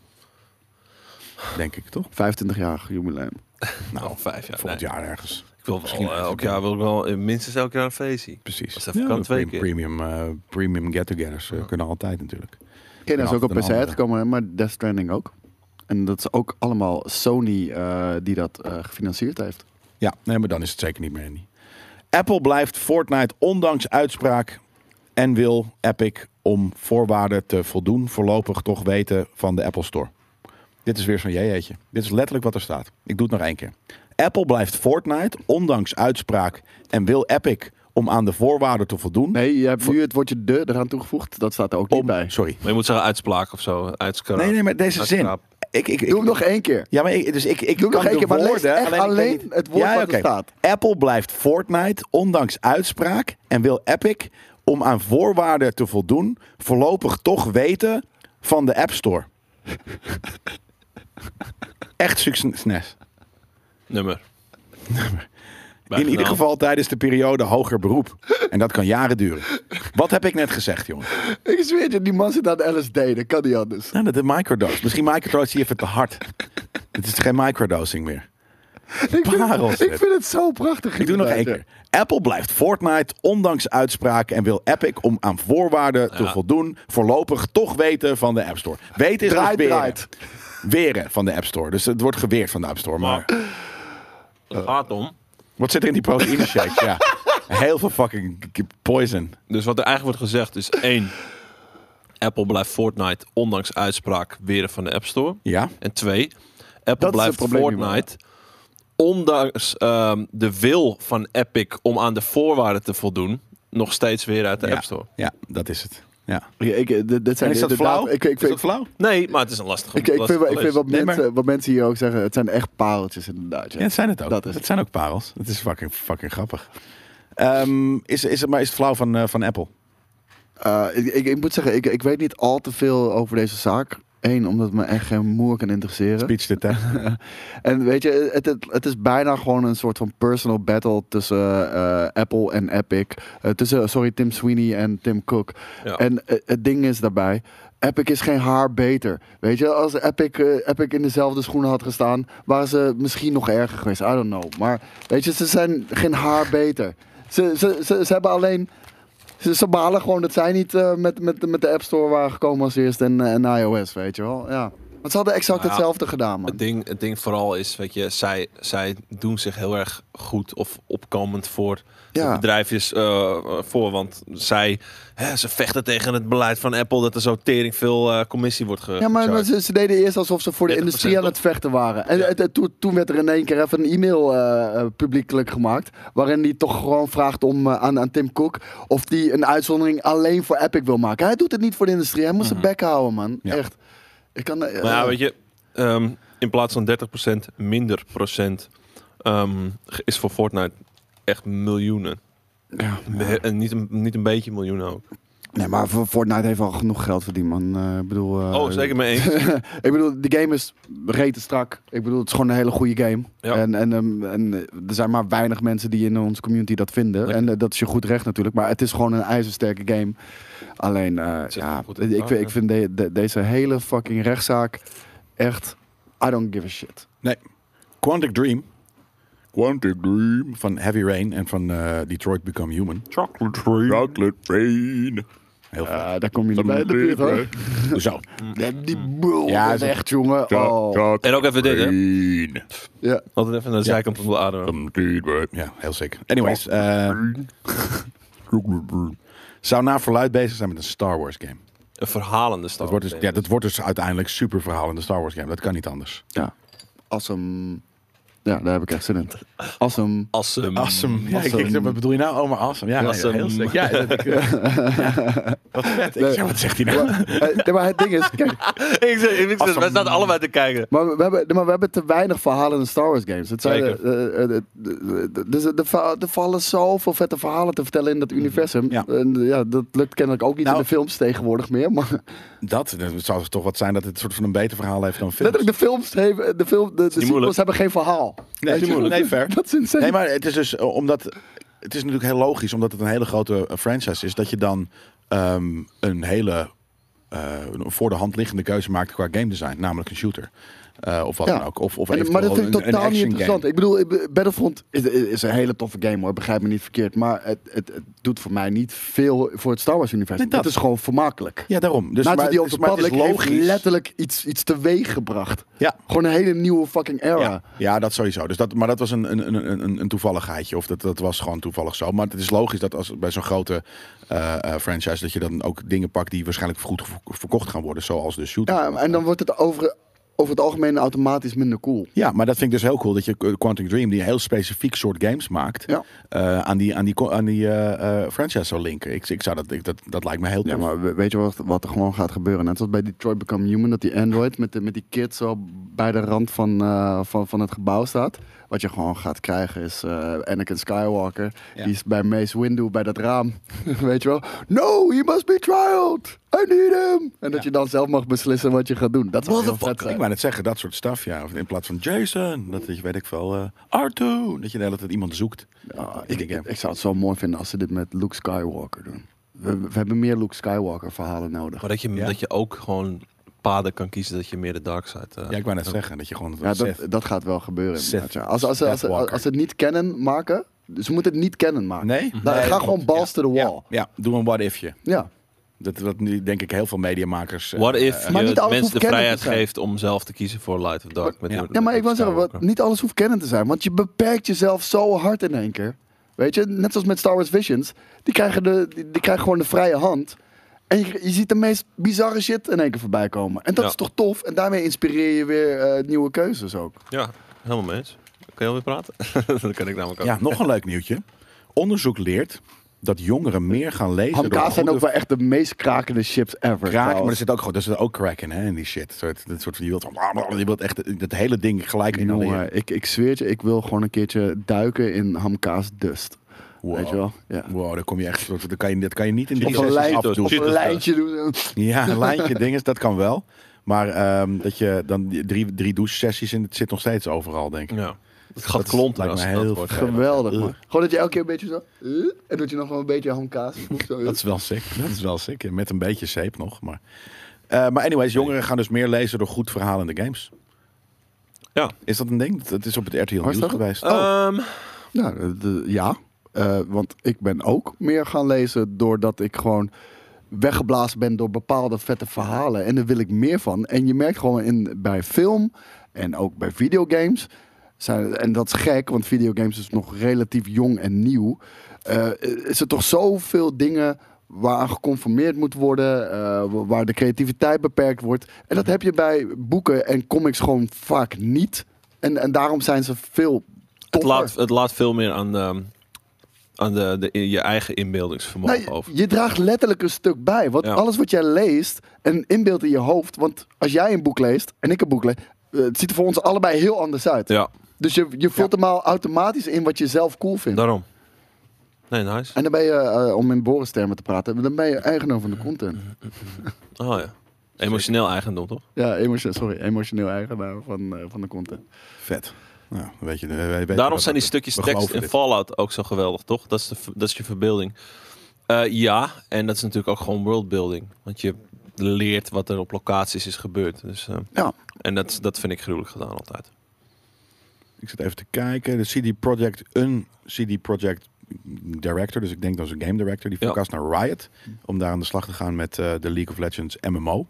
A: Denk ik, toch?
B: 25-jarig jubileum.
A: Nou,
C: Oh, vijf jaar.
A: volgend
C: nee.
A: jaar ergens.
C: Ik wil
A: Misschien
C: wel, eh,
A: even
C: elk
A: doen.
C: jaar wil ik wel eh, minstens elk jaar een feestje.
A: Precies.
C: Als even kan, twee keer.
A: Premium, eh, premium get-togethers eh, kunnen altijd natuurlijk.
B: Kena is
A: Ja,
B: ook op
A: een
B: PC
A: andere.
B: uitgekomen, hè, maar Death Stranding ook. En dat is ook allemaal Sony eh, die dat eh, gefinancierd heeft.
A: Ja, nee, maar dan is het zeker niet meer indie. Apple blijft Fortnite ondanks uitspraak en wil Epic om voorwaarden te voldoen voorlopig toch weten van de Apple Store. Dit is weer zo'n jeetje. Dit is letterlijk wat er staat. Ik doe het nog één keer. Apple blijft Fortnite ondanks uitspraak en wil Epic om aan de voorwaarden te voldoen.
B: Nee, je hebt nu het woordje de eraan toegevoegd. Dat staat er ook niet
A: om,
B: bij.
A: Sorry.
C: Maar je moet zeggen uitspraak of zo. Uitskara.
A: Nee, nee, maar deze
C: Dat
A: zin.
C: knap.
A: Ik, ik, ik,
B: Doe hem nog één keer.
A: Ja, maar ik, dus ik, ik
B: Doe
A: kan
B: nog
A: de
B: één keer, maar lees
A: woorden,
B: echt
A: alleen, ik weet
B: alleen
A: niet-
B: het woord wat er
A: oké.
B: staat.
A: Apple blijft Fortnite, ondanks uitspraak, en wil Epic om aan voorwaarden te voldoen, voorlopig toch weten van de App Store. echt succes.
C: Nummer.
A: In ieder geval tijdens de periode hoger beroep. En dat kan jaren duren. Wat heb ik net gezegd, jongen?
B: Ik zweer het je, die man zit aan de LSD. Dat kan niet anders.
A: Nou, dat is microdose. Misschien microdose je even te hard. Het is geen microdosing meer.
B: Ik vind,
A: Parels,
B: het, ik
A: dit.
B: vind het zo prachtig.
A: Ik doe nog één
B: inderdaad,
A: keer. Apple blijft Fortnite ondanks uitspraken en wil Epic om aan voorwaarden te
C: Ja.
A: voldoen voorlopig toch weten van de App Store. Weten is
B: Draait,
A: als weren.
B: draait.
A: Weren van de App Store. Dus het wordt geweerd van de App Store. Maar
C: Het gaat om.
A: wat zit er in die proteïne shake? Ja. Heel veel fucking k- poison.
C: Dus wat er eigenlijk wordt gezegd is: één. Apple blijft Fortnite ondanks uitspraak weer van de App Store.
A: Ja.
C: En twee, Apple
B: het
C: blijft
B: probleem hiermee.
C: Fortnite. Ondanks ehm, de wil van Epic om aan de voorwaarden te voldoen, nog steeds weer uit de
A: ja.
C: App Store.
A: Ja, dat is het. Ja.
B: Ja, ik, eh, dit, dit
A: En
B: zijn
A: is dat
B: inderdaad-
A: flauw?
B: Ik, ik,
A: is
B: ik,
A: dat flauw?
C: Nee, maar het is een lastige.
B: ik, ik vind,
C: lastige
B: ik vind wat,
A: Nee, maar-
B: mensen, wat mensen hier ook zeggen, het zijn echt pareltjes inderdaad. Ja.
A: Ja, het zijn het ook.
B: Dat is
A: het
B: het.
A: zijn ook parels. Het is fucking, fucking grappig. Ehm, is, is het, maar is het flauw van, eh, van Apple?
B: Eh, ik, ik, ik moet zeggen, ik, ik weet niet al te veel over deze zaak. Eén, omdat het me echt geen moer kan interesseren.
A: Speech to text.
B: En weet je, het, het, het is bijna gewoon een soort van personal battle tussen eh, Apple en Epic. Eh, tussen, sorry, Tim Sweeney en Tim Cook.
C: Ja.
B: En eh, het ding is daarbij, Epic is geen haar beter. Weet je, als Epic, eh, Epic in dezelfde schoenen had gestaan, waren ze misschien nog erger geweest. I don't know. Maar weet je, ze zijn geen haar beter. Ze, ze, ze, ze hebben alleen... Ze, ze balen gewoon dat zij niet eh, met, met, met de App Store waren gekomen als eerst en, eh, en iOS, weet je wel. Ja. Want ze hadden exact
C: Nou ja,
B: hetzelfde gedaan, man.
C: Het ding, het ding vooral is, weet je, zij, zij doen zich heel erg goed of opkomend voor
B: Ja.
C: de bedrijfjes eh, voor. Want zij hè, ze vechten tegen het beleid van Apple dat er zo tering veel eh, commissie wordt ge
B: Ja, maar, maar
C: gecharged.
B: ze, ze deden eerst alsof ze voor de
C: 30%
B: industrie aan
C: op.
B: het vechten waren. En
C: Ja.
B: het- het- toen- toen werd er in één keer even een e-mail eh, eh, publiekelijk gemaakt. Waarin hij toch gewoon vraagt om, eh, aan, aan Tim Cook of hij een uitzondering alleen voor Epic wil maken. Hij doet het niet voor de industrie. Hij moet zijn bek houden, man.
A: Ja.
B: Echt. Ik kan, eh,
C: Mhm. Maar ja, weet je, ehm, in plaats van 30% minder procent ehm, ge- is voor Fortnite echt miljoenen.
B: Ja.
C: Be- En niet een, niet een beetje miljoenen ook.
B: Nee, maar voor- Fortnite heeft al genoeg geld verdiend, man. Eh, ik bedoel... eh,
C: oh, zeker mee eens.
B: ik bedoel, de game is rete strak. Ik bedoel, het is gewoon een hele goede game.
C: Ja.
B: En, en, ehm, en eh, er zijn maar weinig mensen die in onze community dat vinden.
C: Lekker.
B: En eh, dat is je goed recht natuurlijk. Maar het is gewoon een ijzersterke game. Alleen, eh,
C: zit
B: ja,
C: goed in
B: ik,
C: elkaar,
B: vind- ik
C: ja.
B: vind de- de- deze hele fucking rechtszaak echt... I don't give a shit.
A: Nee. Quantic Dream. Quantic Dream. Van Heavy Rain en van eh, Detroit Become Human.
C: Chocolate
A: Chocolate Rain. Heel vet.
B: Ja, Eh, daar kom je niet bij in de buurt, hoor.
A: Zo.
B: Die
C: Hmm.
B: bul,
A: Ja,
B: ja, dat is
A: zo-
B: echt, jongen. Oh.
A: Ja,
C: En ook even dit, hè?
B: Ja.
C: Altijd even naar de zijkant van de aarde.
A: Ja, heel sick. Anyways. eh zou na verluid bezig zijn met een Star Wars game.
C: Een verhalende stad.
A: Dat wordt dus, ja, dat wordt dus uiteindelijk super verhaal in de Star Wars game. Dat kan niet anders.
B: ja. Awesome. Ja, daar heb ik echt zin in. Awesome.
C: Awesome.
A: Mm. Awesome. Ja, ik-
B: Awesome.
A: ik- wat bedoel je nou? Oh, maar awesome. Ja, nee,
C: Awesome.
A: heel sick. Ja, dat- ik- eh, ja. Wat vet. Ik
B: Nee.
A: zeg, wat zegt hij nou?
B: Maar, eh, nee, maar het ding is, kijk,
C: ik zeg, ik zeg, wij staan allebei te kijken.
B: Maar we, we hebben, nee, maar we hebben te weinig verhalen in Star Wars games. Het zijn,
C: Zeker.
B: eh, eh, eh, de- de- de- de- de- er vallen zoveel vette verhalen te vertellen in dat universum.
A: Mhm. Ja.
B: En, eh, ja, dat lukt kennelijk ook niet
A: Nou.
B: in de films tegenwoordig meer. Maar
A: Dat, dat zou toch wat zijn dat het een soort van een beter verhaal heeft dan films.
B: letterlijk, de films, hebben, de film, de, de sequels
C: moeilijk.
B: hebben geen verhaal.
A: Nee,
B: Weet je?
A: tuurlijk. Nee, fair.
B: Dat is insane.
A: Nee, maar het is dus eh, omdat. Het is natuurlijk heel logisch, omdat het een hele grote eh, franchise is, dat je dan ehm, een hele eh, een voor de hand liggende keuze maakt qua game design, namelijk een shooter. Eh, of wat
B: Ja.
A: dan ook. Of, of
B: En- maar dat
A: eventueel
B: vind ik
A: een- een
B: totaal niet
A: action
B: interessant.
A: game.
B: Ik bedoel, ik be- Battlefront is, is een hele toffe game hoor, begrijp me niet verkeerd. Maar het, het, het doet voor mij niet veel voor het Star Wars universum.
A: Nee, dat.
B: Het is gewoon vermakelijk.
A: Ja, daarom. Dus,
B: Knights of the Old
A: het is- het is
B: Republic heeft letterlijk iets, iets teweeg gebracht.
A: Ja.
B: Gewoon een hele nieuwe fucking era.
A: Ja, ja, dat sowieso. Dus dat, maar dat was een, een, een, een, een toevalligheidje. Of dat, dat was gewoon toevallig zo. Maar het is logisch dat als bij zo'n grote eh, eh, franchise... dat je dan ook dingen pakt die waarschijnlijk goed verko- verkocht gaan worden. Zoals de shooter.
B: Ja, en dan wordt het over, over het algemeen automatisch minder cool.
A: Ja, maar dat vind ik dus heel cool. Dat je eh, Quantum Dream, die een heel specifiek soort games maakt...
B: Ja.
A: eh, aan die, aan die, co- aan die eh, eh, franchise zou linken. Ik, ik zou dat, ik, dat, dat lijkt me heel tof.
B: Ja, maar we- weet je wat, wat er gewoon gaat gebeuren? Net zoals bij Detroit Become Human, dat die android met, de, met die kid zo bij de rand van, eh, van, van het gebouw staat. Wat je gewoon gaat krijgen is eh, Anakin Skywalker.
A: Ja.
B: Die is bij Mace Windu bij dat raam. weet je wel? No, he must be trialed. I need him. En dat je dan zelf mag beslissen wat je gaat doen. Dat zou heel vet
A: Ik
B: zijn.
A: wou net zeggen, dat soort stuff, ja. Of In plaats van Jason, dat dat je weet ik wel, eh Arthur, dat je de hele tijd iemand zoekt.
B: Ja,
A: In
B: Ah, ik,
A: de game.
B: ik, ik zou het zo mooi vinden als ze dit met Luke Skywalker doen. We, we hebben meer Luke Skywalker verhalen nodig.
C: Maar dat je,
A: Ja.
C: dat je ook gewoon paden kan kiezen dat je meer de dark side... eh,
A: Ja, ik wou net zeggen, dat je gewoon...
B: Ja, dat,
A: Seth-
B: dat gaat wel gebeuren.
A: Sith.
B: inderdaad, ja. Als, als, als, als,
A: Deathwalker.
B: als ze het niet kennen maken, dus ze moeten het niet kennen maken.
A: Nee?
B: Dan,
A: Nee,
B: ga
A: klopt.
B: gewoon balls to the wall.
A: Oh, Ja, ja, doe een what-ifje.
B: Ja.
A: Dat, dat nu denk ik heel veel mediamakers... eh,
C: What
A: eh,
C: if
A: eh,
B: Maar
C: je
B: niet alles
C: mensen
B: hoeft
C: de
B: kennen te
C: vrijheid
B: zijn.
C: geeft om zelf te kiezen voor Light of Dark? Met
A: Ja.
C: de-
B: Ja, maar ik wil
C: met
B: zeggen, wat,
C: Skywalker.
B: niet alles hoeft kennen te zijn. Want je beperkt jezelf zo hard in één keer. Weet je, net zoals met Star Wars Visions. Die krijgen, de, die, die krijgen gewoon de vrije hand. En je, je ziet de meest bizarre shit in één keer voorbij komen. En dat
C: Ja.
B: is toch tof? En daarmee inspireer je weer eh, nieuwe keuzes ook.
C: Ja, helemaal mee eens. Kun je alweer praten? dat kan ik namelijk ook.
A: Ja, nog een leuk nieuwtje. Onderzoek leert dat jongeren meer gaan lezen... door
B: Hamkaas zijn
A: goede
B: ook wel echt de meest krakende chips ever.
A: Kraak, maar er
B: trouwens.
A: zit ook gewoon, er zit ook crack in, hè, in die shit. Soort, dat soort van, je wilt, je wilt echt dat hele ding gelijk inhaleren.
B: Jongen, ik, ik zweer het je, ik wil gewoon een keertje duiken in hamkaas dust.
A: Wow.
B: Weet je wel? Ja.
A: Wow, daar kom je echt, soort- dat kan je, dat kan je niet in
B: Of
A: die
B: een,
C: Cheetos.
B: lijn, of
C: Cheetos.
B: een
C: Cheetos.
B: lijntje doen.
A: Ja, een lijntje dinges, dat kan wel. Maar ehm, dat je dan die drie, drie douche-sessies in, het zit nog steeds overal, denk ik.
C: Ja. Het gaat
A: Dat
C: klonten
A: lijkt
C: als
A: me
C: het
A: heel
C: nat wordt.
A: vervelend.
B: Geweldig, man.
A: Uh.
B: Gewoon dat je elke keer een beetje zo... eh, en dat je nog wel een beetje hamkaas... zo, eh.
A: Dat is wel sick. Dat is wel sick. Met een beetje zeep nog. Maar, Eh, maar anyways, jongeren gaan dus meer lezen door goed verhaal in de games.
C: Ja.
A: Is dat een ding? Dat- Dat is op het RTL Nieuws
B: Hartstikke.
A: geweest. Oh,
C: Ehm,
B: Nou, de- de- ja. Eh, want ik ben ook meer gaan lezen doordat ik gewoon weggeblazen ben door bepaalde vette verhalen. En daar wil ik meer van. En je merkt gewoon in, bij film en ook bij videogames. Zijn, en dat is gek, want videogames is nog relatief jong en nieuw. eh, is er toch zoveel dingen waar geconformeerd moet worden, eh, wa- waar de creativiteit beperkt wordt. En dat heb je bij boeken en comics gewoon vaak niet. En, en daarom zijn ze veel
C: het,
B: toffer.
C: laat, het laat veel meer aan, de, aan de, de, je eigen inbeeldingsvermogen
B: Nee,
C: over.
B: Je draagt letterlijk een stuk bij. Want
C: Ja.
B: alles wat jij leest en inbeeldt in je hoofd. Want als jij een boek leest en ik een boek lees. eh, het ziet er voor ons allebei heel anders uit.
C: Ja,
B: Dus je, je vult hem al automatisch in wat je zelf cool vindt.
C: daarom. Nee, nice.
B: En dan ben je, eh, om in Boris termen te praten, dan ben je eigenaar van de content.
C: Oh ja. Emotioneel eigendom, toch?
B: Ja, emotioneel, sorry, emotioneel eigenaar van, eh, van de content.
A: Vet. Nou, dan weet je, dan weet je
C: Daarom
A: wat-
C: zijn die
A: we-
C: stukjes
A: we
C: tekst
A: geloven
C: in
A: dit.
C: Fallout ook zo geweldig, toch? Dat is, de, dat is je verbeelding. Eh, ja, en dat is natuurlijk ook gewoon worldbuilding. Want je leert wat er op locaties is gebeurd. Dus, eh,
B: Ja.
C: En dat, dat vind ik gruwelijk gedaan altijd.
A: Ik zit even te kijken. De CD Projekt, een CD Projekt director, dus ik denk dat is een game director, die
C: Ja.
A: verkast naar Riot. Om daar aan de slag te gaan met eh, de League of Legends MMO.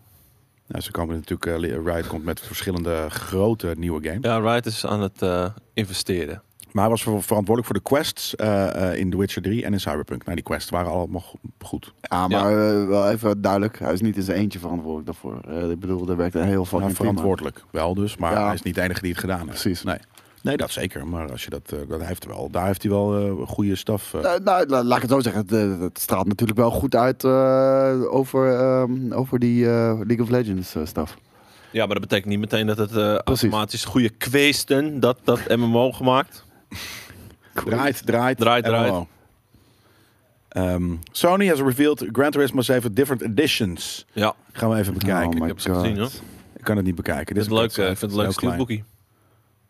A: Nou, ze komen natuurlijk, eh, Le- Riot komt met verschillende grote nieuwe games.
C: Ja, Riot is aan het eh, investeren.
A: Maar hij was ver- verantwoordelijk voor de quests eh, eh, in The Witcher 3 en in Cyberpunk. Nou, die quests waren allemaal go- goed.
B: Ja, maar eh, wel even duidelijk. Hij is niet in zijn eentje verantwoordelijk daarvoor. Eh, ik bedoel, er werkt een heel
A: Nou,
B: fucking team aan.
A: verantwoordelijk wel dus, maar
B: Ja.
A: hij is niet de enige die het gedaan heeft.
B: Precies.
A: Nee, nee dat zeker. Maar als je dat, eh, dat hij heeft wel, daar heeft hij wel eh, goede staf. eh.
B: Nou, nou, la- laat ik het zo zeggen. Het, eh, het straalt natuurlijk wel goed uit eh, over, ehm, over die eh, League of Legends eh, stuff.
C: Ja, maar dat betekent niet meteen dat het eh,
B: Precies.
C: automatisch goede kweesten dat, dat MMO gemaakt.
A: Draait, draait,
C: Draait, draait.
A: MMO. Ehm, Sony has revealed Gran Turismo 7 different editions.
C: Ja,
A: Gaan we even bekijken.
B: Oh
C: ik
B: my
C: heb ze
B: God.
C: gezien hoor.
A: Ik kan het niet bekijken.
C: Dit
A: Dit
C: is
A: een
C: leuk, eh,
A: website.
C: ik vind het
A: Heel
C: leuk
A: klein.
C: steelbookie.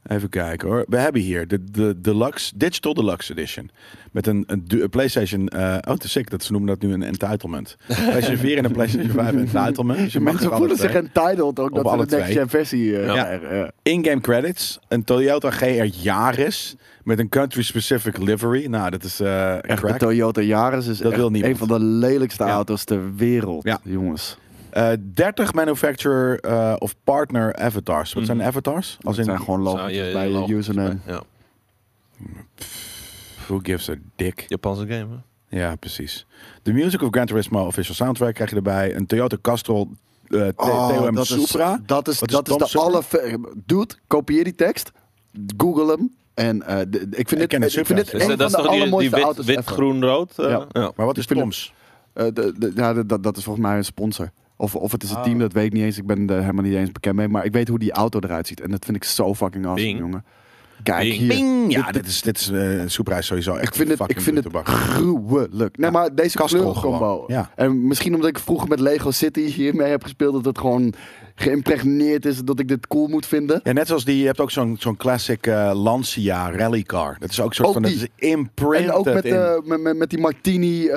A: Even kijken hoor. We hebben hier de, de Deluxe, Digital Deluxe Edition. Met een, een, du- een PlayStation. eh, oh, te sick dat ze noemen dat nu een entitlement. PlayStation 4 en een PlayStation 5 entitlement. Dus je mag
B: Mensen
A: er alle
B: voelen zich
A: twee.
B: entitled ook dat ze
A: alle
B: de next
A: twee.
B: gen versie eh,
A: Ja.
B: krijgen. Ja.
A: In-game credits. Een Toyota GR Yaris. Met een country-specific livery. Nou, dat is eh
B: Echt, de
A: crack.
B: Toyota Yaris is
A: Dat
B: echt
A: wil niemand.
B: een van de lelijkste
A: Ja.
B: auto's ter wereld,
A: Ja.
B: jongens.
A: Eh, 30 manufacturer eh, of partner avatars. Wat zijn
C: Mhm.
A: avatars? Als
B: Dat
A: in,
B: zijn gewoon
C: Zou
B: logos
C: je-
B: bij
C: logos
B: je username.
C: Ja,
A: who gives a dick?
C: Japanse game hè.
A: Ja, precies. De Music of Gran Turismo official soundtrack krijg je erbij. Een Toyota Castrol eh, T- TOM
B: Oh, dat is,
A: Supra.
B: dat is,
A: Wat is
B: dat is
A: Tom
B: de
A: Supra?
B: alle... Dude, kopieer die tekst, google hem. En eh, de- de- ik vind
A: Ik
B: dit,
A: ken het
B: ik vind
A: Supra.
B: dit
A: Dus
B: een
C: dat
B: van
C: is
B: de
C: toch die, die
B: allermooiste
C: wit,
B: auto's
C: wit
B: ever.
C: groen, rood? eh,
B: Ja.
C: ja.
A: Maar wat
B: Ik
A: is
B: vind
A: Toms?
B: Eh, de- de- ja, de- dat, dat is volgens mij een sponsor. Of, of het is een
A: Ah.
B: team, dat weet ik niet eens. Ik ben er helemaal niet eens bekend mee. Maar ik weet hoe die auto eruit ziet. En dat vind ik zo fucking awesome,
C: Bing.
B: jongen. Kijk
C: Bing.
B: hier.
A: Ping! Ja,
B: Dit-
A: dit is, dit is eh, Supra is sowieso echt
B: Ik vind het, ik vind het gruwelijk.
A: Ja,
B: Nee, maar deze
A: Castrol
B: kleurencombo.
A: gewoon, ja.
B: En misschien omdat ik vroeger met Lego City hiermee heb gespeeld... dat het gewoon geïmpregneerd is dat ik dit cool moet vinden.
A: Ja, net zoals die, je hebt ook zo'n zo'n classic eh, Lancia rallycar. Dat is ook een soort
B: Ook
A: van, dat is
B: die.
A: imprinted
B: en ook met,
A: in.
B: eh, met, met, met die martini, eh,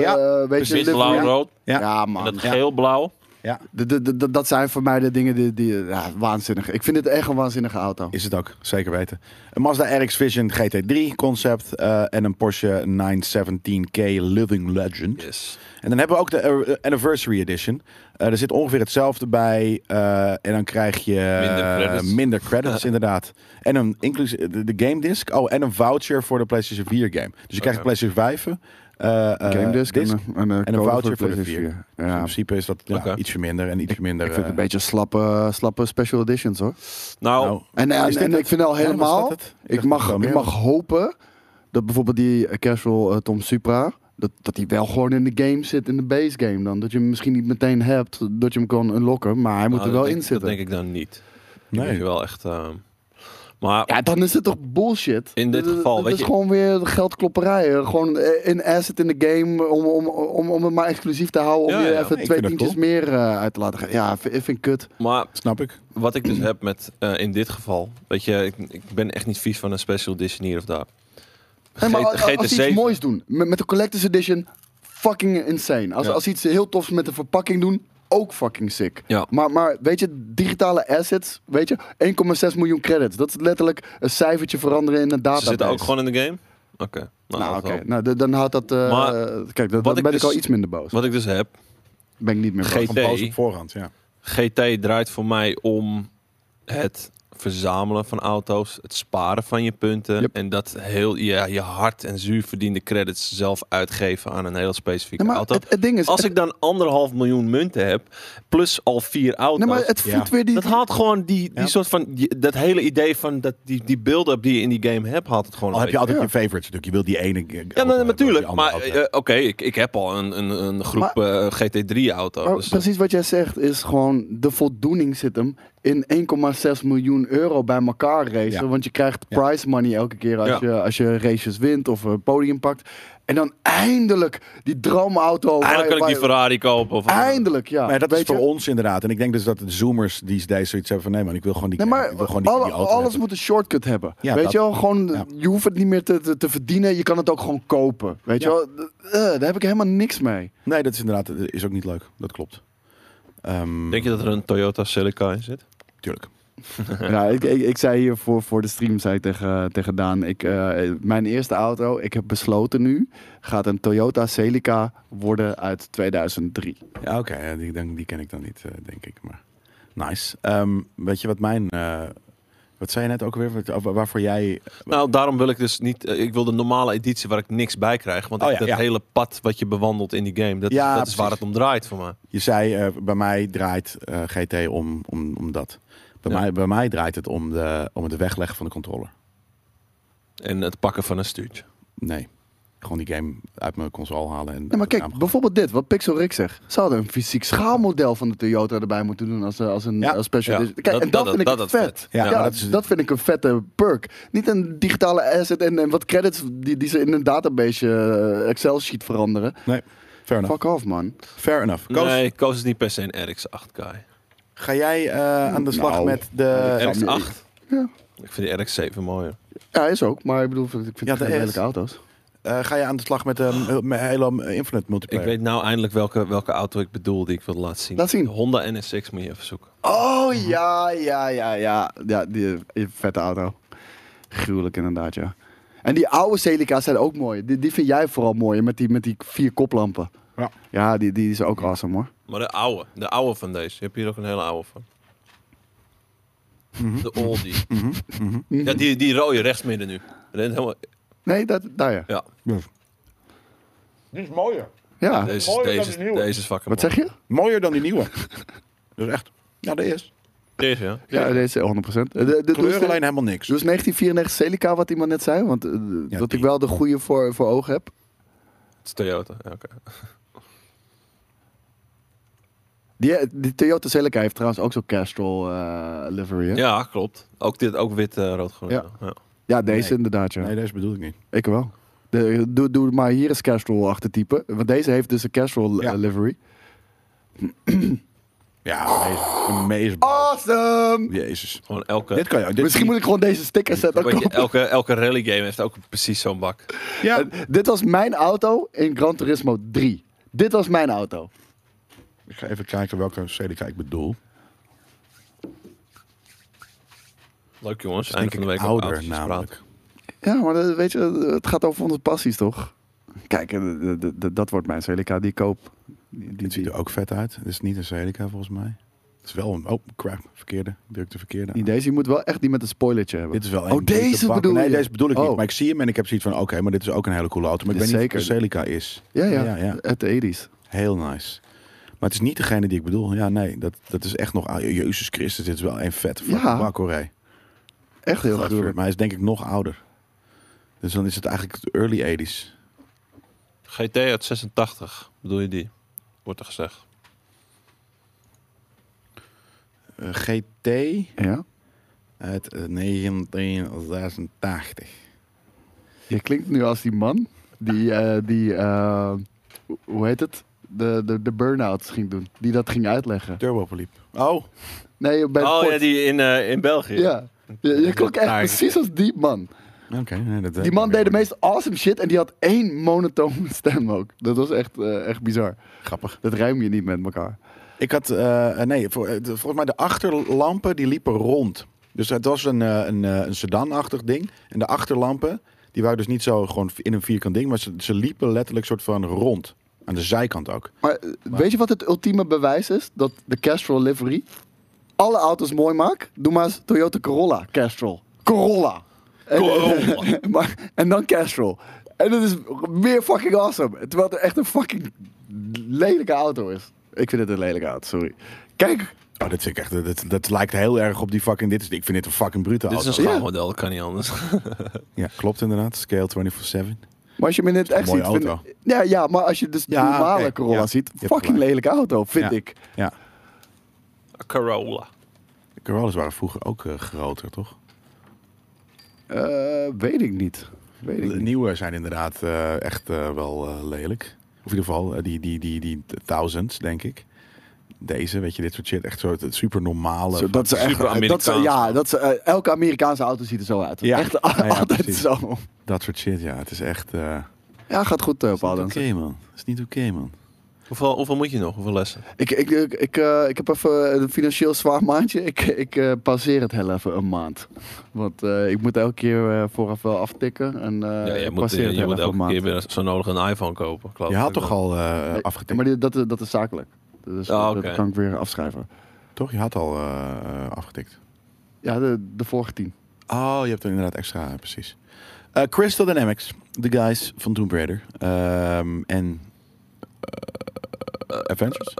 A: Ja,
B: weet je,
C: Wit,
B: livery.
C: blauw, rood.
A: Ja.
B: Ja, man.
C: Dat
A: Ja.
C: geel-blauw.
A: ja,
B: De- de- de- de- dat zijn voor mij de dingen die... die ja, waanzinnig. Ik vind dit echt een waanzinnige auto.
A: is het ook, zeker weten. Een Mazda RX Vision GT3 concept eh, en een Porsche 917K Living Legend.
C: Yes.
A: En dan hebben we ook de eh, Anniversary Edition. Eh er zit ongeveer hetzelfde bij. eh, en dan krijg je eh,
C: Minder credits.
A: minder credits, inderdaad. En een inclusief de, de game disc. Oh, en een voucher voor de PlayStation 4 game. Dus je krijgt
C: Oh,
A: de PlayStation 5. eh, eh,
B: Game Disc,
A: disc.
B: en, een- een
A: en een
B: code
A: voucher voor de
B: PlayStation
A: 4.
B: vier.
A: Dus in
B: Ja,
A: principe is dat ja,
C: Oké.
A: iets minder en iets minder.
B: ik vind het een
A: eh,
B: beetje slappe, slappe special editions hoor.
C: Nou,
A: nou,
B: Oh. En,
A: Is
B: en,
A: dit
B: en
A: het?
B: ik vind al
A: Ja, was
B: helemaal,
A: dat het? Ik
B: ik,
A: dacht
B: mag,
A: dat het wel
B: ik
A: meer
B: mag hopen dat bijvoorbeeld die eh, casual eh, Tom Supra, dat, dat die wel gewoon in de game zit, in de base game dan. Dat je hem misschien niet meteen hebt, dat je hem kan unlocken, maar hij moet
C: nou,
B: er wel
C: dat denk-
B: in zitten.
C: Dat denk ik dan niet.
A: Nee.
C: Nee. Moet je wel echt... ehm, maar
B: Ja, dan is het toch bullshit.
C: In dit
B: Dat-
C: geval,
B: dat
C: weet
B: is
C: je-
B: gewoon weer geldklopperij. hè. Gewoon eh, een asset in de game om, om, om, om het maar exclusief te houden. Om
C: Ja,
B: je
C: ja.
B: even
A: Nee, ik
B: twee
A: vind dat
B: tientjes meer eh, uit te laten gaan. Ja, vind, vind ik kut.
C: Maar
A: Snap ik.
C: wat ik dus heb met, eh, in dit geval, weet je, ik, ik ben echt niet vies van een special edition hier of daar.
B: Nee, maar
C: G-
B: als, als ze iets
C: GT7
B: moois doen, met, met de Collector's Edition, fucking insane. Als,
C: Ja.
B: als ze iets heel tofs met de verpakking doen, ook fucking sick.
C: Ja.
B: Maar, maar weet je, digitale assets, weet je, 1,6 miljoen credits. Dat is letterlijk een cijfertje veranderen in een
C: Ze
B: database.
C: zitten ook gewoon in de game? Oké. Nou,
B: Nou,
C: dat
B: oké.
C: wel.
B: Nou, d- dan houdt dat... eh,
C: Maar
B: kijk, dat,
C: wat
B: dan
C: ik
B: ben ik
C: dus-
B: al iets minder boos.
C: Wat ik dus heb,
B: Ben ik niet meer boos.
C: Geen-
A: Van
C: GT.
A: boos op voorhand, ja.
C: GT draait voor mij om het verzamelen van auto's, het sparen van je punten
B: Yep.
C: en dat heel ja, je hard en zuur verdiende credits zelf uitgeven aan een heel specifieke
B: Nee, maar
C: auto.
B: het, het ding is...
C: Als
B: het-
C: ik dan anderhalf miljoen munten heb, plus al vier auto's,
B: nee, maar het voedt
A: Ja.
B: weer die...
C: dat haalt gewoon die, die
A: Ja.
C: soort van die- dat hele idee van dat die, die build-up die je in die game hebt, haalt het gewoon.
A: Al heb
C: een
A: je altijd
B: Ja.
A: je favorites natuurlijk. Je wil die ene. eh, auto
C: ja, nee,
A: hebben, die
C: natuurlijk.
A: andere
C: Maar
A: auto
C: eh,
A: hebben.
C: oké, ik, ik heb al een, een, een groep eh, GT3-auto's.
B: Maar Oh, precies wat jij zegt is gewoon de voldoening zit hem in 1,6 miljoen euro bij elkaar racen.
A: Ja.
B: Want je krijgt
A: Ja.
B: prize money elke keer als,
C: Ja.
B: je, als je races wint of een podium pakt. En dan eindelijk die droomauto. waar-
C: Eigenlijk kan ik die
B: waar-
C: Ferrari kopen. Of
B: Eindelijk, ja.
A: Maar ja, dat
B: Nou, Weet
A: is voor
B: je?
A: ons inderdaad. En ik denk dus dat de Zoomers die deze zoiets hebben van nee man, ik wil gewoon die,
B: Nee, maar
A: ik wil gewoon die,
B: alle-
A: die auto
B: alles
A: hebben.
B: moet een shortcut hebben.
A: Ja,
B: weet
A: dat-
B: je wel, gewoon,
A: ja.
B: je hoeft het niet meer te, te, te verdienen. Je kan het ook gewoon kopen. Weet
A: Ja.
B: je wel, Eh, daar heb ik helemaal niks mee.
A: Nee, dat is inderdaad dat is ook niet leuk. Dat klopt. Ehm
C: Denk je dat er een Toyota Celica in zit?
A: Tuurlijk.
B: ja, Nou, ik, ik, ik zei hier voor, voor de stream zei ik tegen, tegen Daan, ik, eh, mijn eerste auto, ik heb besloten nu, gaat een Toyota Celica worden uit 2003.
A: Ja, oké. ja, die, dan- die ken ik dan niet, eh, denk ik. Maar nice. Ehm, weet je wat mijn... eh, wat zei je net ook weer? Wat- wa- Waarvoor jij...
C: Nou, daarom wil ik dus niet. eh, Ik wil de normale editie waar ik niks bij krijg. Want
A: Oh ja,
C: ik- dat
A: ja.
C: hele pad wat je bewandelt in die game, dat,
A: Ja,
C: dat is
A: precies.
C: waar het om draait voor mij.
A: Je zei, eh, bij mij draait eh, GT om, om, om dat. Bij,
C: Ja.
A: mij, bij mij draait het om, de, om het wegleggen van de controller.
C: En het pakken van een stuurtje.
A: Nee. Gewoon die game uit mijn console halen. En
B: Ja, maar
A: en-
B: kijk, bijvoorbeeld dit, wat Pixel Rick zegt. Ze hadden een fysiek schaalmodel van de Toyota erbij moeten doen als, eh, als een
A: Ja.
B: als special
C: Ja.
B: edition. Kijk,
C: Dat-
B: en dat,
C: dat-
B: vind ik
C: dat-
B: het
C: dat
B: vet.
C: is
A: Ja,
B: Ja,
A: maar dat
B: dat,
A: is-
B: vind ik een vette perk. Niet een digitale asset en, en wat credits die, die ze in een database eh, Excel-sheet veranderen.
A: Nee, fair enough.
B: Fuck off, man.
A: Fair enough. Koos,
C: Nee, Koos is niet per se een RX 8 guy.
A: ga jij eh, aan de slag
B: Nou,
A: met de...
B: ik
C: RX 8?
B: Ja.
C: Ik vind die RX 7 mooier.
B: Ja, is ook. Maar ik bedoel, ik vind
A: Ja,
B: het geen
A: de S.
B: lelijke auto's.
A: eh, ga je aan de slag met de Halo Infinite
C: Ik
A: multiplayer?
C: weet nou eindelijk welke, welke auto ik bedoel die ik wil laten zien.
B: Laat zien.
C: Honda NSX moet je even zoeken.
B: Oh,
A: Mhm.
B: ja, ja, ja, ja. Ja, die eh, vette auto. Gruwelijk inderdaad, ja. En die oude Celica's zijn ook mooi. Die, die vind jij vooral mooi, met die, met die vier koplampen.
A: Ja.
B: Ja, die, die is ook awesome, hoor.
C: Maar de oude, de oude van deze. Je hebt hier ook een hele oude van. De oldie. Ja, die, die rode rechts midden nu. Rent helemaal-
B: Nee, dat, daar ja.
C: Ja,
A: Die is mooier.
B: Ja,
C: deze,
A: mooier dan
C: deze, is-
A: die nieuwe.
C: deze is fucking
B: wat
C: mooi.
B: zeg je?
A: Mooier dan die nieuwe. Dat is echt... Ja, dat is.
C: Deze, ja.
B: Ja, deze 100%. De, de, de,
A: Kleur
B: dus-
A: alleen helemaal niks.
B: Dus 1994 Celica, wat iemand net zei. Want eh,
A: Ja,
B: dat
A: die.
B: ik wel de goede voor, voor ogen heb.
C: Het is Toyota. Ja, oké.
B: Die, die Toyota Celica heeft trouwens ook zo'n Castrol eh, livery. Hè? Ja.
C: Ja, klopt. Ook dit, ook wit, eh, rood, groen.
B: Ja.
C: Ja. Ja.
B: deze
A: Nee.
B: inderdaad. Ja.
A: Nee, deze bedoel ik niet.
B: Ik wel. De, doe, doe maar hier eens Castrol achtertypen. Want deze heeft dus een Castrol
A: Ja.
B: eh, livery.
A: Ja, amazing. Amazing.
B: Awesome!
A: Jezus.
C: Gewoon elke,
A: Dit kan je. Dit
B: Misschien moet ik gewoon deze sticker zetten.
C: weet je,
B: Kom.
C: elke, elke rally game heeft ook precies zo'n bak.
A: Ja.
B: En Eh, Dit was mijn auto in Gran Turismo 3. Dit was mijn auto.
A: Ik ga even kijken welke CDK ik bedoel.
C: Leuk jongens,
A: Dat is
C: einde
A: denk
C: van de
A: ik
C: week
A: ouder
C: auto's
A: namelijk.
C: praten.
B: Ja, maar
A: eh,
B: dat- weet je, het gaat over onze passies, toch? Kijk, eh, d- d- d- dat wordt mijn Celica die ik koop. Die, die,
A: Dit ziet
B: die,
A: er ook vet uit. Dit is niet een CDK volgens mij. Het is wel een... Oh, crap. Verkeerde. Ik Druk de verkeerde aan.
B: die deze, je moet wel echt die met een spoilertje hebben.
A: Dit is wel een
B: Oh,
A: brute
B: deze
A: bak.
B: bedoel
A: nee,
B: je?
A: deze bedoel ik niet.
B: Oh.
A: Maar ik zie hem en ik heb zoiets van... Oké, maar dit is ook een hele coole auto. Maar ik
B: Dit
A: weet
B: is
A: niet of het een
B: zeker.
A: Celica is.
B: ja, ja,
A: Ja, ja.
B: uit de 80s.
A: Heel nice. Maar het is niet degene die ik bedoel. Ja, nee. Dat, dat is echt nog... ah, Jezus Christus, dit is wel een vette fucking
B: Ja.
A: bak hoor. hé.
B: Echt heel
A: Godver,
B: gruwelijk.
A: Maar hij is denk ik nog ouder. Dus dan is het eigenlijk de early 80s.
C: GT uit 86, bedoel je die? Wordt er gezegd.
A: Eh, GT...
B: Ja?
A: Uit eh, 1986.
B: Je klinkt nu als die man die, eh, die eh, hoe- hoe heet het? De, de, de burn-outs ging doen. Die dat ging uitleggen.
A: Turbopoliep. Oh,
B: Nee, bij de
C: oh
B: Ford.
C: ja, die in, eh, in België.
B: Ja. Je, je klonk echt
C: Daar.
B: precies als die man.
A: oké. nee, dat weet
B: Die
A: ik
B: man
A: niet
B: deed de
A: meer.
B: meest awesome shit en die had één monotone stem ook. Dat was echt, eh, echt bizar.
A: Grappig.
B: Dat ruim je niet met elkaar.
A: Ik had, eh, eh, nee, voor, eh, de- volgens mij de achterlampen die liepen rond. Dus het was een, eh, een, eh, een sedanachtig ding. En de achterlampen, die waren dus niet zo gewoon in een vierkant ding. Maar ze, ze liepen letterlijk soort van rond. Aan de zijkant ook.
B: Maar eh, weet je wat het ultieme bewijs is? Dat de Castrol livery alle auto's mooi maakt? Doe maar eens Toyota Corolla Castrol. Corolla. En,
C: Corolla.
B: maar, en dan Castrol. En dat is meer fucking awesome. Terwijl het echt een fucking lelijke auto is. Ik vind het een lelijke auto, sorry. Kijk,
A: Oh, dat vind ik echt, dat, dat lijkt heel erg op die fucking, dit is, ik vind dit een fucking brute
C: Dit is een
A: auto.
C: schaalmodel, dat kan niet anders.
A: Ja, klopt inderdaad. Scale 24-7.
B: maar als je hem in het echt
A: mooie
B: ziet... vind
A: auto.
B: ik- ja, ja, maar als je dus de
A: Ja,
B: normale
A: oké,
B: Corolla
A: ja.
B: ziet,
A: Je hebt
B: fucking
A: gelijk.
B: lelijke auto, vind
A: Ja.
B: ik.
A: Ja,
C: Corolla.
A: de Corollas waren vroeger ook eh, groter, toch?
B: Eh, weet ik niet. Weet ik
A: De
B: niet.
A: nieuwe zijn inderdaad eh, echt eh, wel eh, lelijk. Of in ieder geval, eh, die, die, die, die thousands, denk ik. Deze, weet je, dit soort shit. Echt zo het super normale.
B: Zo, dat is echt,
C: Super
B: dat ze,
C: Amerikaans.
B: ja, dat ze, eh, elke Amerikaanse auto ziet er zo uit.
A: Ja.
B: Echt
A: Ja, ja,
B: altijd
A: precies.
B: zo.
A: Dat soort shit, ja. Het is echt... eh,
B: Ja, gaat goed, eh
A: is niet
B: Paul.
A: oké, man. Is niet oké, man.
C: Hoeveel, hoeveel moet je nog? Hoeveel lessen?
B: Ik, ik, ik, ik, eh, ik heb even een financieel zwaar maandje. Ik, ik eh, passeer het heel even een maand. Want eh, ik moet elke keer eh, vooraf wel aftikken. En, eh
C: ja, je
B: ik
C: moet,
B: passeer
C: je,
B: het
C: je
B: heel even een
C: moet elke
B: maand.
C: keer weer zo nodig een iPhone kopen.
B: Oh,
C: geloof
A: Je
C: ik
A: had
C: dan.
A: toch al eh afgetikt,
B: Maar dit, dat, dat is zakelijk. Dus
C: Ah,
B: dat-
C: oké.
B: dat kan ik weer afschrijven.
A: toch? Je had al eh, eh, afgetikt.
B: Ja, de, de vorige tien.
A: Oh, je hebt er inderdaad extra, ja, precies. Eh, Crystal Dynamics, de guys van Tomb Raider. Ehm, en eh, Adventures.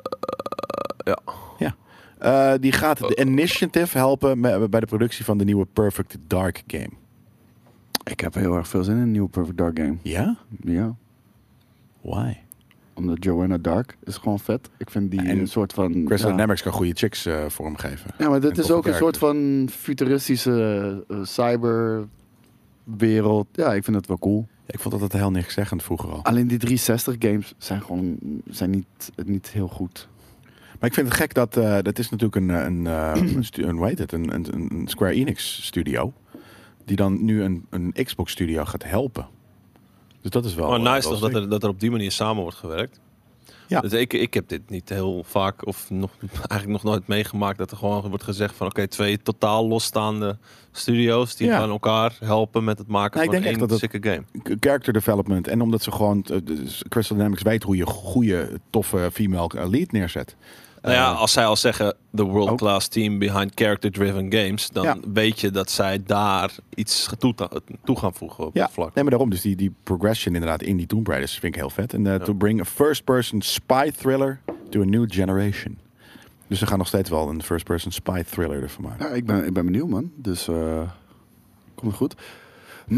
C: ja.
A: ja. Eh, die gaat de Initiative helpen me- bij de productie van de nieuwe Perfect Dark game.
B: Ik heb heel erg veel zin in een nieuwe Perfect Dark game.
A: Ja?
B: Ja.
A: Why?
B: Omdat Joanna Dark is gewoon vet. Ik vind die
A: En
B: een soort van...
A: Crystal
B: ja.
A: Dynamics kan goede chicks eh, vormgeven.
B: Ja, maar dit
A: En
B: is
A: toffe
B: ook een soort
A: characters.
B: van futuristische eh, cyberwereld. Ja, ik vind dat wel cool.
A: Ik vond dat heel niks zeggend vroeger al.
B: Alleen die 360 games zijn gewoon zijn niet, niet heel goed.
A: Maar ik vind het gek dat eh, dat is natuurlijk een, een, eh, een, stu- een, hoe heet het, een, een, een- een Square Enix studio. Die dan nu een, een Xbox studio gaat helpen. Dus dat is wel.
C: Oh,
A: wel
C: nice toch dat
A: sick.
C: er, dat er op die manier samen wordt gewerkt.
A: Ja.
C: Dus ik, ik heb dit niet heel vaak of nog, eigenlijk nog nooit meegemaakt dat er gewoon wordt gezegd van oké, twee totaal losstaande studio's die
A: Ja.
C: gaan elkaar helpen met het maken
A: Nou, ik
C: van
A: denk echt
C: één
A: dat het-
C: sikke game.
A: character development. En omdat ze gewoon eh, dus Crystal Dynamics weet hoe je goede, toffe female lead neerzet.
C: nou ja,
A: Eh,
C: als zij al zeggen the world class team behind character driven games, dan
A: Ja.
C: weet je dat zij daar iets toe, toe gaan voegen op
A: Ja,
C: dat vlak.
A: nee, maar daarom. Dus die, die progression inderdaad in die Tomb Raiders vind ik heel vet. En eh, to bring a first-person spy thriller to a new generation. Dus ze gaan nog steeds wel een first-person spy thriller ervan maken.
B: Ja, ik ben, ik ben benieuwd, man. Dus eh komt goed.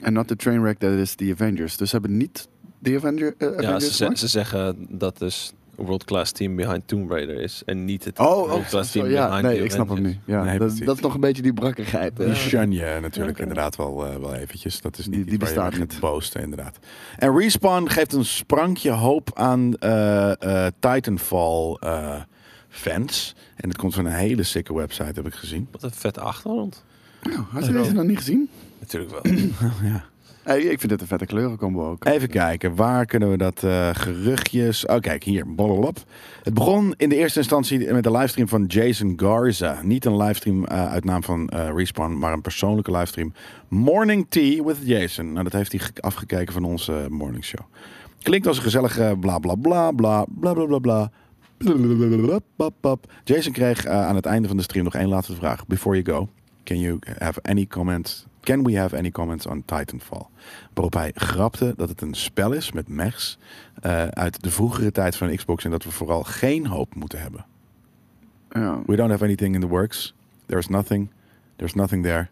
B: En not the train wreck that is the Avengers. Dus ze hebben niet de Avenger, eh,
C: Ja,
B: Avengers
A: dus
C: ze, ze,
B: gemaakt?
C: ze zeggen dat dus world class team behind Tomb Raider is en niet het
B: Oh,
C: world
B: oh
C: class
B: zo,
C: team
B: ja,
C: behind
B: nee,
C: the
B: ik snap hem
C: Avengers.
B: nu. Ja,
A: Nee,
B: dat,
A: precies.
B: dat is nog een beetje die brakkigheid.
A: Die
B: eh.
A: shun je natuurlijk inderdaad wel, eh, wel eventjes. Dat is niet
B: Die-
A: iets
B: die
A: waar je
B: bestaat
A: mee gaat
B: niet.
A: Boosten, inderdaad. En Respawn geeft een sprankje hoop aan eh, eh, Titanfall eh, fans. En dat komt van een hele sikke website, heb ik gezien.
C: Wat een vette achtergrond.
B: Nou, had je deze nog niet gezien?
C: Natuurlijk wel.
A: ja.
B: Hey, ik vind dit een vette kleurencombo ook.
A: Even kijken, waar kunnen we dat eh, geruchtjes... Oh, kijk, hier. Blablabla. Het begon in de eerste instantie met de livestream van Jason Garza. Niet een livestream eh, uit naam van eh, Respawn, maar een persoonlijke livestream. Morning Tea with Jason. Nou, dat heeft hij ge- afgekeken van onze morning show. Klinkt als een gezellige bla bla bla bla bla bla bla bla. Blablabla, bap, bap. Jason kreeg eh, aan het einde van de stream nog één laatste vraag. Before you go, can you have any comments? Can we have any comments on Titanfall? Waarop hij grapte dat het een spel is met mechs eh, uit de vroegere tijd van Xbox en dat we vooral geen hoop moeten hebben.
B: Ja.
A: We don't have anything in the works. There's nothing. There's nothing there.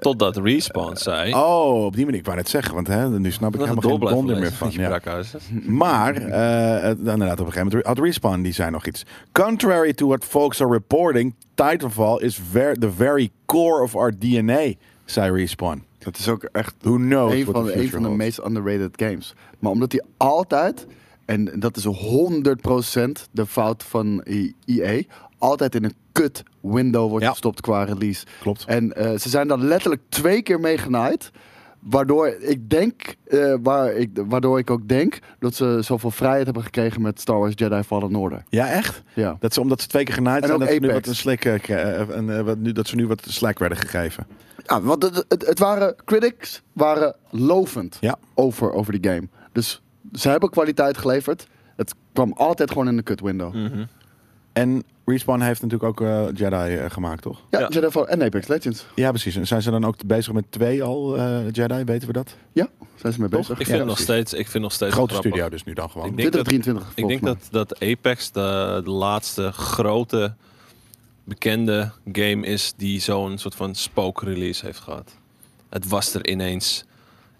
C: Totdat Respawn zei...
A: Oh, op die manier. Ik wou net zeggen, want hè, nu snap ik
C: dat het
A: helemaal
C: door
A: geen
C: blijven
A: donder meer
C: lezen
A: van.
C: je
A: Ja.
C: brakhuizen.
A: Maar, eh, het- inderdaad, op een gegeven moment had Respawn, die zei nog iets. Contrary to what folks are reporting, Titanfall is ver the very core of our DNA, zei Respawn.
B: Dat is ook echt
A: Who knows
B: een
A: what
B: van,
A: the
B: een
A: future
B: van de
A: holds.
B: meest underrated games. Maar omdat hij altijd, en dat is 100% de fout van I- EA, altijd in een kut window wordt
A: Ja.
B: gestopt qua release.
A: Klopt.
B: En eh, ze zijn daar letterlijk twee keer mee genaaid. Waardoor ik denk, eh, waar ik, waardoor ik ook denk dat ze zoveel vrijheid hebben gekregen met Star Wars Jedi Fallen Order.
A: Ja, echt?
B: Ja.
A: Dat ze, omdat ze twee keer genaaid
B: En
A: zijn,
B: ook
A: dat ze, nu
B: Apex.
A: wat een slik, eh, kre- eh, en, eh, wat nu, dat ze nu wat slack werden gegeven.
B: Ja, want het, het, het waren critics waren lovend
A: Ja.
B: over, over die game. Dus ze hebben kwaliteit geleverd. Het kwam altijd gewoon in de cut window.
C: Mhm.
A: En Respawn heeft natuurlijk ook eh, Jedi eh, gemaakt, toch?
B: Ja,
C: Ja.
B: Jedi Fallen en Apex Legends.
A: Ja, precies. En zijn ze dan ook bezig met twee al eh, Jedi, weten we dat?
B: Ja, zijn ze mee bezig.
C: Ik vind
A: Ja,
C: nog
A: precies.
C: steeds, ik vind nog steeds
A: Grote
C: grappig.
A: studio dus nu dan gewoon.
C: Ik denk-
B: 2023
C: Ik denk dat, dat Apex de, de laatste grote bekende game is die zo'n soort van spook-release heeft gehad. Het was er ineens.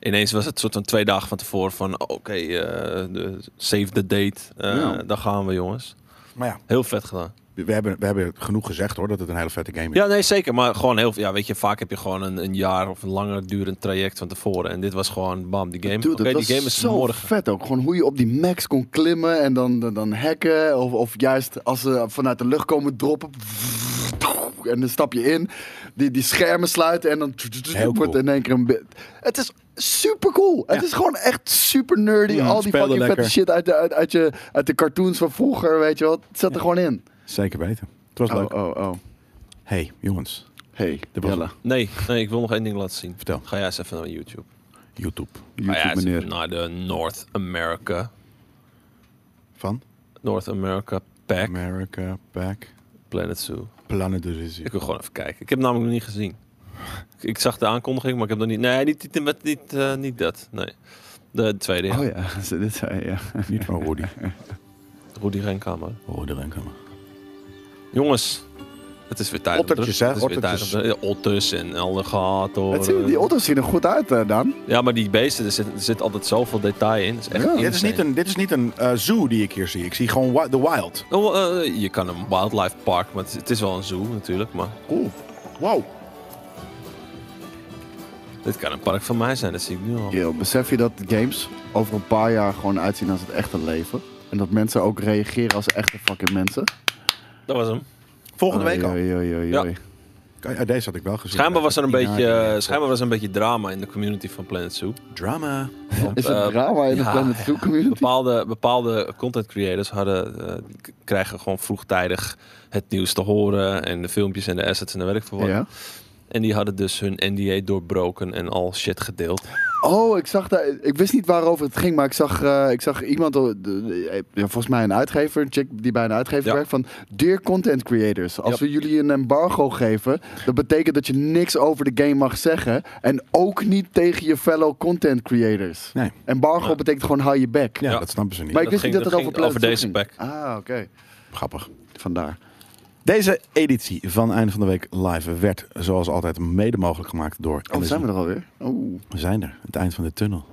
C: Ineens was het soort van twee dagen van tevoren van oh, oké, eh, de- save the date. eh,
B: Ja.
C: Daar gaan we jongens.
A: Maar ja,
C: Heel vet gedaan.
A: we hebben, we hebben genoeg gezegd hoor, dat het een hele vette game is.
C: Ja, nee, zeker. Maar gewoon heel veel. Ja, weet je, vaak heb je gewoon een, een jaar of een langer durend traject van tevoren. En dit was gewoon, bam, die game.
B: Dude,
C: Oké,
B: dat
C: die
B: was
C: game is
B: zo
C: morgen.
B: vet ook. Gewoon hoe je op die max kon klimmen en dan, dan, dan hacken. Of, of juist als ze vanuit de lucht komen droppen. En dan stap je in. Die, die schermen sluiten en dan
A: Heel
B: wordt
A: cool.
B: in één keer een... bit- Het is super cool. Het
A: Ja.
B: is gewoon echt super nerdy.
A: Ja,
B: Al die
A: speelde
B: fucking vette
A: lekker.
B: shit uit de, uit, uit, je, uit de cartoons van vroeger, weet je wel. Het zat er gewoon in.
A: Zeker weten. Het was leuk.
B: oh, oh.
A: Hey, jongens.
B: Hey,
A: Dit was
B: Jelle.
C: Nee, nee, ik wil nog één ding laten zien.
A: Vertel.
C: Ga jij eens even naar YouTube.
A: YouTube.
C: Ga jij eens
B: YouTube-meneer.
C: naar de North America.
A: Van?
C: North America Pack.
A: America, Pack,
C: Planet Zoo.
A: Planet de Rizzi.
C: Ik wil gewoon even kijken. Ik heb het namelijk nog niet gezien. Ik- Ik zag de aankondiging, maar ik heb nog niet... Nee, niet, niet, met- niet, eh, niet dat. Nee. De tweede, ja.
B: Oh ja, Zo, dit zei je, ja.
A: Niet van Rudy.
C: Rudy Renkamer.
A: Rudy Renkamer.
C: Jongens, het is weer tijd
A: Ottertjes,
C: om
A: hè?
C: terug. Het is weer tijd om
A: Ottertjes.
C: terug. Ja, Otters en alligatoren.
B: Het
A: eh,
B: zien, die auto's zien er goed uit, eh, Dan.
C: Ja, maar die beesten, er zit, er zit altijd zoveel detail in. Het is echt
B: Ja.
A: Dit is niet een, dit is niet een eh, zoo die ik hier zie. Ik zie gewoon wi- The Wild.
C: Oh, eh, je kan een wildlife park, maar het is, het is wel een zoo natuurlijk. Maar
A: Cool. Wow.
C: dit kan een park van mij zijn, dat zie ik nu al.
B: Yo, besef je dat games over een paar jaar gewoon uitzien als het echte leven? En dat mensen ook reageren als echte fucking mensen?
C: Dat was hem.
A: Volgende week al.
B: Oei, oei, oei,
C: Ja.
B: oei.
A: Kan- ja, deze had ik wel gezien.
C: Schijnbaar was er een
A: Ja,
C: beetje,
A: ja, ja.
C: eh, schijnbaar was er een beetje drama in de community van Planet Zoo.
A: Drama.
B: Is het
C: Eh,
B: drama in de
C: ja,
B: Planet
C: ja.
B: Zoo community?
C: Bepaalde, bepaalde content creators hadden, eh, k- krijgen gewoon vroegtijdig het nieuws te horen en de filmpjes en de assets en de werk voor wat.
B: Ja.
C: En die hadden dus hun NDA doorbroken en al shit gedeeld.
B: Oh, ik zag daar. Ik wist niet waarover het ging, maar ik zag, eh, ik zag iemand, eh, de- de- eh, ja, volgens mij een uitgever, een chick die bij een uitgever
C: Ja.
B: werkt, van Dear Content Creators, als
C: Ja.
B: we jullie een embargo geven, dat betekent dat je niks over de game mag zeggen en ook niet tegen je fellow content creators.
A: Nee.
B: Embargo
C: Ja.
B: betekent gewoon hou je bek.
A: Ja,
C: Ja.
A: dat snappen ze niet.
B: Maar ik
C: Dat
B: wist niet
C: ging-
B: dat
C: dat
B: het over
C: ging
B: Planet
C: over
B: Zoo
C: deze
B: ging.
C: pack.
B: Ah, oké.
A: Grappig.
B: Vandaar.
A: Deze editie van Einde van de Week Live werd zoals altijd mede mogelijk gemaakt door
B: Oh,
A: NSM.
B: zijn we er alweer? Oeh.
A: We zijn er, het eind van de tunnel.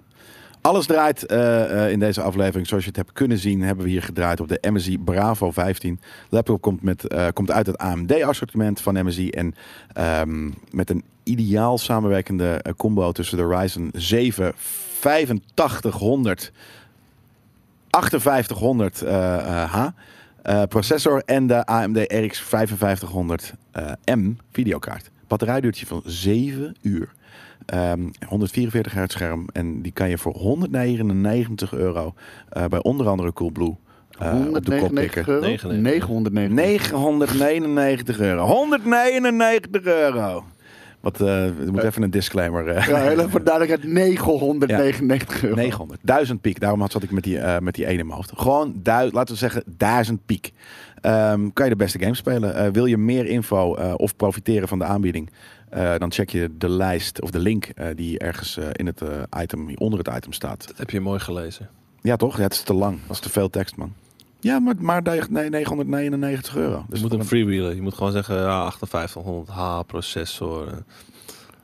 A: Alles draait eh, eh, in deze aflevering. Zoals je het hebt kunnen zien, hebben we hier gedraaid op de MSI Bravo 15. De laptop komt, met, eh, komt uit het AMD-assortiment van MSI. En ehm, met een ideaal samenwerkende eh, combo tussen de Ryzen 7 8500 5800 eh, eh, H eh, processor en de AMD RX 5500 eh, M videokaart. Batterijduurtje van 7 uur. Ehm, 144 hertz scherm. En die kan je voor 199 euro eh, bij onder andere Coolblue eh, op de kop
B: 199
A: tikken.
B: euro?
C: 999.
B: 999.
A: 999 euro. 199 euro. Wat, eh er moet even een disclaimer. eh.
B: Ja, heel even voor de duidelijkheid, 999 euro.
A: 900. 1000 piek. Daarom had- zat ik met die, eh, met die ene in mijn hoofd. Gewoon, duid, laten we zeggen, 1000 piek. Ehm, kan je de beste game spelen? Eh, wil je meer info eh, of profiteren van de aanbieding? Eh, dan check je de lijst of de link eh, die ergens eh, in het eh, item, onder het item staat.
C: Dat heb je mooi gelezen.
A: Ja, toch? Ja, het is te lang. Dat is te veel tekst, man. Ja, maar, maar daar- nee, 999 euro.
C: Je
A: Dus
C: moet
A: dan-
C: hem freewheelen. Je moet gewoon zeggen, ja, 5800 H processor, eh,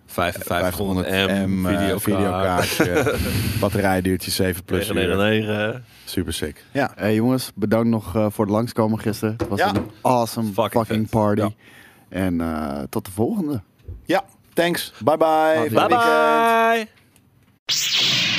C: 5500 M,
A: eh,
C: videokaart,
A: videokaartje, batterijduurtje 7 plus. uur.
C: 999.
A: Super sick. Ja.
B: Hey jongens, bedankt nog eh, voor het langskomen gisteren. Het was
A: Ja.
B: een awesome
C: Fucking
B: fucking,
C: vet.
B: party.
A: Ja.
B: En eh, tot de volgende.
A: ja, thanks. Bye bye.
B: Bye
C: Bye bye!